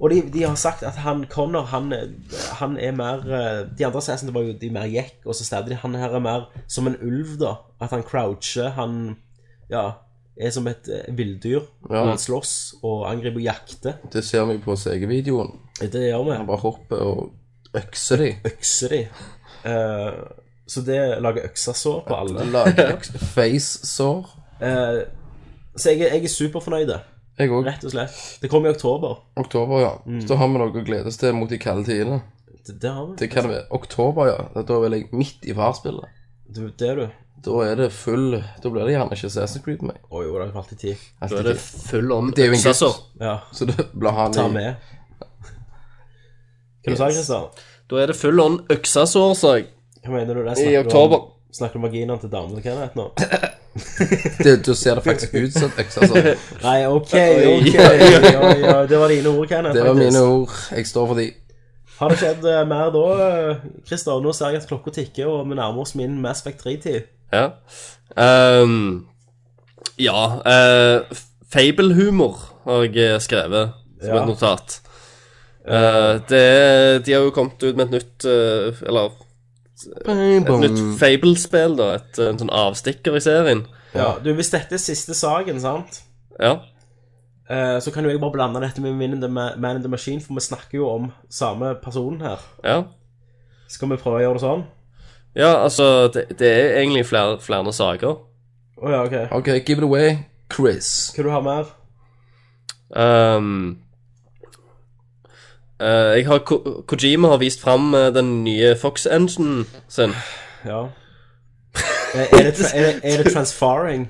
Speaker 3: Og de, de har sagt at han Connor, han, han er mer eh, De andre sesonene var jo de mer jekk, og så stadig han her er mer som en ulv, da. At han croucher, han ja, er som et eh, villdyr.
Speaker 5: Ja.
Speaker 3: Han slåss og angriper og jakter.
Speaker 5: Det ser vi på CG-videoen.
Speaker 3: Det gjør vi.
Speaker 5: Han bare hopper og økser de.
Speaker 3: Økser de. Eh, så det lager øksasår på alle.
Speaker 5: Lager face-sår.
Speaker 3: Eh, så jeg, er- jeg er superfornøyd,
Speaker 5: Jeg òg.
Speaker 3: rett Mm. og slett. Det kommer i oktober.
Speaker 5: Oktober, ja. Så har vi noe å glede oss til mot de kalde tidene.
Speaker 3: Det, det har vi.
Speaker 5: Det kan være oktober, ja. Da er jeg midt i farspillet.
Speaker 3: Du, det er du.
Speaker 5: Da er det full Da blir det gjerne ikke Assassin's Creed med.
Speaker 3: Å jo, det er jo alltid tid.
Speaker 5: Altså,
Speaker 4: Da er det full om
Speaker 5: Det er jo en
Speaker 4: øksasår.
Speaker 5: gutt.
Speaker 3: Ja,
Speaker 5: Så det blir han
Speaker 3: ta
Speaker 5: i-
Speaker 3: med. Hva du sa du, Kristian?
Speaker 4: Da er det full om øksasår, sa jeg.
Speaker 3: Hva mener du det?
Speaker 4: I
Speaker 3: Snakker du
Speaker 4: oktober.
Speaker 3: Om, snakker du om vaginaen til damen til Kenneth nå?
Speaker 5: det, Da ser det faktisk ut som et økse, altså.
Speaker 3: Nei, ok, ok. Ja, ja, det var dine ord, Kenneth.
Speaker 5: Det var
Speaker 3: faktisk.
Speaker 5: mine ord. Jeg står for de.
Speaker 3: Har det skjedd eh, mer da, eh, Christer? Nå ser jeg at klokka tikker, og vi nærmer oss min Mass Effect 3-tid.
Speaker 4: Ja. Ehm, ja eh, Fable-humor har jeg eh, skrevet som
Speaker 3: Ja.
Speaker 4: et notat. Eh, det, de har jo kommet ut med et nytt eh, Eller et nytt Fable-spill, da. Et, eh, en sånn avstikker i serien.
Speaker 3: Ja, du, hvis dette er siste saken, sant?
Speaker 4: Ja.
Speaker 3: Eh, Så kan jo jeg bare blande dette med Man in the Ma- Man in the Machine, for vi snakker jo om samme person her.
Speaker 4: ja.
Speaker 3: Skal vi prøve å gjøre det sånn?
Speaker 4: Ja, altså, det, det er egentlig flere, flere saker.
Speaker 3: Å ja, ok.
Speaker 5: Ok, give it away. Chris.
Speaker 3: Skal du ha mer?
Speaker 4: Ehm, uh, eh, jeg har, Ko- Kojima har vist fram eh, den nye Fox Engine sin.
Speaker 3: Ja. Er er det, tra- er det, er det transfaring?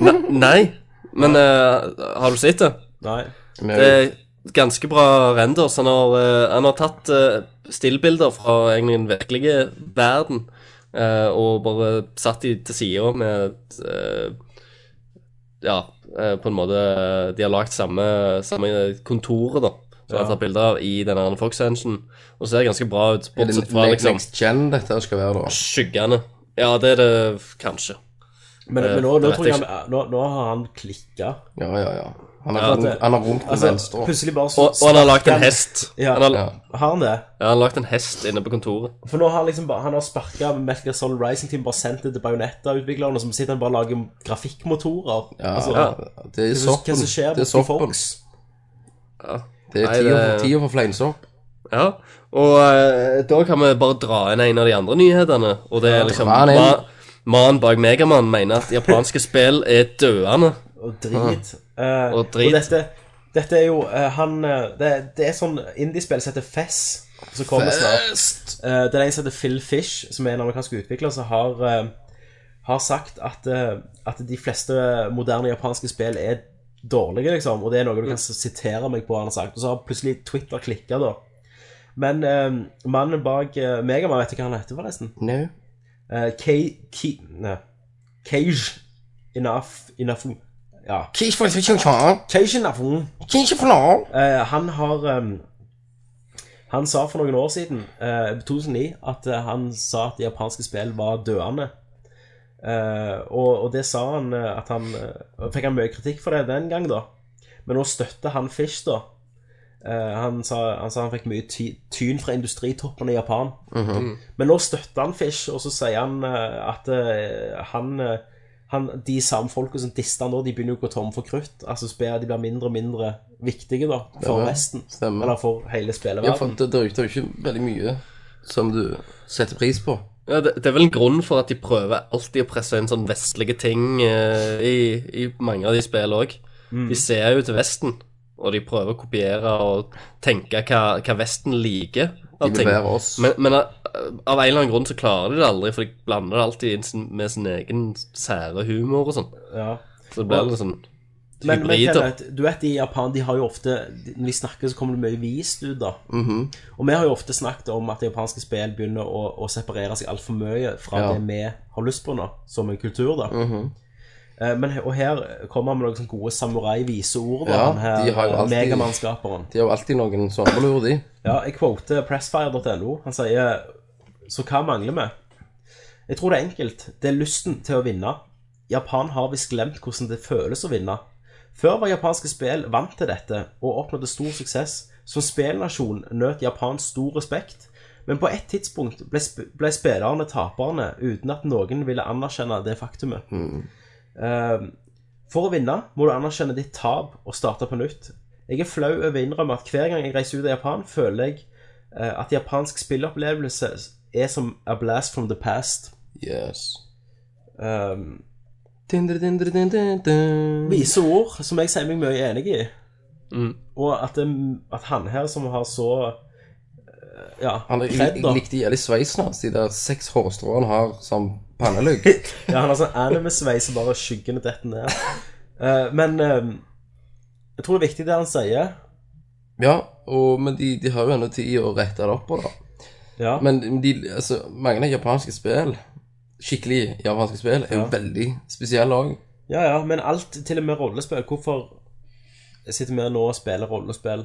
Speaker 4: Ne nei, men eh, har du sett det?
Speaker 3: Nei.
Speaker 4: Det er ganske bra renders. Han har, eh, han har tatt eh, stillbilder fra egentlig den virkelige verden eh, og bare satt de til sida med eh, Ja, eh, på en måte eh, De har lagd samme, samme kontoret, da. Som han har tatt bilder av i denne her Fox Engine. Og ser ganske bra ut,
Speaker 5: Er det
Speaker 4: bortsett fra liksom
Speaker 5: next gen dette skal være, da?
Speaker 4: skyggene. Ja, det er det kanskje.
Speaker 3: Men,
Speaker 4: Eh,
Speaker 3: men nå,
Speaker 4: det
Speaker 3: nå,
Speaker 4: vet
Speaker 3: tror jeg
Speaker 4: jeg
Speaker 3: han, nå, nå har han klikka.
Speaker 5: Ja, ja, ja. Han har
Speaker 4: Ja,
Speaker 5: rundt-
Speaker 3: det-
Speaker 5: han har rundt på
Speaker 3: Altså,
Speaker 5: venstre.
Speaker 3: plutselig bare så
Speaker 4: Og, og han har lagd en hest.
Speaker 3: Ja.
Speaker 4: Han har,
Speaker 5: Ja.
Speaker 3: Har han det?
Speaker 4: ja, han har lagt en hest inne på kontoret.
Speaker 3: For nå har han liksom bare, han har sparka Metal Gear Solid Rising Team, bare sendt det til Bajonetta-utviklerne, og så sitter han bare og lager grafikkmotorer.
Speaker 5: Ja,
Speaker 3: altså,
Speaker 5: det er
Speaker 3: Hva som-
Speaker 5: soppen.
Speaker 3: hva som skjer
Speaker 5: Det er
Speaker 3: borte i
Speaker 5: soppen.
Speaker 3: Fox?
Speaker 5: Det er
Speaker 4: Nei,
Speaker 5: tida
Speaker 4: det-
Speaker 5: for- tida for fleinsopp.
Speaker 4: Ja, og eh, da kan vi bare dra inn en av de andre nyhetene. Og det er liksom
Speaker 5: dra den inn.
Speaker 4: ma- Mannen bak Megaman mener at japanske spill er døende.
Speaker 3: og drit. Eh,
Speaker 4: Og drit.
Speaker 3: Og dette, dette er jo eh, han eh, det, det er sånn indiespill som heter Fess, som kommer snart. Eh, det er en som heter Phil Fish, som er en amerikansk utvikler, som har, eh, har sagt at, eh, at de fleste moderne japanske spill er dårlige, liksom. Og det er noe du
Speaker 4: Mm.
Speaker 3: kan sitere meg på, han har sagt. Og så har plutselig Twitter klikka, da. Men eh, mannen bak uh, Megaman, vet du hva han heter, forresten?
Speaker 5: Nei.
Speaker 3: Uh, K... K... Nei. Cage Inaf... Inafu... Ja.
Speaker 5: Kish for- kish for-
Speaker 3: Cage Inafun.
Speaker 5: kish for-
Speaker 3: Eh, han har ehm, Han sa for noen år siden, eh, 2009, at eh, han sa at de japanske spill var døende. Eh, og, og det sa han eh, at han eh, Fikk han mye kritikk for det den gang, da. Men nå støtter han Fish, da. Eh, han, sa, han sa han fikk mye ty tyn fra industritoppene i Japan.
Speaker 5: Mhm.
Speaker 3: Men nå støtter han Fish, og så sier han eh, at eh, han, eh, han De samme folka som disser nå, de begynner jo å gå tom for krutt. Altså spiller, De blir mindre og mindre viktige da, for
Speaker 5: Stemmer.
Speaker 3: resten.
Speaker 5: Stemmer.
Speaker 3: Eller for hele
Speaker 5: Ja, for
Speaker 3: spilleverdenen.
Speaker 5: det det er jo ikke veldig mye som du setter pris på.
Speaker 4: Ja, det, det er vel en grunn for at de prøver alltid å presse inn sånn vestlige ting eh, i, i mange av de spillene òg.
Speaker 5: Mm.
Speaker 4: De ser jo til Vesten, og de prøver å kopiere og tenke hva, hva Vesten liker.
Speaker 5: De
Speaker 4: av
Speaker 5: vil
Speaker 4: ting.
Speaker 5: være oss.
Speaker 4: Men, men av av en eller annen grunn så klarer de det aldri, for de blander det alltid inn sin- med sin egen sære humor og sånn.
Speaker 3: Ja.
Speaker 4: Så det blir litt sånn
Speaker 3: Men, men
Speaker 4: hybrider.
Speaker 3: Kenneth, du vet i Japan, de har jo ofte Når de snakker, så kommer det mye vist ut, da.
Speaker 5: Mhm.
Speaker 3: Og vi har jo ofte snakket om at japanske spill begynner å, å separere seg altfor mye fra
Speaker 5: Ja. Mhm.
Speaker 3: det vi har lyst på nå, som en kultur, da. Eh, Men, he- og her kommer han med noen sånne gode samurai-viseord.
Speaker 5: Ja,
Speaker 3: Ja, her,
Speaker 5: de har jo
Speaker 3: eh,
Speaker 5: alltid-
Speaker 3: Megamannskaperen.
Speaker 5: De har jo alltid noen sommerlurer, de.
Speaker 3: Ja, jeg quoter pressfire.no. Han sier Så hva mangler vi? Jeg tror det er enkelt. Det er lysten til å vinne. Japan har visst glemt hvordan det føles å vinne. Før var japanske spill vant til dette og oppnådde stor suksess. Som spillnasjon nøt Japan stor respekt, men på et tidspunkt ble, sp ble spillerne taperne uten at noen ville anerkjenne det faktumet.
Speaker 5: Hmm.
Speaker 3: Eh, for å vinne må du anerkjenne ditt tap og starte på nytt. Jeg er flau over å innrømme at hver gang jeg reiser ut av Japan, føler jeg eh, at japansk spillopplevelse er som a blast from the past.
Speaker 5: Yes.
Speaker 3: Um,
Speaker 5: Dindre, dindre, dindre, dindre.
Speaker 3: vise ord som jeg sier meg mye enig i.
Speaker 4: Mm.
Speaker 3: Og at, det- at han her som har så eh, Ja,
Speaker 5: Han, jeg,
Speaker 3: cred,
Speaker 5: jeg
Speaker 3: da.
Speaker 5: likte jævlig sveisen hans. De der seks hårstråene han har som pannelugg.
Speaker 3: Ja, han har sånn anime-sveis og bare skyggene detter ned. Eh, men eh, jeg tror det er viktig det han sier.
Speaker 5: Ja, og, men de, de har jo ennå tid å rette det opp på, da.
Speaker 3: Ja.
Speaker 5: Men de, altså, mange japanske spill, skikkelig japanske spill, er jo
Speaker 3: Ja.
Speaker 5: veldig spesielle òg.
Speaker 3: Ja, ja, men alt, til og med rollespill. Hvorfor sitter vi nå og spiller rollespill?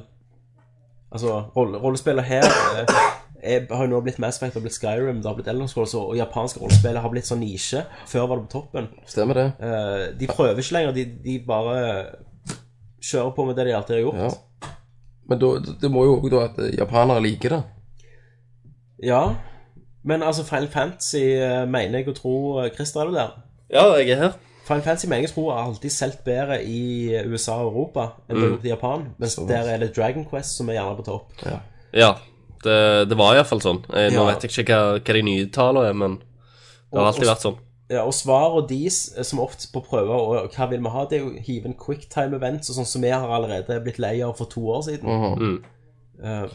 Speaker 3: Altså, rolle, rollespillet her eh, er, har jo nå blitt Mass Effect, det har blitt Skyrim, det har blitt Elder Scrolls, og, og japanske rollespill har blitt sånn nisje. Før var det på toppen.
Speaker 5: Stemmer det?
Speaker 3: Eh, de prøver ikke lenger, de, de bare kjører på med det de alltid har gjort.
Speaker 5: Ja. Men da, det må jo òg da at japanere liker det.
Speaker 3: Ja, men altså Final Fantasy eh, mener jeg å tro eh, Christer er det der.
Speaker 4: Ja, jeg er her.
Speaker 3: Final Fantasy mener jeg tror har alltid solgt bedre i USA og Europa enn det
Speaker 4: Mm.
Speaker 3: har gjort i Japan. Mens der er det Dragon Quest som er gjerne på topp.
Speaker 4: Ja, det, det var iallfall sånn. Jeg, Nå
Speaker 3: Ja.
Speaker 4: vet jeg ikke hva, hva de nye tallene er, men det har
Speaker 3: Og-
Speaker 4: alltid vært sånn.
Speaker 3: Ja, og svaret og deres, eh, som ofte på prøver, og hva vil vi ha, det er jo hive inn quicktime events, og sånn som vi har allerede blitt lei av for to år siden.
Speaker 4: Mm.
Speaker 5: Mhm.
Speaker 3: Eh,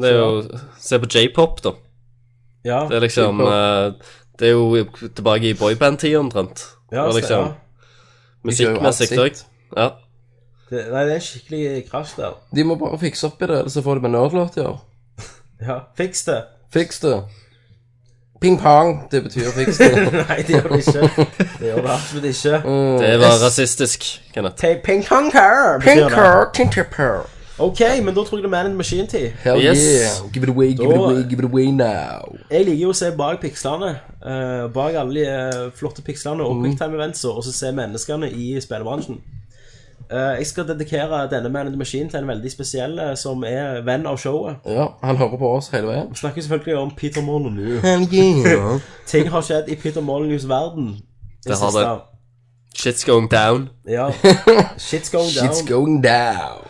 Speaker 4: Det er jo Se på j-pop, da.
Speaker 3: ja,
Speaker 4: Det er liksom eh, Det er jo tilbake i boyband-tida omtrent.
Speaker 3: Ja,
Speaker 4: Og
Speaker 3: så-
Speaker 4: liksom,
Speaker 3: ja.
Speaker 5: kjører jo alt
Speaker 4: Musikkmessig
Speaker 5: sitt.
Speaker 4: òg. Ja.
Speaker 3: Det, nei, det er en skikkelig krasj der.
Speaker 5: De må bare fikse opp i det, ellers så får de en nerdlåt i år.
Speaker 3: Ja, fiks det.
Speaker 5: Fiks det. Ping-pong, det betyr fiks det.
Speaker 3: Nei, det gjør det ikke. Det gjør det absolutt ikke.
Speaker 4: Det var rasistisk, Kenneth.
Speaker 3: Hey, ping pong car, betyr det.
Speaker 5: Tinker, tinker, purr.
Speaker 3: Ok, men da tror jeg det er Man in the Machine tid.
Speaker 5: Hell
Speaker 4: Yes.
Speaker 5: yeah. Give it away, give it
Speaker 3: Da-
Speaker 5: away, give it away now.
Speaker 3: Jeg liker jo å se bak pikslene. eh, bak alle de eh, flotte pikslene
Speaker 4: Mhm.
Speaker 3: og quicktime-eventsa, og så se menneskene i spillebransjen. Eh, jeg skal dedikere denne Man in the Machine til en veldig spesiell eh, som er venn av showet.
Speaker 5: Ja, han hører på oss hele veien.
Speaker 3: Vi snakker selvfølgelig om Peter Molyneux.
Speaker 5: Hell yeah.
Speaker 3: Ting har skjedd i Peter Molyneux' verden.
Speaker 4: Det har det. Shit's going down.
Speaker 3: Ja. Shit's going down.
Speaker 5: It's going down.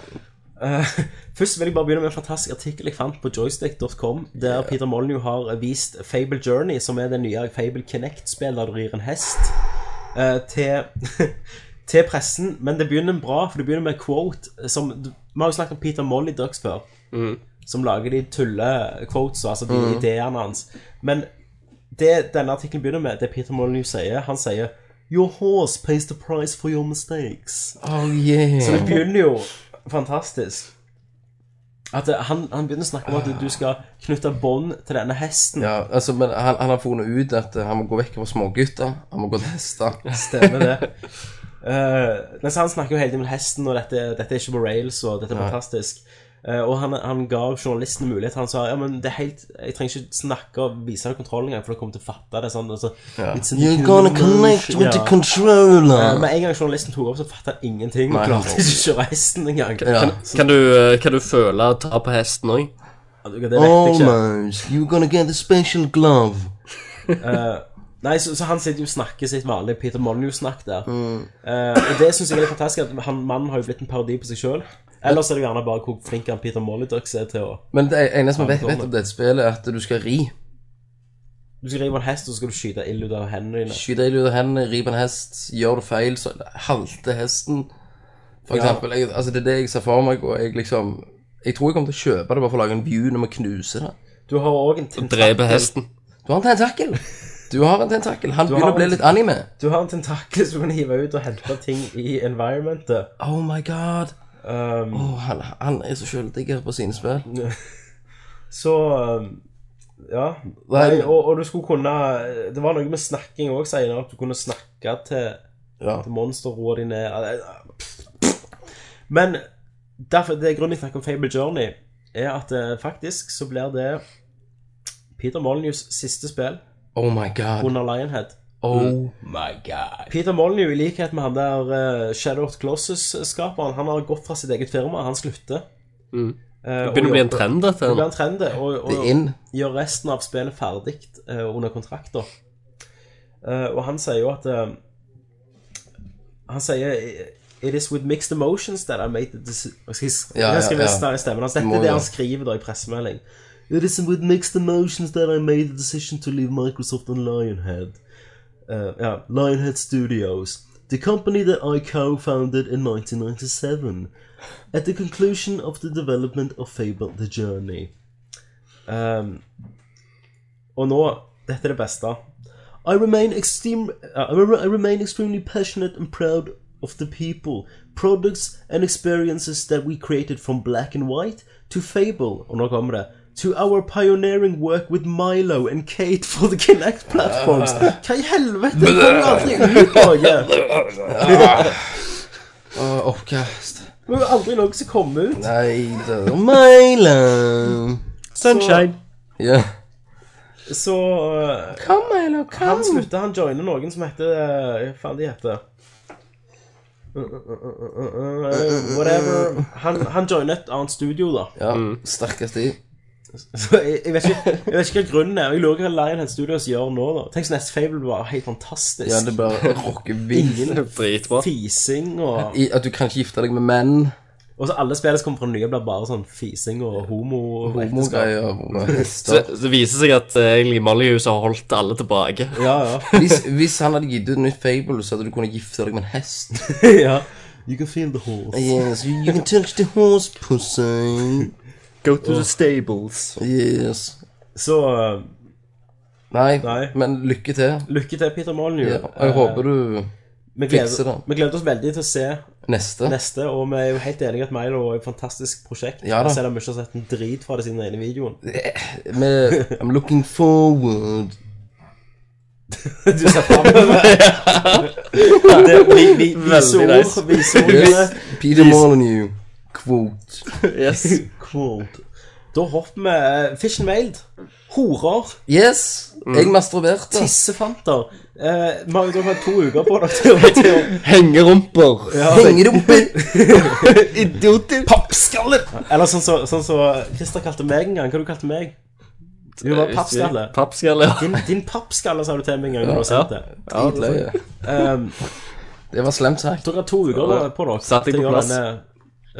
Speaker 3: Eh, Først vil jeg bare begynne med en fantastisk artikkel jeg fant på joystick.com, der Peter Molyneux har eh, vist Fable Journey, som er den nye Fable Kinect-spillet der du rir en hest, eh, til, til pressen. Men det begynner bra, for det begynner med en quote som Vi har jo snakket om Peter Mollyducks før, som lager de tulle-quotes, altså de ideene hans. Men det denne artikkelen begynner med, det Peter Molyneux sier, han sier Your horse pays the price for your mistakes.
Speaker 5: Oh yeah.
Speaker 3: Så det begynner jo fantastisk. At eh, han, han begynner å snakke om at du skal knytte bånd til denne hesten.
Speaker 5: Ja, altså, men han, han har funnet ut at eh, han må gå vekk fra smågutter. Han må gå til hester.
Speaker 3: Stemmer det. Eh, men så han snakker jo hele tiden om hesten, og dette, dette er ikke på rails, og dette er fantastisk. Eh, og han, han ga journalisten mulighet. Han sa ja, men det er helt, jeg trenger ikke snakke og vise deg kontrollen engang, for du kommer til å fatte det. Sånn, og så, It's an illusion. Ja. Eh,
Speaker 5: controller.
Speaker 3: Med en gang journalisten tok opp, så fattet han ingenting.
Speaker 5: Nei.
Speaker 3: og klarte ikke å kjøre hesten engang.
Speaker 5: Ja.
Speaker 4: Kan du, eh, kan du føle ta på hesten òg?
Speaker 3: Ja, Det vet jeg
Speaker 5: Oh
Speaker 3: ikke.
Speaker 5: You're gonna get a special glove.
Speaker 3: Nei, så, så han sitter jo og snakker sitt vanlige Peter Molyneux-snakk der.
Speaker 5: Mm.
Speaker 3: Eh, og det syns jeg er litt fantastisk, at han mannen har jo blitt en parodi på seg sjøl. Ellers er det jo gjerne bare hvor flink han Peter Molyneux er til å
Speaker 5: Men det eneste vi vet, vet om dette spillet, er at du skal ri.
Speaker 3: Du skal rive en hest, og så skal du skyte ild ut av hendene dine.
Speaker 5: Skyte ild ut av hendene, ri på en hest. Gjør du feil, så halter hesten. For
Speaker 3: Ja.
Speaker 5: eksempel. Jeg, altså, det er det jeg ser for meg, og jeg liksom Jeg tror jeg kommer til å kjøpe det bare for å lage en view når vi knuser det.
Speaker 3: Du har òg en
Speaker 4: Drepe
Speaker 3: tentakel
Speaker 4: hesten.
Speaker 5: Du har en tentakel. Du har en tentakel. Han
Speaker 3: har
Speaker 5: begynner å bli
Speaker 3: en-
Speaker 5: litt anime.
Speaker 3: Du har en tentakel som du kan hive ut og hente ting i environmentet.
Speaker 5: Oh my god.
Speaker 3: Um,
Speaker 5: Åh, han, han er så sjøldigger på sine spill.
Speaker 3: Så um, Ja. Nei, og, og du skulle kunne Det var noe med snakking òg senere, at du kunne snakke til,
Speaker 5: Ja.
Speaker 3: til monster, roe de ned Men derfor, det er grunnen jeg snakker om Fable Journey, er at eh, faktisk så blir det Peter Molyneux' siste spill
Speaker 5: Oh my god.
Speaker 3: under Lionhead.
Speaker 5: Oh my god.
Speaker 3: Peter Molyneux, i likhet med han der eh, Shadow of the Closes-skaperen, han har gått fra sitt eget firma, han slutter. Eh, og
Speaker 4: Mm. Det begynner å bli en
Speaker 3: jobber-
Speaker 4: trend, dette.
Speaker 3: Det blir
Speaker 4: her.
Speaker 3: en trend, det. Og, og,
Speaker 5: Det er inn.
Speaker 3: gjør resten av spillet ferdig eh, under kontrakt. da. Eh, og han sier jo at eh, Han sier It is with mixed emotions that I made the decision
Speaker 5: Ja,
Speaker 3: Jeg
Speaker 5: ja,
Speaker 3: skal
Speaker 5: ja.
Speaker 3: lese det i stemmen hans. Dette
Speaker 5: Må
Speaker 3: er det
Speaker 5: jo.
Speaker 3: han skriver da i pressemelding. er It is with mixed emotions that I made the decision to leave Microsoft and Lionhead. Eh, ja, Lionhead Studios. The company that I co-founded in 1997. At the conclusion of the development of Fable The Journey. Um, og nå Dette er det beste. I remain, extreme, uh, I re- I remain extremely passionate and proud of the people, products and experiences that we created from black and white to Fable, og nå kommer det, to our pioneering work with Milo and Kate for the Kinect platforms. Hva i helvete? Oh, Det kommer jo aldri ut noe!
Speaker 5: Åh, oppkast.
Speaker 3: Det var jo aldri noe som kom ut.
Speaker 5: Nei, det er my love.
Speaker 4: Sunshine.
Speaker 5: Ja.
Speaker 3: Så uh,
Speaker 5: Kom, Milo,
Speaker 3: han slutta, han joiner noen som heter eh, Hva faen de heter? Eh, Whatever. Han, han joiner et annet studio, da.
Speaker 5: Ja, sterkest i.
Speaker 3: Så jeg, jeg, vet ikke, jeg vet ikke hva grunnen er. og Jeg lurer hva Lionhead Studios gjør nå, da. Tenk så neste Fable var helt fantastisk.
Speaker 5: Ja, det bare rocker vilt.
Speaker 4: Dritbra.
Speaker 3: Fising og
Speaker 5: I- At du kan ikke gifte deg med menn.
Speaker 3: Og så alle spillene som kommer fra nye, blir bare sånn fising og homo og ekteskap.
Speaker 5: Homogreier. og hester.
Speaker 4: Så det viser seg at eh, egentlig Mollyhus har holdt alle tilbake.
Speaker 3: Ja, ja.
Speaker 5: Hvis, hvis han hadde gitt ut nytt Fable, så hadde du kunnet gifte deg med en hest.
Speaker 3: ja. You can feel the horse.
Speaker 5: Yes, you can touch the horse pussy.
Speaker 4: Go to the stables.
Speaker 5: Yes.
Speaker 3: Så eh,
Speaker 5: Nei, Eh,
Speaker 3: Nei.
Speaker 5: men lykke til.
Speaker 3: Lykke til, Peter Molyneux.
Speaker 5: Ja, og jeg håper du
Speaker 3: vi gleder,
Speaker 5: fikser det.
Speaker 3: vi gleder oss veldig til å se
Speaker 5: Neste.
Speaker 3: neste, og vi er jo helt enige at Milo er et fantastisk prosjekt.
Speaker 5: Ja da.
Speaker 3: Selv om vi ikke har sett en drit fra det siden den ene videoen.
Speaker 5: Med I'm looking forward.
Speaker 3: Du ser fram over det. Vi, vi, vise
Speaker 4: Veldig
Speaker 3: ord.
Speaker 4: nice.
Speaker 3: Vise
Speaker 5: Yes.
Speaker 3: ordene.
Speaker 5: Peter Molyneux. Quote.
Speaker 4: Yes.
Speaker 3: Quote. Da hopper vi eh, Fish and Mailed. Horer.
Speaker 5: Yes! Jeg masturberte.
Speaker 3: Tissefanter. Eh, vi har jo da hatt to uker på dere til, å- til å
Speaker 4: Hengerumper.
Speaker 3: altså,
Speaker 5: Hengerumper.
Speaker 4: Idioter. Pappskaller.
Speaker 3: Eller sånn som så, sånn så Christer kalte meg en gang. Hva du kalte du meg? Du
Speaker 4: Eh,
Speaker 3: var pappskalle.
Speaker 4: Pappskaller.
Speaker 3: Din, din pappskalle, sa du til meg en gang. når du har sendt det.
Speaker 5: Dritløye.
Speaker 3: Um,
Speaker 5: Det var slemt sagt.
Speaker 3: Dere har to uker da, på dere
Speaker 4: Satt deg
Speaker 3: til å
Speaker 4: på
Speaker 3: gjøre
Speaker 4: plass.
Speaker 3: Denne,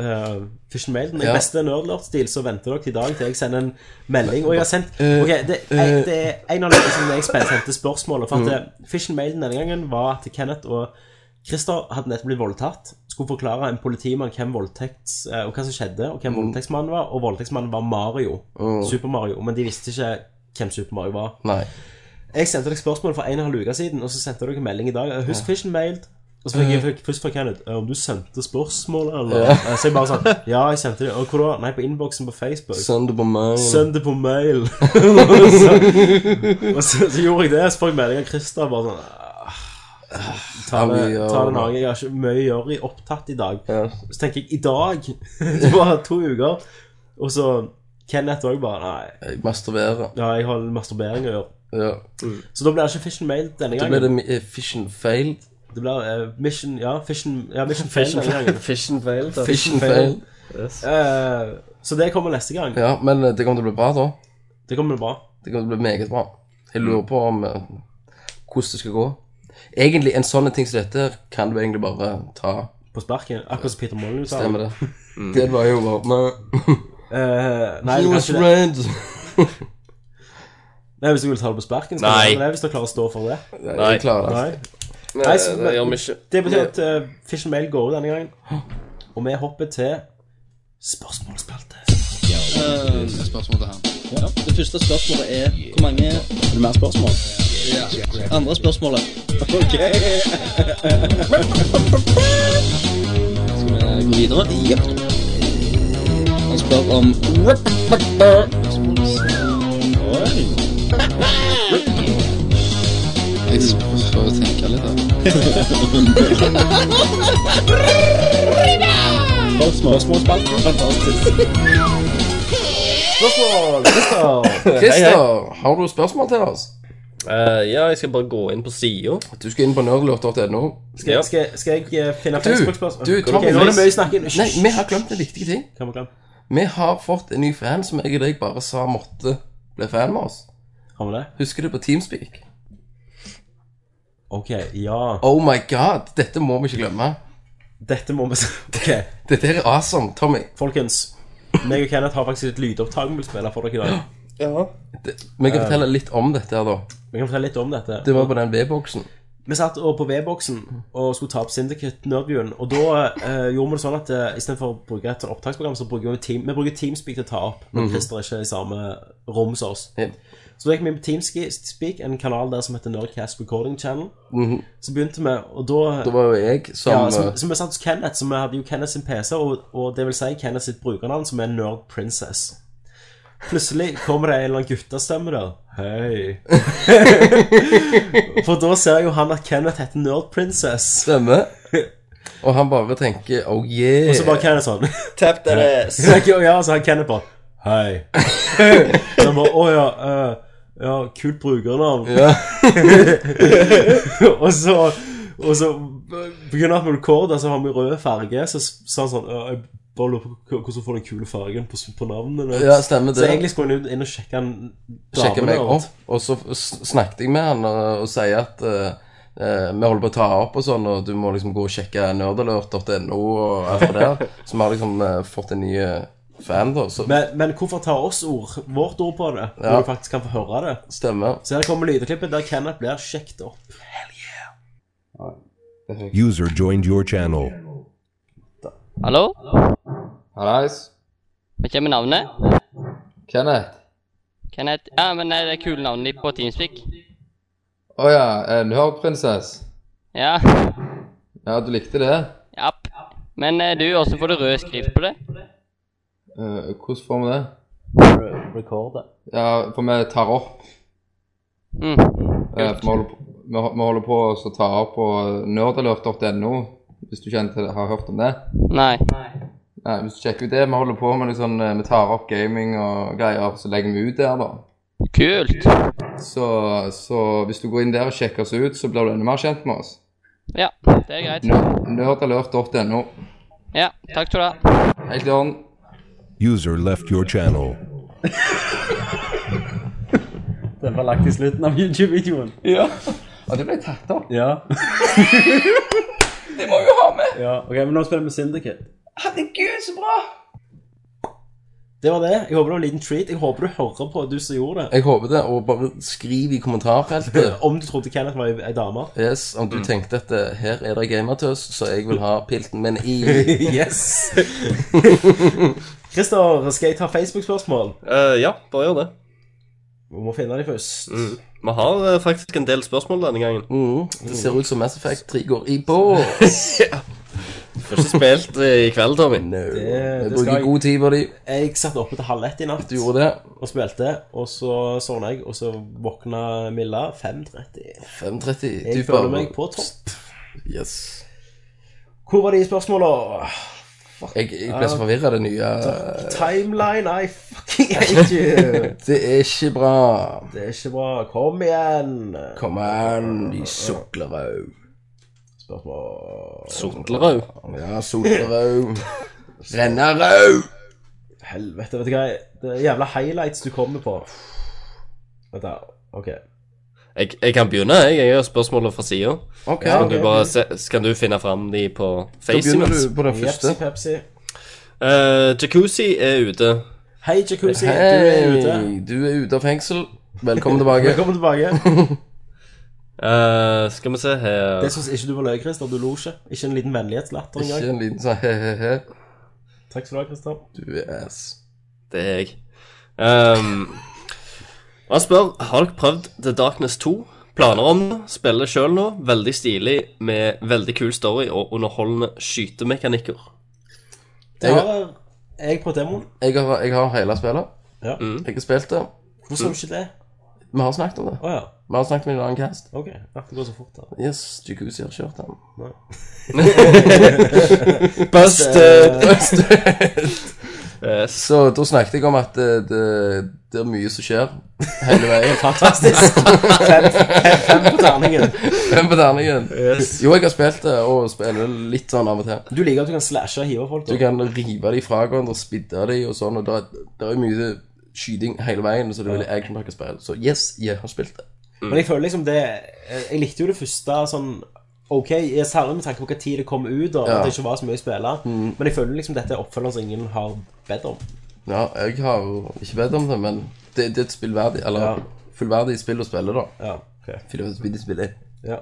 Speaker 3: uh, Fish and Mail, den
Speaker 5: Ja.
Speaker 3: beste nerdlord-stil, så venter dere i dag til jeg sender en melding. Og jeg har sendt
Speaker 5: Eh,
Speaker 3: Ok, det, jeg, det er en av de som jeg spen- sendte spørsmålet. For at eh, Fish and Mail denne gangen var at Kenneth og Christer hadde nettopp blitt voldtatt. Skulle forklare en politimann hvem voldtekts, eh, og hva som skjedde, og hvem voldtektsmannen var. Og voldtektsmannen var Mario. Super Mario. Men de visste ikke hvem Super Mario var.
Speaker 5: Nei.
Speaker 3: Jeg sendte dere spørsmål for en og en halv uke siden, og så sendte dere en melding i dag. Husk fishen mailed. Og så fikk jeg fikk først fra Kenneth «Eh, om du sendte spørsmålet, eller? Eh, Så jeg bare sånn Ja, jeg sendte det. Og hvor da? Nei, på innboksen på Facebook.
Speaker 5: Søndag på meg.
Speaker 3: Send det på mail. og så, og så, så gjorde jeg det. Så får jeg melding av Christer bare sånn «Ah, Ta det,
Speaker 5: Ja,
Speaker 3: ta det en annen gang. Jeg har ikke mye å gjøre. Jeg er opptatt i dag.
Speaker 5: Ja.
Speaker 3: Så tenker jeg i dag Det var to uker. Og så Kenneth òg bare Nei,
Speaker 5: Jeg masturberer.
Speaker 3: ja, jeg har masturbering å gjøre.
Speaker 5: Ja.
Speaker 3: Så da blir det ikke fishen mailed
Speaker 5: Da
Speaker 3: denne gangen.
Speaker 5: ble det mi- eh, fish and fail.
Speaker 3: Det blir eh, Mission Ja, Fission ja, Mission Fail denne gangen.
Speaker 4: Fish and fail.
Speaker 5: Fish and fail.
Speaker 3: Eh, så det kommer neste gang.
Speaker 5: Ja, men eh, det kommer til å bli bra, da.
Speaker 3: Det kommer bra.
Speaker 5: Det kommer til å bli meget bra. Jeg lurer på om eh, hvordan det skal gå. Egentlig, en sånn ting som dette kan du egentlig bare ta.
Speaker 3: På sparken. Akkurat som Peter Molyneux sa.
Speaker 5: Stemmer det? Det var jo bare Nei,
Speaker 3: Eh, Mm. nei,
Speaker 5: He
Speaker 3: du kan
Speaker 5: was
Speaker 3: ikke det.
Speaker 5: red.
Speaker 3: nei, hvis du vil ta det på sparken, skal
Speaker 4: Nei.
Speaker 3: du det. Hvis du klarer å stå for det.
Speaker 5: Nei, jeg klarer det.
Speaker 3: Nei.
Speaker 4: Nei,
Speaker 3: så-
Speaker 4: det gjør vi ikke.
Speaker 3: Det betyr at eh, Fish and Mail går ut denne gangen. Og vi hopper til spørsmålsspalte.
Speaker 7: Det første spørsmålet er hvor mange Er det mer spørsmål? Ja. Andre spørsmålet. Ok. Skal vi gå videre? Ja. Han spør om
Speaker 8: Jeg prøver å tenke litt her.
Speaker 3: Spørsmål! Christer!
Speaker 5: Christer, har du spørsmål til oss?
Speaker 4: Eh, ja, jeg skal bare gå inn på sida.
Speaker 5: Du skal inn på nerdlort.no.
Speaker 3: Skal,
Speaker 4: Ja.
Speaker 3: skal, skal jeg eh, finne
Speaker 5: Du,
Speaker 3: Facebook-spørsmål?
Speaker 5: du,
Speaker 3: Ok,
Speaker 5: Tom,
Speaker 3: nå er det
Speaker 5: vi-
Speaker 3: mye snakking.
Speaker 5: Nei, vi har glemt en viktig ting.
Speaker 3: Kom, kom.
Speaker 5: Vi har fått en ny fan som jeg og deg bare sa måtte bli fan med oss.
Speaker 3: Har vi det?
Speaker 5: Husker du på Teamspeak?
Speaker 3: OK, ja.
Speaker 5: Oh my god, dette må vi ikke glemme.
Speaker 3: Dette må vi OK.
Speaker 5: Dette her er awesome, Tommy.
Speaker 3: Folkens, meg og Kenneth har faktisk et lydopptak vi vil spille for dere i dag.
Speaker 5: Det, vi kan fortelle litt om dette her, da.
Speaker 3: Vi kan fortelle litt om dette.
Speaker 5: Det var på den V-boksen.
Speaker 3: Vi satt og på V-boksen og skulle ta opp Syndicate Nerdviewen, og da eh, gjorde vi det sånn at eh, istedenfor å bruke et sånn opptaksprogram, så bruker vi, team, vi bruker Teamspeak til å ta opp, men Christer er ikke i samme rom som oss.
Speaker 5: Yep.
Speaker 3: Så da gikk vi inn på Teamspeak, en kanal der som heter Nerdcast Recording Channel. Så begynte vi, og da
Speaker 5: Da var jo jeg som,
Speaker 3: Ja,
Speaker 5: eh,
Speaker 3: som, som vi satt hos Kenneth, så vi hadde jo Kenneth sin PC, og, og det vil si Kenneth sitt brukernavn, som er Nerd Princess. Plutselig kommer det en eller annen guttestemme der. Hei. For da ser jo han at Kenneth heter Nerd Princess.
Speaker 5: stemmer. Og han bare tenker oh yeah.
Speaker 3: Og så bare Kenneth sånn.
Speaker 4: Tap that ass.
Speaker 3: Så jeg- ja, så har Kenneth bare Hei. Så han bare Å ja. eh, ja, kult brukernavn. og så Og så begynner han med rekorder, så har vi rød farge. Så sa han sånn «Ja, Jeg bare lurer på hva- hvordan får den kule fargen på, på navnene.
Speaker 5: Ja, stemmer
Speaker 3: så
Speaker 5: det.
Speaker 3: egentlig skulle han jo inn og sjekke han
Speaker 5: sjekker
Speaker 3: damene
Speaker 5: meg
Speaker 3: og
Speaker 5: opp,
Speaker 3: alt.
Speaker 5: og så s- snakket jeg med han og, og sier at eh, eh, vi holder på å ta opp og sånn, og du må liksom gå og sjekke nerdalert.no og alt det der. Så vi har liksom eh, fått en ny eh, fan, da. Så
Speaker 3: Men, men hvorfor ta oss ord, vårt ord på det, når
Speaker 5: Ja.
Speaker 3: du faktisk kan få høre det?
Speaker 5: stemmer.
Speaker 3: Så her kommer lydklippet der Kenneth blir sjekket opp.
Speaker 9: User joined your channel.
Speaker 10: Hallo?
Speaker 5: Hallais.
Speaker 10: Hva kommer navnet?
Speaker 5: Kenneth.
Speaker 10: Kenneth Ja, men er det kule navnet ditt på Teamspeak?
Speaker 5: Å ja, eh, Nerdprinsess.
Speaker 10: Ja.
Speaker 5: Ja, du likte det?
Speaker 10: Japp. Men eh, du, hvordan får du rød skrift på det?
Speaker 5: Eh, hvordan får vi det?
Speaker 3: Rekorde.
Speaker 5: Ja, for vi tar opp.
Speaker 10: Mm.
Speaker 5: Eh, for vi holder, på- vi ho- vi holder på å ta opp på nerdalert.no, hvis du kjenner til det, har hørt om det.
Speaker 10: Nei.
Speaker 5: Nei, hvis du sjekker ut det, vi holder på med litt sånn, eh, vi tar opp gaming og greier, så legger vi ut der da.
Speaker 10: Kult.
Speaker 5: Så, så hvis du går inn der og sjekker oss ut, så blir du enda mer kjent med oss.
Speaker 10: Ja, det er greit.
Speaker 5: Ner- Nerdalert.no.
Speaker 10: Ja, takk skal du ha.
Speaker 5: Helt i orden.
Speaker 9: User left your channel.
Speaker 7: Den var lagt i slutten av YouTube-videoen.
Speaker 5: Ja. Og det ble tatt opp.
Speaker 7: Ja.
Speaker 5: Det må vi jo ha med.
Speaker 7: ja. Ok, men nå spiller vi Syndicate.
Speaker 5: Herregud, så bra.
Speaker 3: Det var det. Jeg håper det var en liten treat. Jeg håper du hører på, du som gjorde det.
Speaker 5: Jeg håper det, og bare skriv i kommentarfeltet.
Speaker 3: Om du trodde Kenneth var ei- ei dame.
Speaker 5: Yes, om du
Speaker 3: Mm.
Speaker 5: tenkte at eh, her er det gamertøs, så jeg vil ha pilten min i.
Speaker 3: Yes! Christer, skal jeg ta Facebook-spørsmål?
Speaker 4: Eh, ja, bare gjør det.
Speaker 3: Vi må finne de først.
Speaker 7: Mm.
Speaker 4: Vi har eh, faktisk en del spørsmål denne gangen.
Speaker 5: Mm, det ser ut som Mass Effect 3 går i bås.
Speaker 4: Du har ikke spilt eh, i kveld, Tommy.
Speaker 5: No.
Speaker 3: det
Speaker 5: Jeg
Speaker 3: skal jeg.
Speaker 5: bruker god tid på de.
Speaker 3: Jeg satt oppe til halv ett i natt
Speaker 5: Du gjorde det.
Speaker 3: og spilte, og så sovna jeg, og så våkna Milla 5.30.
Speaker 5: 5.30.
Speaker 3: Jeg
Speaker 5: Du
Speaker 3: føler
Speaker 5: bare-
Speaker 3: meg på topp.
Speaker 5: Yes.
Speaker 3: Hvor var de spørsmåla?
Speaker 5: Jeg, jeg ble så forvirra av det nye.
Speaker 3: Timeline, I fucking hate you!
Speaker 5: Det er ikke bra.
Speaker 3: Det er ikke bra. Kom igjen!
Speaker 5: Kom an, de suklerau.
Speaker 3: Spørsmål
Speaker 4: Sotlerau.
Speaker 5: Ja, sotlerau. Rennerau.
Speaker 3: Helvete, vet du hva? Det er jævla highlights du kommer på. Vent, da. OK.
Speaker 4: Jeg, jeg kan begynne, jeg. Jeg har spørsmålet fra sida.
Speaker 5: Ok,
Speaker 4: Kan
Speaker 3: ok.
Speaker 4: du bare se, skal du finne fram de på altså?
Speaker 5: da
Speaker 4: Face
Speaker 5: begynner
Speaker 4: imens?
Speaker 5: du på den første.
Speaker 3: Jepsi Pepsi.
Speaker 4: Eh, jacuzzi er ute.
Speaker 3: Hei, Jacuzzi. Du er ute.
Speaker 5: Hei, du er ute av fengsel. Velkommen tilbake.
Speaker 3: Velkommen tilbake.
Speaker 4: Eh, skal vi se her
Speaker 3: Det syns ikke du var løye, Christer. Du lo ikke. Ikke en liten vennlighetslatter
Speaker 5: Ikke
Speaker 3: engang.
Speaker 5: en liten sånn he-he-he.
Speaker 3: Takk skal du ha, Christer.
Speaker 5: Du er ass.
Speaker 4: Det er jeg. Ehm, han spør har dere prøvd The Darkness 2. Planer om det. Spiller sjøl nå. Veldig stilig med veldig kul story og underholdende skytemekanikker.
Speaker 3: Det har jeg på demoen.
Speaker 5: Jeg har, jeg har hele spillet.
Speaker 3: Ja.
Speaker 5: Jeg har spilt det.
Speaker 3: Hvorfor sa du ikke det?
Speaker 5: Vi har snakket om det.
Speaker 3: Å ja.
Speaker 5: Vi har snakket om det i en annen cast.
Speaker 3: Ok. Ja, det går så fort, da.
Speaker 5: Yes, Jacuzzi har kjørt den.
Speaker 3: eh,
Speaker 4: Busted! yes.
Speaker 5: Så da snakket jeg om at det, det, det er mye som skjer hele veien.
Speaker 3: Fantastisk. Fem, fem, fem på terningen.
Speaker 5: Hvem på terningen? Jo, jeg har spilt det, og spiller litt sånn av og til.
Speaker 3: Du liker at du kan slashe og hive folk,
Speaker 5: Du
Speaker 3: da.
Speaker 5: kan rive de fra hverandre, spidde de og sånn, og det er, det er mye skyting hele veien, så det er veldig actionpakket spill. Så yes, jeg har spilt det.
Speaker 3: Men jeg føler liksom det Jeg likte jo det første sånn OK, særlig med tanke på hva tid det kom ut, og
Speaker 5: Ja.
Speaker 3: at det ikke var så mye å spille.
Speaker 4: Mm.
Speaker 3: Men jeg føler liksom dette er oppfølgeren som ingen har bedt om.
Speaker 5: Ja, jeg har jo ikke bedt om det, men det, det er et spillverdig, eller
Speaker 3: Ja.
Speaker 5: fullverdig spill å spille, da.
Speaker 3: Ja. ok.
Speaker 5: Fordi det er et spill de spiller.
Speaker 3: Ja.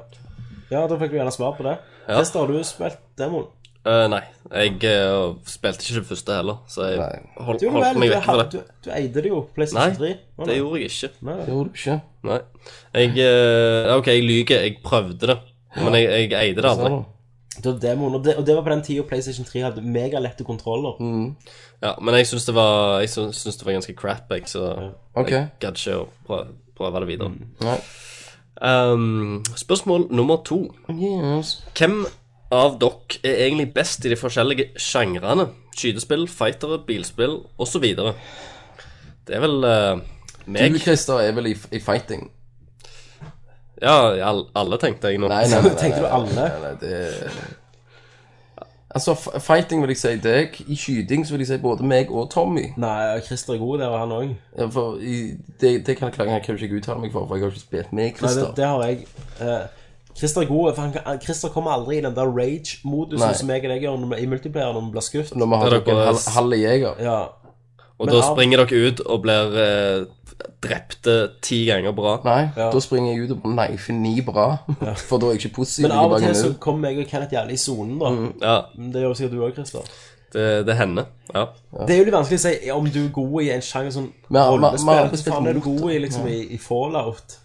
Speaker 3: ja, da fikk du gjerne svar på det.
Speaker 4: Ja.
Speaker 3: Christer, har du spilt demoen?
Speaker 4: Eh, nei, jeg eh, spilte ikke det første heller, så jeg
Speaker 5: Nei.
Speaker 4: hold,
Speaker 3: Du, vel,
Speaker 4: holdt meg
Speaker 3: du,
Speaker 4: vekk
Speaker 3: ha-
Speaker 4: fra
Speaker 3: du,
Speaker 4: det.
Speaker 3: du eide det jo,
Speaker 4: Nei,
Speaker 3: PlayStation 3. Å,
Speaker 4: det gjorde jeg ikke.
Speaker 3: nei.
Speaker 5: Det gjorde du ikke.
Speaker 4: Nei. Jeg eh, OK, jeg lyver. Jeg prøvde det, men jeg, jeg eide det
Speaker 5: Sånn.
Speaker 4: aldri.
Speaker 3: Det var demoen, og det, og det var på den tida PlayStation 3 hadde megalette kontroller.
Speaker 4: Mm. Ja, men jeg syns det, var- jeg syns- syns det var ganske crap, jeg, så
Speaker 5: Ok.
Speaker 4: jeg gadd ikke å prøve, prøve det videre.
Speaker 5: Nei.
Speaker 4: Ehm, spørsmål nummer to.
Speaker 5: Yes.
Speaker 4: Hvem av dere er egentlig best i de forskjellige sjangrene? Skytespill, fightere, bilspill osv. Det er vel eh,
Speaker 5: Du,
Speaker 4: meg.
Speaker 5: Christer, er vel i, i fighting?
Speaker 4: Ja, i all, alle, tenkte jeg nå.
Speaker 5: Nei, nei, nei. nei,
Speaker 3: Tenkte du
Speaker 5: nei,
Speaker 3: alle?
Speaker 5: nei, nei det... Altså, f- fighting vil jeg si deg. I skyting så vil jeg si både meg og Tommy.
Speaker 3: Nei, Christer er god der, han òg.
Speaker 5: Ja, For i, det, det kan jeg klage, jeg kan jo ikke uttale meg for, for jeg har jo ikke spilt med
Speaker 3: Nei, det,
Speaker 5: Christer.
Speaker 3: det har jeg. Eh, Christer er god, for han, kan- Christer kommer aldri i den der
Speaker 5: Nei.
Speaker 3: rage-modusen som jeg og deg gjør når vi- i multiplayer når vi blir skutt.
Speaker 5: Når vi
Speaker 4: Det
Speaker 5: har
Speaker 4: er
Speaker 5: dere en
Speaker 4: dere-
Speaker 5: halv, halv jeger.
Speaker 3: Ja.
Speaker 4: Og
Speaker 3: Men
Speaker 4: da
Speaker 3: av-
Speaker 4: springer dere ut og blir eh, drepte ti ganger på rad.
Speaker 5: Nei,
Speaker 3: Ja.
Speaker 5: da springer jeg ut og Nei, for ni bra. For da er jeg ikke pussy.
Speaker 3: Men
Speaker 5: ligger
Speaker 3: av og
Speaker 5: bak en
Speaker 3: til så
Speaker 5: mur. Mm.
Speaker 3: kommer jeg og Kenneth jævlig i sonen, da.
Speaker 4: Ja,
Speaker 3: Men Det gjør sikkert du òg, Christer.
Speaker 4: Det, det hender. Ja.
Speaker 3: Det er jo litt vanskelig å si om du er god i en sjanger som
Speaker 5: Vi har- vi- vi har
Speaker 3: rollespill. Hva
Speaker 5: spilt
Speaker 3: faen er du
Speaker 5: mot-
Speaker 3: god i liksom i, i fallout?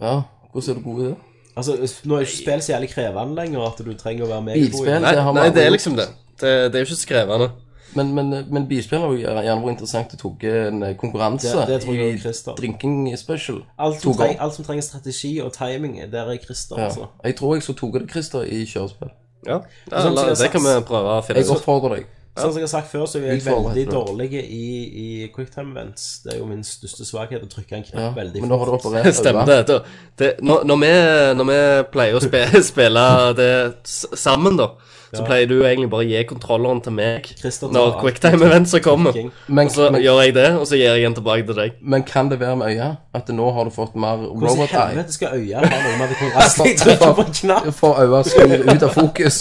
Speaker 5: Ja, hvordan er du god i det?
Speaker 3: Altså, Nå er jo ikke spill så jævlig krevende lenger at du trenger å være med.
Speaker 5: Bilspill?
Speaker 4: Nei,
Speaker 5: Det har vi
Speaker 4: nei,
Speaker 5: aldri
Speaker 4: det er
Speaker 5: gjort.
Speaker 4: liksom det. Det, det er jo ikke skrevende.
Speaker 5: Men, men, men bilspill har jo gjerne vært interessant å tok en eh, konkurranse
Speaker 3: Det- det tror jeg også,
Speaker 5: i
Speaker 3: Christer.
Speaker 5: drinking special.
Speaker 3: Alt som,
Speaker 5: Tok opp.
Speaker 3: trenger, alt som trenger strategi og timing, der er Christer,
Speaker 5: Ja.
Speaker 3: altså.
Speaker 5: Jeg tror jeg så tok det, Christer, i kjørespill.
Speaker 4: Ja,
Speaker 3: er sånn
Speaker 4: la-
Speaker 3: som jeg
Speaker 4: det kan vi
Speaker 3: sa-
Speaker 4: prøve å finne
Speaker 5: Jeg
Speaker 4: ut.
Speaker 5: oppfordrer deg.
Speaker 3: Sånn som jeg har sagt før, så er jeg
Speaker 5: Litt forhold,
Speaker 3: veldig
Speaker 5: tror
Speaker 3: dårlig i, i quicktime events. Det er jo min største svakhet å trykke en
Speaker 5: Ja.
Speaker 3: knapp veldig
Speaker 5: Men nå har du
Speaker 3: fort.
Speaker 5: operert
Speaker 4: Stemmer
Speaker 5: øyet.
Speaker 4: det. Da, det når, når, vi, når vi pleier å spe, spille det s- sammen, da, så pleier du egentlig bare å gi kontrolleren til meg
Speaker 3: Christer tar
Speaker 4: når
Speaker 3: alt.
Speaker 4: quicktime-eventsa kommer.
Speaker 3: King.
Speaker 5: Men,
Speaker 4: Og så
Speaker 5: men,
Speaker 4: gjør jeg det, og så gir jeg den tilbake til deg.
Speaker 5: men kan det være med øya at nå har du fått mer
Speaker 3: Hvordan i
Speaker 5: robot eye?
Speaker 3: helvete skal øya ha noe med at jeg kan raskt Altså, jeg trykker på en knapp?
Speaker 5: For øya skyr ut av fokus.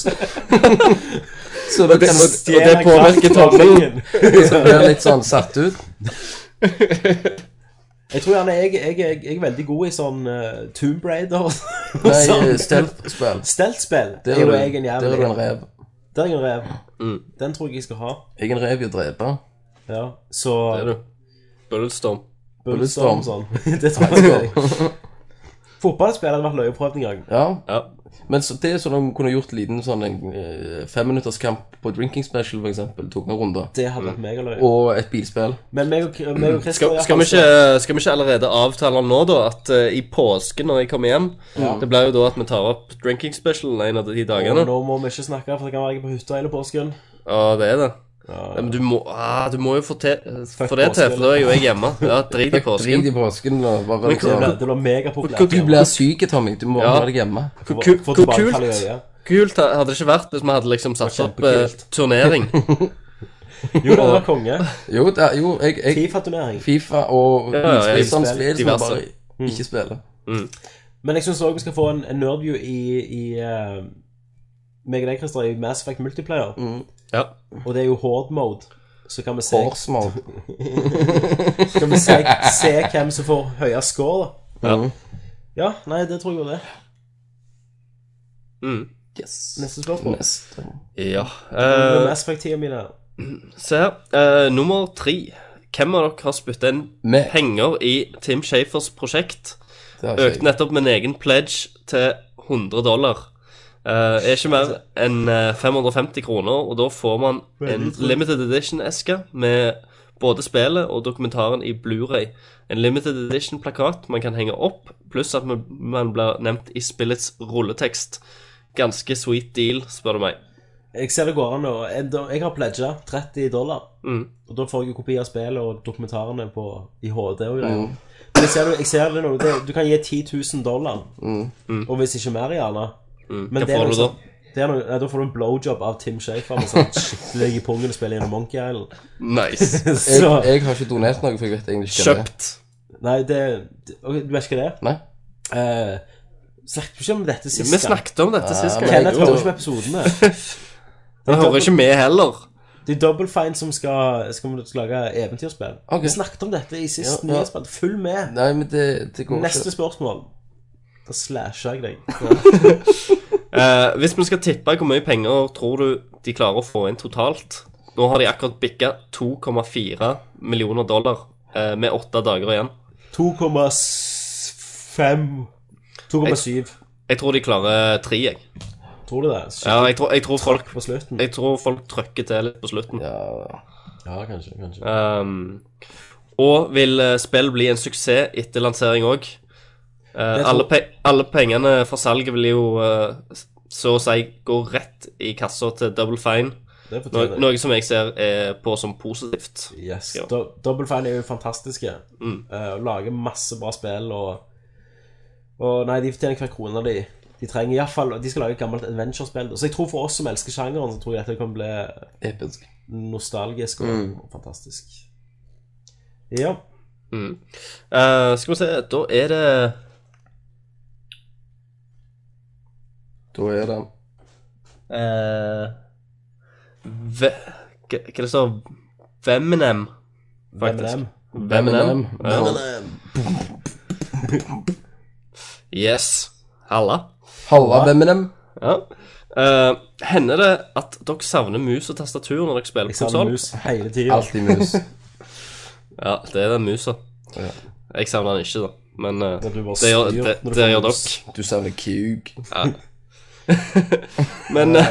Speaker 5: så da
Speaker 4: Det,
Speaker 5: kan
Speaker 4: og,
Speaker 5: du
Speaker 4: og det påvirker tommelen.
Speaker 5: bli litt sånn satt ut.
Speaker 3: Jeg tror gjerne jeg, jeg, jeg, jeg er veldig god i sånn eh, Tomb Raider.
Speaker 5: Nei, stealth-spill.
Speaker 3: Steltspill
Speaker 5: Der
Speaker 3: Sånn. er
Speaker 5: er
Speaker 3: jo
Speaker 5: du
Speaker 3: jeg en
Speaker 5: der er
Speaker 3: jævlig
Speaker 5: du en rev.
Speaker 3: Der er jeg en rev.
Speaker 4: Mm.
Speaker 3: Den tror jeg jeg skal ha.
Speaker 5: Jeg er en rev i å drepe.
Speaker 3: Ja. Så
Speaker 4: Det er du. Bulletstorm.
Speaker 3: Bulletstorm og sånn. det tror jeg. Fotballspill hadde vært løye å prøve en gang.
Speaker 5: Ja.
Speaker 4: Ja.
Speaker 5: Men så, det er sånn de kunne gjort liten sånn en eh, femminutterskamp på drinking special, for eksempel. Tok noen runder.
Speaker 3: Det hadde vært megaløye.
Speaker 5: Og et bilspill.
Speaker 3: Men meg og, meg og Christer i
Speaker 4: Mm. Skal,
Speaker 3: hvert
Speaker 4: skal, vi
Speaker 3: fall
Speaker 4: ikke, skal vi ikke allerede avtale nå, da, at eh, i påsken når jeg kommer hjem Det blir jo da at vi tar opp drinking special en av de
Speaker 3: Og
Speaker 4: dagene.
Speaker 3: nå må vi ikke snakke, for det kan være jeg er på hytta hele påsken.
Speaker 4: Ja, det er det. Ja, men du må, ah, du må jo få, til, få det til,
Speaker 3: påske,
Speaker 4: for da er jo jeg hjemme. Ja, Drit i påsken.
Speaker 5: Drit i påsken og bare
Speaker 4: Men hva-
Speaker 3: Det
Speaker 5: liksom-
Speaker 3: blir, det blir megapopulært.
Speaker 5: Du blir syk, Tommy. Du må
Speaker 4: Ja.
Speaker 5: være deg hjemme.
Speaker 4: Hvor ku-
Speaker 3: Få
Speaker 4: hvor
Speaker 3: tilbakefall i
Speaker 4: kult,
Speaker 3: øyet.
Speaker 4: kult ha- hadde det ikke vært hvis vi hadde liksom satt opp eh,
Speaker 3: kjempekult.
Speaker 4: turnering.
Speaker 3: Jo, det var konge.
Speaker 5: Jo, da, jo jeg, jeg
Speaker 3: Fifa-turnering.
Speaker 5: Fifa og
Speaker 4: Ja, ja, jeg-
Speaker 5: sånn spill som man
Speaker 4: diverse.
Speaker 5: bare ikke spiller.
Speaker 3: Men jeg syns òg vi skal få en, en nerdview i, i eh, meg og deg, Christer, i Mass Effect Multiplayer.
Speaker 4: Ja.
Speaker 3: Og det er jo horde mode. Så kan vi se,
Speaker 5: Horsemode.
Speaker 3: kan vi se, se hvem som får høyest score, da.
Speaker 5: Ja.
Speaker 3: Ja, nei, det tror jeg jo det.
Speaker 4: Mm.
Speaker 5: Yes.
Speaker 3: Neste spørsmål.
Speaker 5: Neste.
Speaker 4: ja.
Speaker 3: Uh,
Speaker 4: Eh,
Speaker 3: Mass Effect-tida mine.
Speaker 4: se her. Eh, nummer tre. Hvem av dere har spytta inn
Speaker 5: Meg.
Speaker 4: penger i Tim Shafers prosjekt?
Speaker 5: Det har
Speaker 4: Økte
Speaker 5: ikke jeg.
Speaker 4: nettopp min egen pledge til 100 dollar. Eh, er ikke mer enn eh, 550 kroner, og da får man en limited edition-eske med både spillet og dokumentaren i Blu-ray. En limited edition-plakat man kan henge opp, pluss at man- man blir nevnt i spillets rulletekst. Ganske sweet deal, spør du meg.
Speaker 3: Jeg ser det går an å en- Jeg har pledga 30 dollar.
Speaker 4: Mm.
Speaker 3: Og da får jeg jo kopi av spillet og dokumentarene på, i HD og greier.
Speaker 4: Mm.
Speaker 3: Men jeg ser, det- jeg ser det nå. det- Du kan gi 10 000 dollar. Og hvis ikke mer, gjerne.
Speaker 4: Mm.
Speaker 3: Men
Speaker 4: Hva
Speaker 3: det er
Speaker 4: får du
Speaker 3: noe
Speaker 4: da?
Speaker 3: sånn- Det er noe, nei, da får du en blowjob av Tim Shafer med sånn skikkelig i pungen og spiller gjennom Monkey Island.
Speaker 4: Nice.
Speaker 5: Jeg,
Speaker 3: Så
Speaker 5: jeg har ikke donert noe, for jeg vet egentlig ikke hva det er.
Speaker 4: Kjøpt.
Speaker 3: Nei, det det- ok, Du vet ikke hva det er?
Speaker 5: Nei.
Speaker 3: Eh, Snakket vi ikke om dette sist?
Speaker 4: Vi snakket om dette sist gang.
Speaker 3: Kenneth hører
Speaker 4: Jeg
Speaker 3: ikke på episodene.
Speaker 4: hører ikke med heller.
Speaker 3: Det er Double Fine som skal, skal lage eventyrspill.
Speaker 5: Ok.
Speaker 3: Vi snakket om dette i sist
Speaker 5: Ja, ja.
Speaker 3: nyhetsspill. Følg med.
Speaker 5: Nei, men det, det går
Speaker 3: Neste
Speaker 5: ikke.
Speaker 3: spørsmål. Da slasher jeg deg.
Speaker 4: Eh, hvis vi skal tippe hvor mye penger tror du de klarer å få inn totalt? Nå har de akkurat bikka 2,4 millioner dollar eh, med åtte dager igjen.
Speaker 3: 2,5 2,7.
Speaker 4: Jeg tror de klarer tre, jeg.
Speaker 3: Tror du det? Shit,
Speaker 4: Ja, jeg, tror, jeg, tror folk,
Speaker 3: På slutten?
Speaker 4: jeg tror folk trøkker til litt på slutten.
Speaker 3: Ja, kanskje. kanskje.
Speaker 4: Ehm, og vil eh, spill bli en suksess etter lansering òg?
Speaker 3: Det tror-
Speaker 4: alle, pe alle pengene fra salget vil jo eh, så å si gå rett i kassa til Double Fine,
Speaker 3: Det
Speaker 4: noe,
Speaker 3: fortjener jeg.
Speaker 4: noe som jeg ser er på som positivt.
Speaker 3: Yes.
Speaker 4: Ja.
Speaker 3: Do Double Fine er jo fantastiske.
Speaker 4: Mm.
Speaker 3: Eh, og lager masse bra spill og Og nei, de fortjener hver krone de De trenger i hvert fall, De skal lage et gammelt adventure-spill. Så jeg tror for oss som elsker sjangeren, så tror jeg dette kan bli
Speaker 5: Episk.
Speaker 3: nostalgisk og
Speaker 5: Mm.
Speaker 3: og fantastisk. Ja.
Speaker 4: Mm. Eh, skal vi se, da er det
Speaker 5: Da er det
Speaker 4: eh, ve Hva hva det står Veminem,
Speaker 3: Hvem er
Speaker 4: faktisk.
Speaker 3: dem?
Speaker 4: Veminem. Ja. Yes. Halla.
Speaker 5: Halla, hvem er dem?
Speaker 4: Ja. Eh, hender det at dere savner mus og tastatur når dere spiller
Speaker 3: Jeg savner
Speaker 4: konsoll?
Speaker 3: mus hele tida.
Speaker 5: Alltid mus.
Speaker 4: Ja, det er den musa. Jeg savner den ikke, da. Men eh,
Speaker 3: Det blir bare
Speaker 4: det gjør,
Speaker 3: styrt
Speaker 4: det,
Speaker 3: når du
Speaker 4: det
Speaker 3: får
Speaker 4: gjør
Speaker 3: mus.
Speaker 4: dere.
Speaker 5: Du savner kuk.
Speaker 4: Men eh,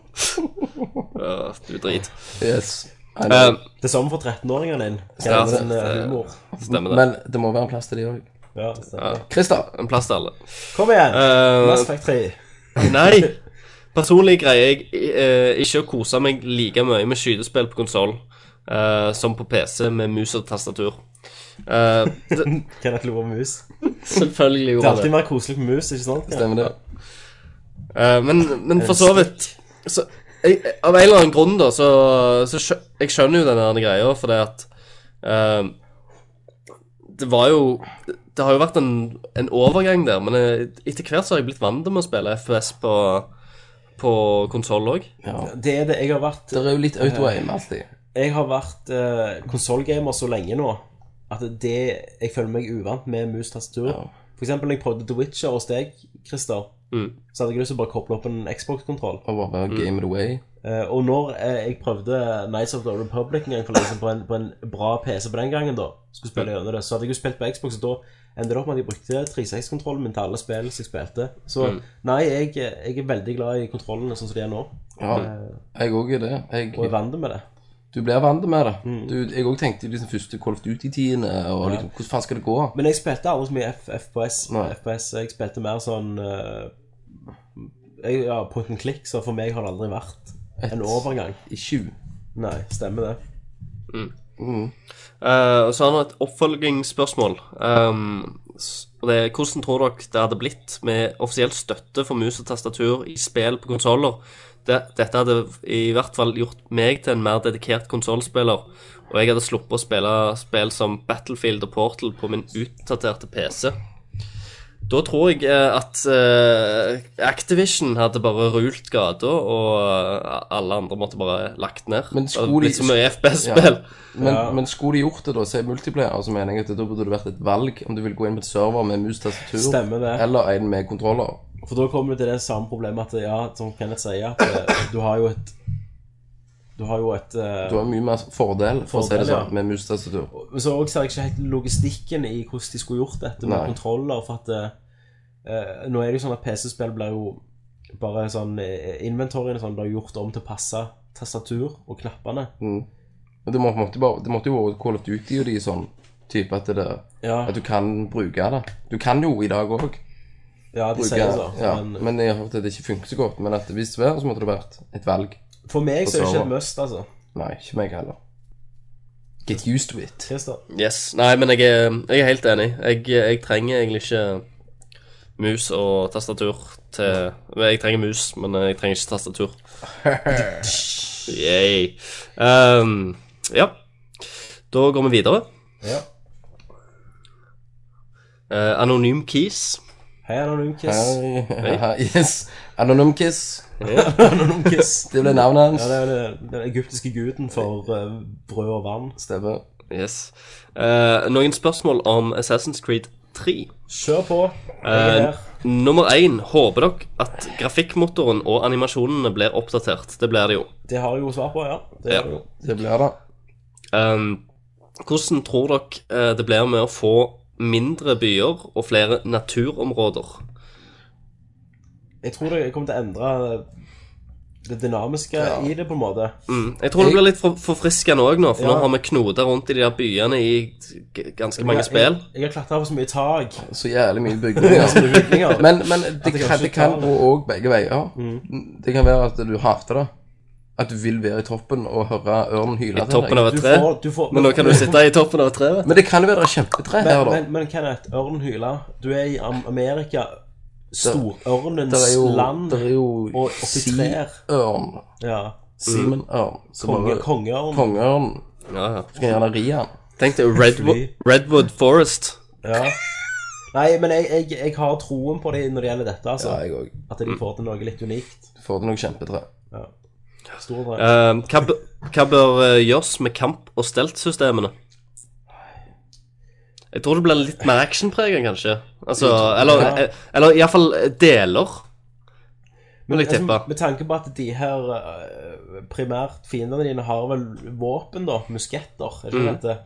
Speaker 4: ja, Du drit.
Speaker 5: Yes. I know.
Speaker 4: Eh,
Speaker 3: Det samme for 13-åringen din.
Speaker 4: Ja,
Speaker 3: Gjennom den
Speaker 4: det-
Speaker 3: eh, humor.
Speaker 4: stemmer det.
Speaker 5: Men det må være en plass til de òg.
Speaker 3: Ja, det stemmer.
Speaker 5: Christer,
Speaker 4: En plass til alle.
Speaker 3: Kom igjen!
Speaker 4: Eh,
Speaker 3: Mass Effect 3.
Speaker 4: Nei. Personlig greier jeg eh, ikke å kose meg like mye med skytespill på konsoll eh, som på PC med mus og tastatur. Eh, det,
Speaker 3: Kenneth Lo og mus.
Speaker 4: selvfølgelig
Speaker 3: Det er
Speaker 4: gjorde jeg det.
Speaker 3: alltid mer koselig med mus, ikke sant?
Speaker 5: stemmer det?
Speaker 4: Eh, men, men for så vidt så, jeg, Av en eller annen grunn, da, så, så skjø, Jeg skjønner jo den der greia, for det at eh, Det var jo Det har jo vært en, en overgang der, men eh, etter hvert så har jeg blitt vant til med å spille FPS på, på konsoll òg.
Speaker 3: Det er det. Jeg har vært,
Speaker 5: Det er jo litt auto-aim alltid.
Speaker 3: jeg har vært eh, konsollgamer så lenge nå at det Jeg føler meg uvant med mus-tastatur. For eksempel når jeg prøvde The Witcher hos deg, Christer,
Speaker 4: Mm.
Speaker 3: så hadde jeg lyst til å bare koble opp en Xbox-kontroll.
Speaker 5: Og bare
Speaker 3: Mm.
Speaker 5: game it away.
Speaker 3: Eh, og når eh, jeg prøvde Nights of the Republic en gang for liksom, på, en, på en bra PC på den gangen, da skulle spille gjennom det, så hadde jeg jo spilt på Xbox, og da endte det opp med at jeg brukte 36-kontrollen min til alle spill som jeg spilte. Så nei, jeg, jeg er veldig glad i kontrollene sånn som de er nå,
Speaker 5: Ja, jeg òg er det. Jeg,
Speaker 3: og er vant med det.
Speaker 5: du blir vant med det. Du, jeg òg tenkte liksom første Kolf Duty-tidene, og liksom, hvordan faen skal det gå?
Speaker 3: Men jeg spilte aldri så mye F FPS.
Speaker 5: Nei.
Speaker 3: FPS. Jeg spilte mer sånn eh, jeg, ja, Point and click, så for meg har det aldri vært en overgang.
Speaker 5: I 20.
Speaker 3: Nei, stemmer det.
Speaker 4: Eh, og så har han et oppfølgingsspørsmål. Um, s- og det er, hvordan tror dere det hadde blitt med offisiell støtte for mus og tastatur i spill på konsoller? Det- Dette hadde i hvert fall gjort meg til en mer dedikert konsollspiller, og jeg hadde sluppet å spille spill som Battlefield og Portal på min utdaterte PC. Da tror jeg eh, at eh, Activision hadde bare rult gata, og eh, alle andre måtte bare lagt ned.
Speaker 5: Men
Speaker 4: Det hadde
Speaker 5: skulle-
Speaker 4: blitt så mye FPS-spill.
Speaker 5: Men, men skulle de gjort det, da, så er multiplayer, så mener jeg at da burde det vært et valg om du vil gå inn på et server med mus-tastatur
Speaker 3: Stemmer det.
Speaker 5: eller en med kontroller.
Speaker 3: For da kommer du til det samme problemet at ja, som Kenneth sier, at eh, du har jo et Du har jo et eh,
Speaker 5: Du har mye mer fordel, for å si
Speaker 3: Fordel,
Speaker 5: det sånn,
Speaker 3: ja.
Speaker 5: med mus-tastatur.
Speaker 3: Men eh, så også ser jeg ikke helt logistikken i hvordan de skulle gjort dette med
Speaker 5: Nei.
Speaker 3: kontroller. For at eh, nå er det jo sånn at PC-spill blir jo bare sånn eh, Inventoryen og sånn blir gjort om til å passe tastatur og knappene.
Speaker 5: Mm. Men det må- måtte, bare, det måtte jo være Call of Duty og de sånn type at, det,
Speaker 3: Ja,
Speaker 5: at du kan bruke det. Du kan jo i dag òg.
Speaker 3: ja de
Speaker 5: bruke
Speaker 3: sier det,
Speaker 5: ja,
Speaker 3: men,
Speaker 5: men, jeg har hørt at det ikke funker så godt. Men at hvis det var, så måtte det vært et valg.
Speaker 3: for meg så er det ikke
Speaker 5: Forsvarer.
Speaker 3: et must, altså.
Speaker 5: Nei, ikke meg heller. Get used to it.
Speaker 3: Christer.
Speaker 4: Yes. Nei, men jeg er, jeg er helt enig. Jeg, jeg trenger egentlig ikke mus og tastatur til men Jeg trenger mus, men jeg trenger ikke tastatur. Yay. Ehm, ja. Da går vi videre.
Speaker 3: Ja.
Speaker 4: Eh, Anonym Keys.
Speaker 3: Hei, Anonym Kiss.
Speaker 5: Hei. yes. Anonym Kiss.
Speaker 3: Anonym Kiss.
Speaker 5: Det ble navnet hans.
Speaker 3: Ja, det er jo det- den egyptiske guden for eh, brød og vann.
Speaker 5: Stemmer.
Speaker 4: Yes. Eh, noen spørsmål om Assassin's Creed 3.
Speaker 3: Kjør på. Jeg er
Speaker 4: Eh,
Speaker 3: her.
Speaker 4: Nummer én. Håper dere at grafikkmotoren og animasjonene blir oppdatert? Det blir det jo.
Speaker 3: Det har jeg jo svar på, ja. Det
Speaker 4: Ja.
Speaker 3: er det jo.
Speaker 5: Det blir det.
Speaker 4: Ehm, hvordan tror dere eh, det blir med å få mindre byer og flere naturområder?
Speaker 3: Jeg tror det kommer til å endre det dynamiske i det, på en måte.
Speaker 4: Mm. Jeg tror det blir litt for, forfriskende òg nå, for
Speaker 3: Ja.
Speaker 4: nå har vi knoter rundt i de der byene i g- ganske mange spill.
Speaker 3: Jeg, jeg har klatra på så mye tak.
Speaker 5: Så jævlig mye bygninger.
Speaker 3: Bygninger.
Speaker 5: Men, men det,
Speaker 3: det
Speaker 5: kan,
Speaker 3: kanskje
Speaker 5: det kan
Speaker 3: tar-
Speaker 5: gå òg begge veier. Det kan være at du hater det. At du vil være i toppen og høre ørnen hyle
Speaker 4: I toppen av et
Speaker 3: Du
Speaker 4: tre.
Speaker 3: får- du får-
Speaker 4: Men nå kan du sitte i toppen av et tre. vet du.
Speaker 5: Men det kan jo være det er kjempetre
Speaker 3: men,
Speaker 5: her, da.
Speaker 3: men, men Kenneth, ørnen hyler. Du er i Am- Amerika.
Speaker 5: Det er
Speaker 3: Storørnens
Speaker 5: jo,
Speaker 3: land.
Speaker 5: der er jo
Speaker 3: og oppi trær.
Speaker 5: siørn.
Speaker 3: Ja.
Speaker 5: Simenørn. som
Speaker 3: Konge,
Speaker 5: bare-
Speaker 3: kongeørn.
Speaker 5: Kongeørn.
Speaker 4: Ja, ja.
Speaker 5: Skal gjerne ri han.
Speaker 4: Tenk deg Redwood, Redwood Forest.
Speaker 3: Ja. Nei, men jeg, jeg, jeg har troen på det når det gjelder dette, altså.
Speaker 5: Ja, jeg òg.
Speaker 3: At de får til noe litt unikt.
Speaker 5: Du får til noe kjempetre.
Speaker 3: Stor drøm.
Speaker 4: Ehm, hva, bø- hva bør eh, gjøres med kamp- og steltsystemene? Jeg tror det blir litt mer actionpreget, kanskje. Altså, eller,
Speaker 3: Ja.
Speaker 4: eh, eller iallfall deler. Vil jeg tippe.
Speaker 3: Altså, med tanke på at de her eh, primært fiendene dine har vel våpen, da. Musketter, er det ikke
Speaker 4: Mm.
Speaker 3: dette?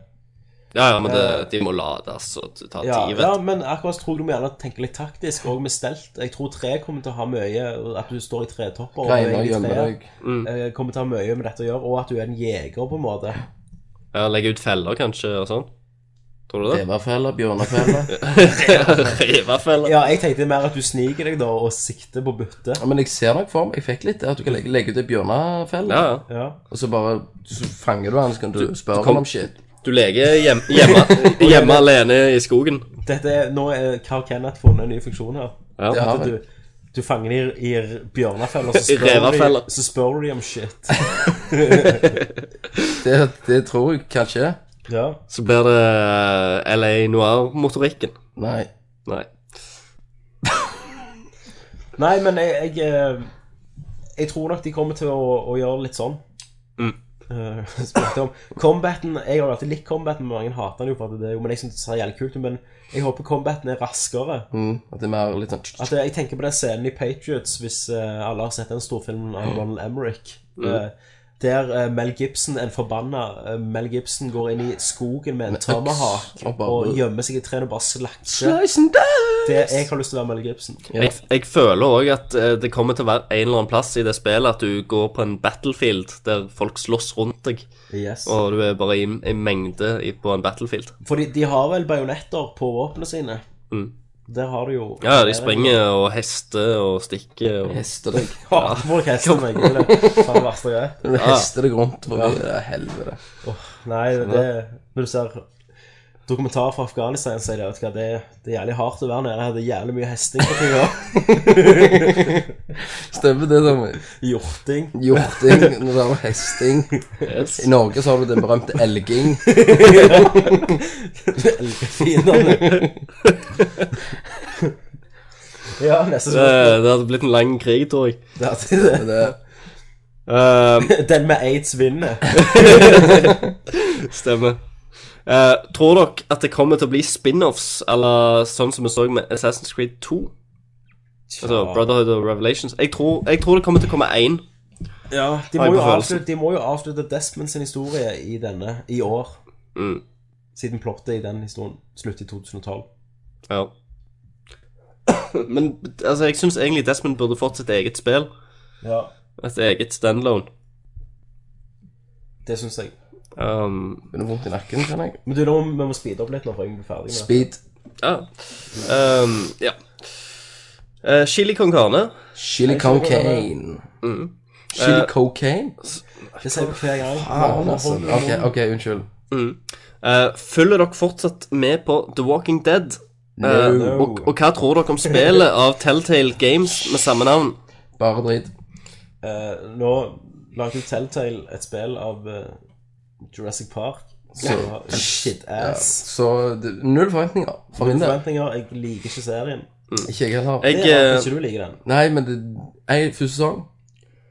Speaker 4: Ja, ja, men det, de må lades og ta tid,
Speaker 3: Ja,
Speaker 4: vet
Speaker 3: ja, men akkurat tror du må gjerne tenke litt taktisk, og med stelt. Jeg tror tre kommer til å ha mye At du står i tretopper og
Speaker 5: Greiner og
Speaker 3: beveger
Speaker 5: gjemmer
Speaker 3: treet,
Speaker 5: deg.
Speaker 3: eh, kommer til å ha mye med dette å gjøre, og at du er en jeger, på en måte.
Speaker 4: du. Ja, Legge ut feller, kanskje, og sånn. Tror du det?
Speaker 5: Reverfeller, bjørnefeller.
Speaker 4: Reverfeller.
Speaker 3: Ja, jeg tenkte mer at du sniker deg, da, og sikter på byttet.
Speaker 5: Ja, men jeg ser nok for meg Jeg fikk litt det at du kan legge, legge ut ei bjørnefelle,
Speaker 4: Ja, ja.
Speaker 3: Ja.
Speaker 5: og så bare så fanger du han, så kan du spørre han
Speaker 4: kom-
Speaker 5: om shit.
Speaker 4: Du leker hjem, hjemme, hjemme alene i skogen.
Speaker 3: Dette er, nå er Carl Kenneth funnet en ny funksjon her.
Speaker 4: Ja.
Speaker 5: Det har
Speaker 3: At
Speaker 5: jeg.
Speaker 3: du, du fanger dem i, i bjørnefeller, så spør
Speaker 4: Reverfeller.
Speaker 3: du de- så spør du dem om shit.
Speaker 5: Det, det tror jeg kanskje.
Speaker 3: Ja.
Speaker 4: Så blir det LA Noir-motorikken.
Speaker 5: Nei.
Speaker 4: Nei.
Speaker 3: Nei, men jeg, jeg eh, Jeg tror nok de kommer til å, å gjøre litt sånn.
Speaker 4: Mm.
Speaker 3: Eh, spurte om Combaten Jeg har jo alltid likt combaten, men mange hater den jo for at det er jo Men jeg syns det ser jævlig kult ut. Men jeg håper combaten er raskere.
Speaker 5: Mm, at det er mer litt sånn
Speaker 4: Ah.
Speaker 3: At jeg tenker på den scenen i Patriots, hvis eh, alle har sett den storfilmen av Ronald Emerick. eh, der eh, Mel Gibson, en forbanna eh, Mel Gibson, går inn i skogen med en
Speaker 5: øks,
Speaker 3: tomahawk
Speaker 5: og
Speaker 3: og,
Speaker 5: bare-
Speaker 3: gjemmer seg i trærne og bare slakter. Det, jeg har lyst til å være Mel Gibson.
Speaker 4: Jeg, jeg føler òg at eh, det kommer til å være en eller annen plass i det spillet at du går på en battlefield der folk slåss rundt deg,
Speaker 3: Yes.
Speaker 4: og du er bare i en mengde i, på en battlefield.
Speaker 3: For de, de har vel bajonetter på våpnene sine.
Speaker 4: Mm.
Speaker 3: Der har du jo
Speaker 4: Ja, de springer og hester og stikker og
Speaker 5: Hester deg.
Speaker 3: Ja, hvor er hesten meg? Det er faen det verste jeg vet.
Speaker 5: Du
Speaker 4: Ah.
Speaker 5: hester deg rundt forbi. Det er helvete.
Speaker 3: Nei,
Speaker 4: Sånn,
Speaker 3: det Når du ser dokumentarer fra Afghanistan, så er det, vet du hva, det, det er jævlig hardt å være nede her. Det er jævlig mye hesting på ting. ja.
Speaker 5: Stemmer det, som
Speaker 3: Hjorting.
Speaker 5: Hjorting. Når det er hesting. I Norge så har du den berømte elging.
Speaker 3: Elgfiendene. Ja, neste
Speaker 4: Det,
Speaker 3: spørsmål.
Speaker 4: det hadde blitt en lang krig, tror jeg.
Speaker 3: Det er det.
Speaker 5: Men Det,
Speaker 4: Eh,
Speaker 3: Den med aids vinner.
Speaker 4: Stemmer. Eh, tror dere at det kommer til å bli spin-offs eller sånn som vi så med Assassin's Creed 2? Altså Brotherhood of Revelations. Jeg tror, jeg tror det kommer til å komme én.
Speaker 3: Ja, de må,
Speaker 4: Har jeg
Speaker 3: jo
Speaker 4: på følelsen.
Speaker 3: avslutte, de må jo avslutte Desmond sin historie i denne, i år.
Speaker 4: Mm.
Speaker 3: Siden plottet i den historien sluttet i 2012.
Speaker 4: Ja. Men altså, jeg syns egentlig Desmond burde fått sitt eget spill.
Speaker 3: Ja.
Speaker 4: Et eget standalone.
Speaker 3: Det syns jeg.
Speaker 4: Um,
Speaker 5: det er vondt i nakken, kan jeg.
Speaker 3: Men du, nå, må- vi må speede opp litt nå, for jeg blir ferdig med det.
Speaker 5: Speed.
Speaker 4: ja. Um, ja. Eh, Chili con carne.
Speaker 5: Chili cocaine.
Speaker 4: Mm.
Speaker 5: Chili
Speaker 4: Eh,
Speaker 5: cocaine?
Speaker 3: Det sier vi hver gang.
Speaker 5: Faen,
Speaker 3: Nå,
Speaker 5: altså.
Speaker 3: hold-
Speaker 5: Ok, ok, unnskyld.
Speaker 4: Mm. Eh, følger dere fortsatt med på The Walking Dead? Eh,
Speaker 5: No.
Speaker 4: og, og hva tror dere om spillet av Telltale Games med samme navn?
Speaker 5: Bare drit.
Speaker 3: Eh, nå lagde jo Telltale et spill av eh, Jurassic Park. Så shit-ass.
Speaker 5: Så det- null forventninger for min del.
Speaker 3: Forventninger. Jeg liker ikke serien.
Speaker 5: Ikke jeg heller.
Speaker 4: Jeg,
Speaker 3: Det er rart
Speaker 4: eh,
Speaker 3: at ikke du liker den.
Speaker 5: Nei, men det, jeg, første sesong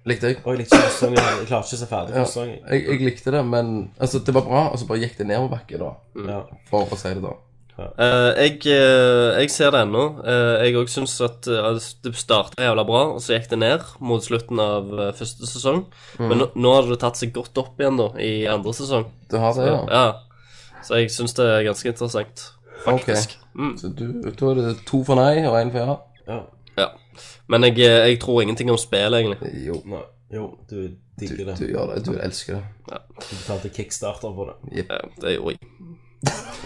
Speaker 5: likte jeg.
Speaker 3: Og jeg likte ikke første sesongen. Jeg klarte ikke å se ferdig
Speaker 5: Ja,
Speaker 3: første sesongen.
Speaker 5: jeg. Jeg likte det, men altså, det var bra, og så bare gikk det nedoverbakke, da.
Speaker 3: Ja.
Speaker 5: For å si det, da.
Speaker 4: Eh, jeg, eh, jeg ser det ennå. Eh, jeg òg syns at eh, det starta jævla bra, og så gikk det ned mot slutten av eh, første sesong.
Speaker 3: Mm.
Speaker 4: Men nå, nå har det tatt seg godt opp igjen, da, i andre sesong.
Speaker 5: Du har det, ja?
Speaker 4: Ja. Så jeg syns det er ganske interessant.
Speaker 5: Ok.
Speaker 4: Mm.
Speaker 5: Så du, da er det to for nei og én for ja?
Speaker 3: ja.
Speaker 4: Ja. Men jeg, eh, jeg tror ingenting om spillet, egentlig.
Speaker 5: Jo,
Speaker 3: Nei. Jo, du
Speaker 5: du,
Speaker 3: digger det.
Speaker 5: du gjør det. Du elsker det.
Speaker 3: Du betalte kickstarter for det.
Speaker 4: Eh, det gjorde jeg.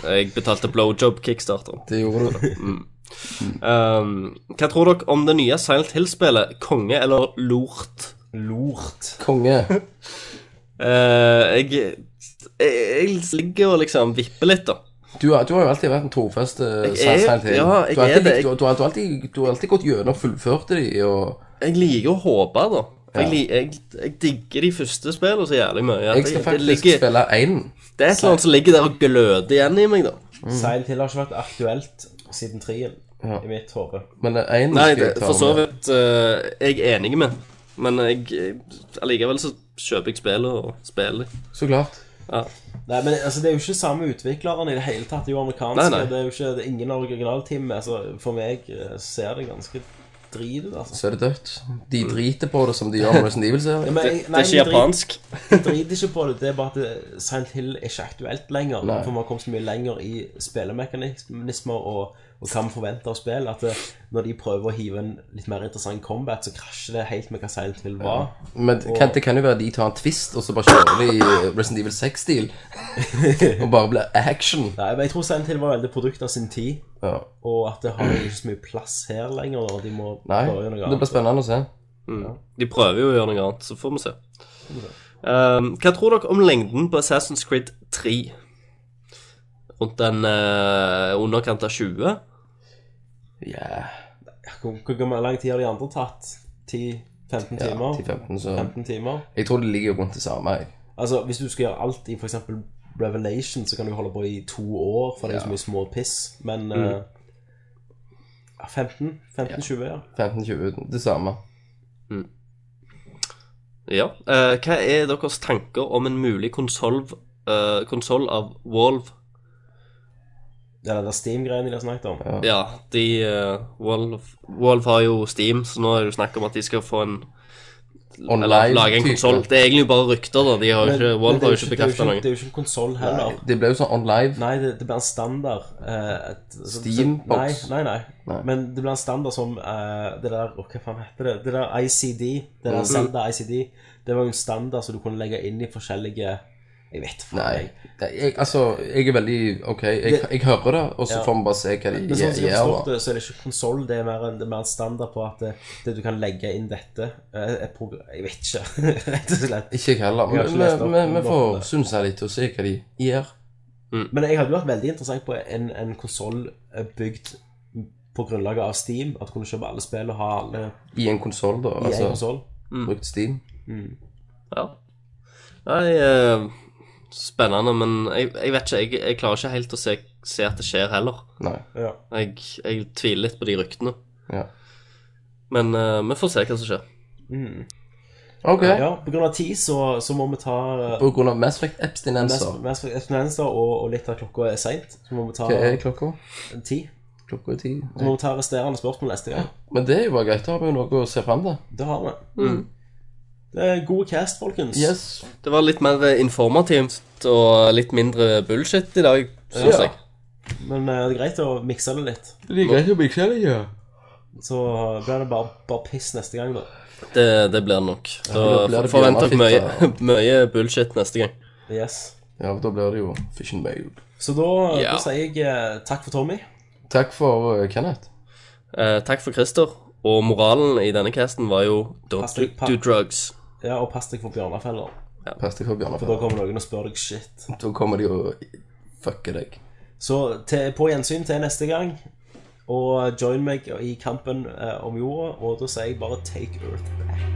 Speaker 4: Jeg betalte blowjob-kickstarter.
Speaker 5: Det gjorde du.
Speaker 4: Um, hva tror dere om det nye Silent Hill-spillet? Konge eller lort?
Speaker 3: Lort.
Speaker 5: Konge.
Speaker 4: Eh, jeg, jeg, jeg ligger og liksom vipper litt, da.
Speaker 5: Du, har- du har jo alltid vært en trofast eh,
Speaker 4: Jeg er-
Speaker 5: Silent Hill.
Speaker 4: ja, jeg
Speaker 5: du har
Speaker 4: er
Speaker 5: alltid,
Speaker 4: det.
Speaker 5: likt- Du, du, har- du, har alltid, du har alltid gått gjennom og fullført de, og
Speaker 4: Jeg liker å håpe, da. Jeg,
Speaker 5: Ja.
Speaker 4: li- jeg, jeg digger de første spillene så jævlig mye. at
Speaker 5: Jeg skal
Speaker 4: det-
Speaker 5: faktisk
Speaker 4: det, ligger,
Speaker 5: spille én.
Speaker 4: det er et eller annet som ligger der og gløder igjen i meg, da.
Speaker 3: Silent Hill har ikke vært aktuelt siden trien, i mitt hode.
Speaker 5: Men én
Speaker 4: Nei, det, for så vidt eh, jeg er enig med. Men jeg, jeg- allikevel så kjøper jeg spillet og spiller det.
Speaker 5: Så klart.
Speaker 3: Nei, men altså, Det er jo ikke samme utvikleren i det hele tatt. Det er jo amerikanske.
Speaker 4: Nei, nei.
Speaker 3: Det er jo ikke, det er ingen originalteam. Altså, for meg eh, ser det ganske driter det, altså.
Speaker 5: så er det dødt. De driter på det som de gjør med Resident
Speaker 3: Ja,
Speaker 5: Evil-serien.
Speaker 3: men, jeg-
Speaker 4: Det
Speaker 3: nei,
Speaker 4: er ikke
Speaker 3: jeg driter-
Speaker 4: japansk.
Speaker 3: Jeg driter ikke på det. Det er bare at det- Silent Hill er ikke aktuelt lenger.
Speaker 5: Nei.
Speaker 3: For vi har kommet så mye lenger i spillemekanismer og, og hva vi forventer av spill, at det, når de prøver å hive en litt mer interessant combat, så krasjer det helt med hva Silent Hill var.
Speaker 5: Men det kan, det kan jo være de tar en twist, og så bare kjører de i Resident Evil 6-stil. Og bare blir action.
Speaker 3: Nei, men Jeg tror Silent Hill var veldig produkt av sin tid,
Speaker 5: Ja.
Speaker 3: og at det har ikke så mye plass her lenger. Når de må
Speaker 5: Nei,
Speaker 3: prøve noe
Speaker 5: det blir spennende å se.
Speaker 4: De prøver jo å gjøre noe annet, så får vi se. Um, hva tror dere om lengden på Assassin's Creed 3? Rundt den eh, underkant av 20?
Speaker 5: Yeah.
Speaker 3: Hvor, hvor gammel- lang tid har de andre tatt?
Speaker 5: Ja,
Speaker 3: 10-15 timer?
Speaker 5: 10-15, så
Speaker 3: 15 timer?
Speaker 5: Jeg tror det ligger rundt det samme. Jeg.
Speaker 3: Altså, hvis du skal gjøre alt i for eksempel Revelation, så kan du holde på i to år, for det er jo så mye små piss, men
Speaker 4: Mm.
Speaker 3: eh, ja, 15? 15-20, ja.
Speaker 5: 15-20, det samme.
Speaker 4: Ja. Eh, hva er deres tanker om en mulig konsoll eh, konsoll av Valve?
Speaker 3: Det er den der Steam-greien de har snakket om.
Speaker 5: Ja.
Speaker 4: Ja, de eh, Valve, Valve har jo Steam, så nå er det jo snakk om at de skal få en
Speaker 5: Online
Speaker 4: Eller lage en
Speaker 5: type.
Speaker 4: konsoll. Det er egentlig bare rykter, da. De har jo ikke,
Speaker 3: det, er
Speaker 4: Valve har
Speaker 3: jo
Speaker 4: jo ikke
Speaker 3: det er jo
Speaker 4: bekrefta
Speaker 3: ikke- det
Speaker 4: noe.
Speaker 3: er jo ikke en konsoll heller.
Speaker 5: Det ble jo sånn on live.
Speaker 3: Nei, det, det blir en standard eh, et- så-
Speaker 5: Steambox.
Speaker 3: så- Nei, nei, nei.
Speaker 5: Nei.
Speaker 3: Men det blir en standard som eh, det der Hva faen heter det? Det der ICD.
Speaker 5: Mm.
Speaker 3: Det der Zelda ICD. Det var jo en standard som du kunne legge inn i forskjellige Jeg vet faen.
Speaker 5: Nei.
Speaker 3: jeg.
Speaker 5: Nei, Jeg, altså, jeg er veldig OK, jeg, jeg hører det, og så
Speaker 3: Ja.
Speaker 5: får vi bare se hva de
Speaker 3: Men sånn som jeg har
Speaker 5: gjør.
Speaker 3: forstått
Speaker 5: da.
Speaker 3: det, så er det ikke konsoll, det, er mer en- det er mer en standard på at det, det du kan legge inn dette eh, et program, Jeg vet ikke, rett og slett.
Speaker 5: Ikke jeg heller.
Speaker 3: Jeg har
Speaker 5: Men
Speaker 3: ikke
Speaker 5: vi-
Speaker 3: lest opp
Speaker 5: vi- vi
Speaker 3: nok om
Speaker 5: får
Speaker 3: det.
Speaker 5: synse litt og se hva de gjør.
Speaker 3: Men jeg hadde jo vært veldig interessant på en, en konsoll bygd på grunnlaget av Steam. At du kunne kjøpe alle spill og ha alle
Speaker 5: I en konsoll, da.
Speaker 3: i én
Speaker 5: Altså
Speaker 3: konsoll.
Speaker 4: Mm.
Speaker 5: brukt Steam.
Speaker 3: Mm.
Speaker 4: Ja. Nei, eh, spennende, men jeg, jeg vet ikke. Jeg, jeg klarer ikke helt å se, se at det skjer heller.
Speaker 5: Nei.
Speaker 3: Ja.
Speaker 4: Jeg, jeg tviler litt på de ryktene.
Speaker 5: Ja.
Speaker 4: Men eh, vi får se hva som skjer.
Speaker 5: OK.
Speaker 3: ja, på grunn av tid så, så må vi ta eh,
Speaker 5: På grunn av Mass Effect abstinenser.
Speaker 3: mest- mest abstinenser, og, og litt av klokka er seint, så må vi ta
Speaker 5: Hva er klokka?
Speaker 3: ti.
Speaker 5: Klokka er ti.
Speaker 3: Så må vi ta resterende spørsmål neste gang.
Speaker 5: Men det er jo bare greit. Da har vi jo noe å se fram til.
Speaker 3: Det har vi. Det er god cast, folkens.
Speaker 5: Yes.
Speaker 4: Det var litt mer eh, informativt og litt mindre bullshit i dag, syns
Speaker 5: Ja.
Speaker 4: jeg.
Speaker 3: Men eh, det er greit å mikse det litt.
Speaker 5: Det er greit å bli kjent, ja.
Speaker 3: Så eh, blir det bare, bare piss neste gang, da.
Speaker 4: Det, det blir det nok. Da
Speaker 5: da blir det
Speaker 4: forventer jeg mye,
Speaker 5: bjørnefitte.
Speaker 4: mye bullshit neste gang.
Speaker 3: Yes.
Speaker 5: Ja, for da blir det jo fish and mail.
Speaker 3: Så da,
Speaker 4: Ja.
Speaker 3: da sier jeg eh, takk for Tommy.
Speaker 5: Takk for uh, Kenneth.
Speaker 4: Eh, takk for Christer. Og moralen i denne casten var jo
Speaker 3: Pass
Speaker 4: don't do,
Speaker 3: deg, pa-
Speaker 4: do drugs.
Speaker 3: Ja, Og pass deg for bjørnefeller.
Speaker 5: Pass deg for
Speaker 3: For da
Speaker 5: bjørnefeller.
Speaker 3: kommer noen og spør deg shit.
Speaker 5: Da kommer de og fucker deg.
Speaker 3: Så til, på gjensyn til neste gang. Og join meg i kampen eh, om jorda. Og da sier jeg bare take earth back.